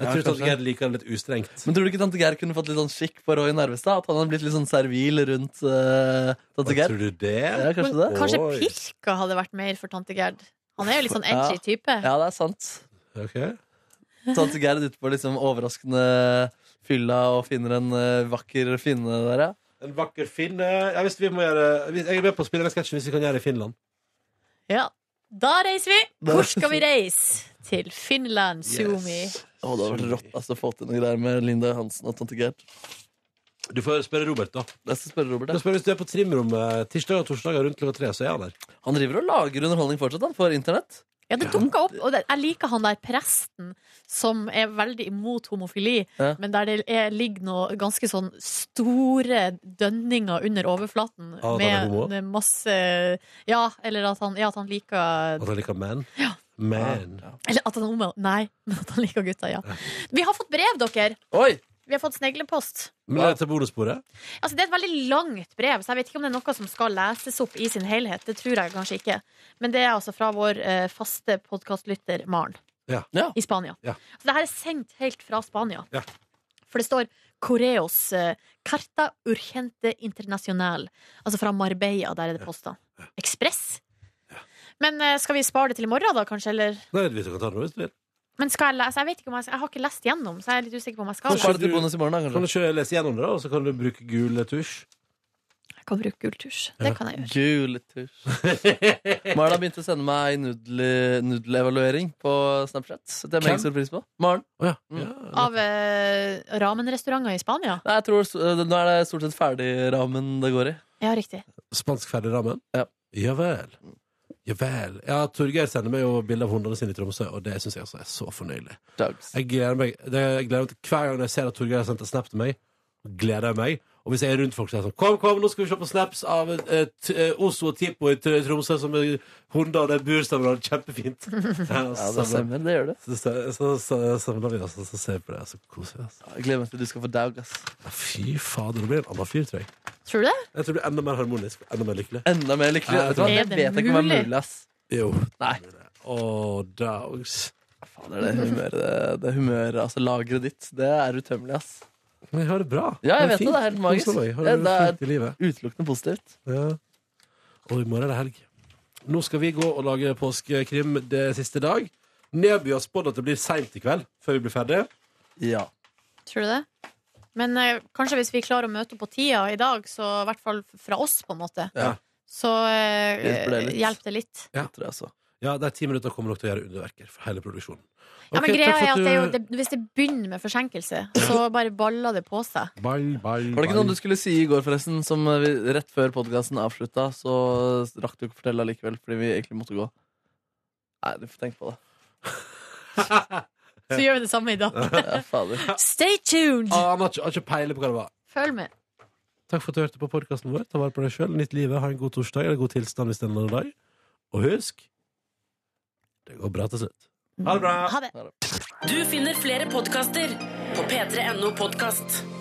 S2: Jeg
S4: Ja,
S2: tror
S4: kanskje.
S2: tante Gerd liker det litt ustrengt.
S4: Men tror du ikke tante Geir kunne fått litt sånn skikk på Roy Nervestad? At han hadde blitt litt sånn servil rundt eh, tante Geir?
S2: Tror du det?
S4: Ja, kanskje det.
S3: Men kanskje
S2: Oi.
S3: Pirka hadde vært mer for tante Gerd. Han er jo litt sånn edgy
S4: Ja.
S3: type.
S4: Ja, det er sant.
S2: Ok.
S4: Tante Geir er ute på liksom overraskende fylla og finner en eh, vakker finne der, ja.
S2: En vakker finne. Jeg, visste vi må gjøre, hvis- jeg er med på å spille den sketsjen hvis vi kan gjøre det i Finland.
S3: Ja. Da reiser vi! Hvor skal vi reise? Til Finland, Sumi.
S4: Å, det hadde vært rått altså, å få til noe greier med Linda Hansen og tante Geir.
S2: Du får spørre Robert, da.
S4: Jeg skal spørre Robert.
S2: Da
S4: jeg.
S2: spør Hvis du er på trimrommet eh, tirsdag og torsdag rundt klokka tre, så er han der.
S4: Han driver og lager underholdning fortsatt, han, for internett.
S3: Ja, det dukka opp. Og det, jeg liker han der presten som er veldig imot homofili,
S4: Ja.
S3: men der det er, ligger noe ganske sånn store dønninger under overflaten.
S2: at han er homo?
S3: med masse Ja, eller at han, ja, at han liker
S2: At han liker menn. Men.
S3: Eller at han er homo. Nei, men at han liker gutter, ja. Vi har fått brev, dere.
S4: Oi!
S3: Vi har fått sneglepost.
S2: Men er det til bonussporet?
S3: Altså, det er et veldig langt brev, så jeg vet ikke om det er noe som skal leses opp i sin helhet. Det tror jeg kanskje ikke. Men det er altså fra vår eh, faste podkastlytter Maren
S2: Ja.
S4: Ja.
S3: i Spania.
S2: Ja.
S3: Så det her er sendt helt fra Spania.
S2: Ja.
S3: For det står Koreos eh, Carta Urgente International. Altså fra Marbella, der er det posta. Ekspress. Men eh, skal vi spare det til i morgen, da, kanskje? Eller?
S2: Nei, vi kan ta det nå hvis du vil.
S3: Men skal jeg lese? Jeg, vet ikke om jeg, jeg har ikke lest gjennom, så jeg er litt usikker på om jeg skal.
S4: Spar det til
S2: du-
S4: bonus i morgen, da,
S2: Kan du
S4: kanskje.
S2: ikke lese gjennom det, da, og så kan du bruke gul tusj?
S3: Jeg kan bruke gulltusj. Det kan jeg gjøre.
S4: Juletusj. Maren har begynt å sende meg nudel- nudelevaluering på Snapchat. Det setter jeg meget stor pris på. Maren?
S2: Å ja.
S4: Mm.
S2: ja.
S3: Av eh, ramenrestauranter i Spania.
S4: Nei, jeg tror, eh, nå er det stort sett ferdigramen det går i.
S3: Ja, riktig.
S2: Spansk ferdigrammen?
S4: Ja.
S2: Ja vel. Ja vel. Ja, Torgeir sender meg jo bilder av hundene sine i Tromsø, og det syns jeg altså er så fornøyelig.
S4: Dogs.
S2: Jeg gleder meg, det, jeg gleder meg til hver gang jeg ser at Torgeir har sendt en snap til meg, gleder jeg meg. Og hvis jeg er rundt folk, så er jeg sånn Kom, kom, nå skal vi se på snaps av eh, t- eh, Oslo og Tipo i Tr- Tromsø som er hunder, og det er bursdagsbarn. Kjempefint. Ja,
S4: Ja,
S2: så samler-
S4: det stemmer. Det gjør det.
S2: så så- så- så samler vi oss, og så ser vi på det, og så koser vi oss.
S4: Jeg gleder meg til du skal få daug, ass.
S2: Fy fader, det blir en annen fyr, tror jeg.
S3: Tror du det?
S2: Jeg tror det blir enda mer harmonisk, enda mer lykkelig.
S4: Enda mer lykkelig.
S2: Nei,
S4: Vet du hva?
S3: Er
S4: Det
S3: det
S4: vet jeg ikke om er
S3: mulig?
S4: mulig, ass.
S2: Jo.
S4: Nei.
S2: Å, dags.
S4: Fader, det humøret, det, det humøret altså lageret ditt, det er utømmelig, ass.
S2: Men jeg har det bra.
S4: Ja, jeg
S2: Har
S4: vet det,
S2: fint.
S4: det er helt magisk.
S2: Koser meg. Har
S4: Ja,
S2: det,
S4: det er-
S2: fint i livet.
S4: Utelukkende positivt.
S2: Ja. Og i morgen er det helg. Nå skal vi gå og lage påskekrim det siste dag. Neby har spådd at det blir seint i kveld før vi blir ferdige.
S4: Ja.
S3: Tror du det? Men eh, kanskje hvis vi klarer å møte opp på tida i dag, så i hvert fall fra oss, på en måte,
S2: Ja.
S3: så eh,
S4: Hjelper det litt?
S3: hjelper det litt.
S4: Tror jeg så.
S2: Ja, det er ti minutter kommer nok til å gjøre underverker for hele produksjonen.
S3: Ja, men
S2: Ok,
S3: greia
S2: takk for
S3: er at det er jo,
S2: du-
S3: det, hvis det begynner med forsinkelse, så bare baller det på seg.
S2: Ball, ball,
S4: Var det ikke
S2: ball.
S4: noe du skulle si i går, forresten? Som eh, vi, rett før podkasten avslutta, så rakk du ikke å fortelle allikevel, fordi vi egentlig måtte gå. Nei, du får tenke på det.
S3: Så gjør vi det samme i dag.
S4: Ja, fader.
S3: Stay tuned!
S2: Ah, han har ikke, har ikke peiling på hva det var.
S3: Følg med.
S2: Takk for at du hørte på podkasten vår. Ta vare på deg sjøl, nytt livet, ha en god torsdag eller god tilstand hvis det er en annen dag. Og husk det går bra til slutt. Ha det bra!
S3: Ha det.
S1: Du finner flere podkaster på p3.no podkast.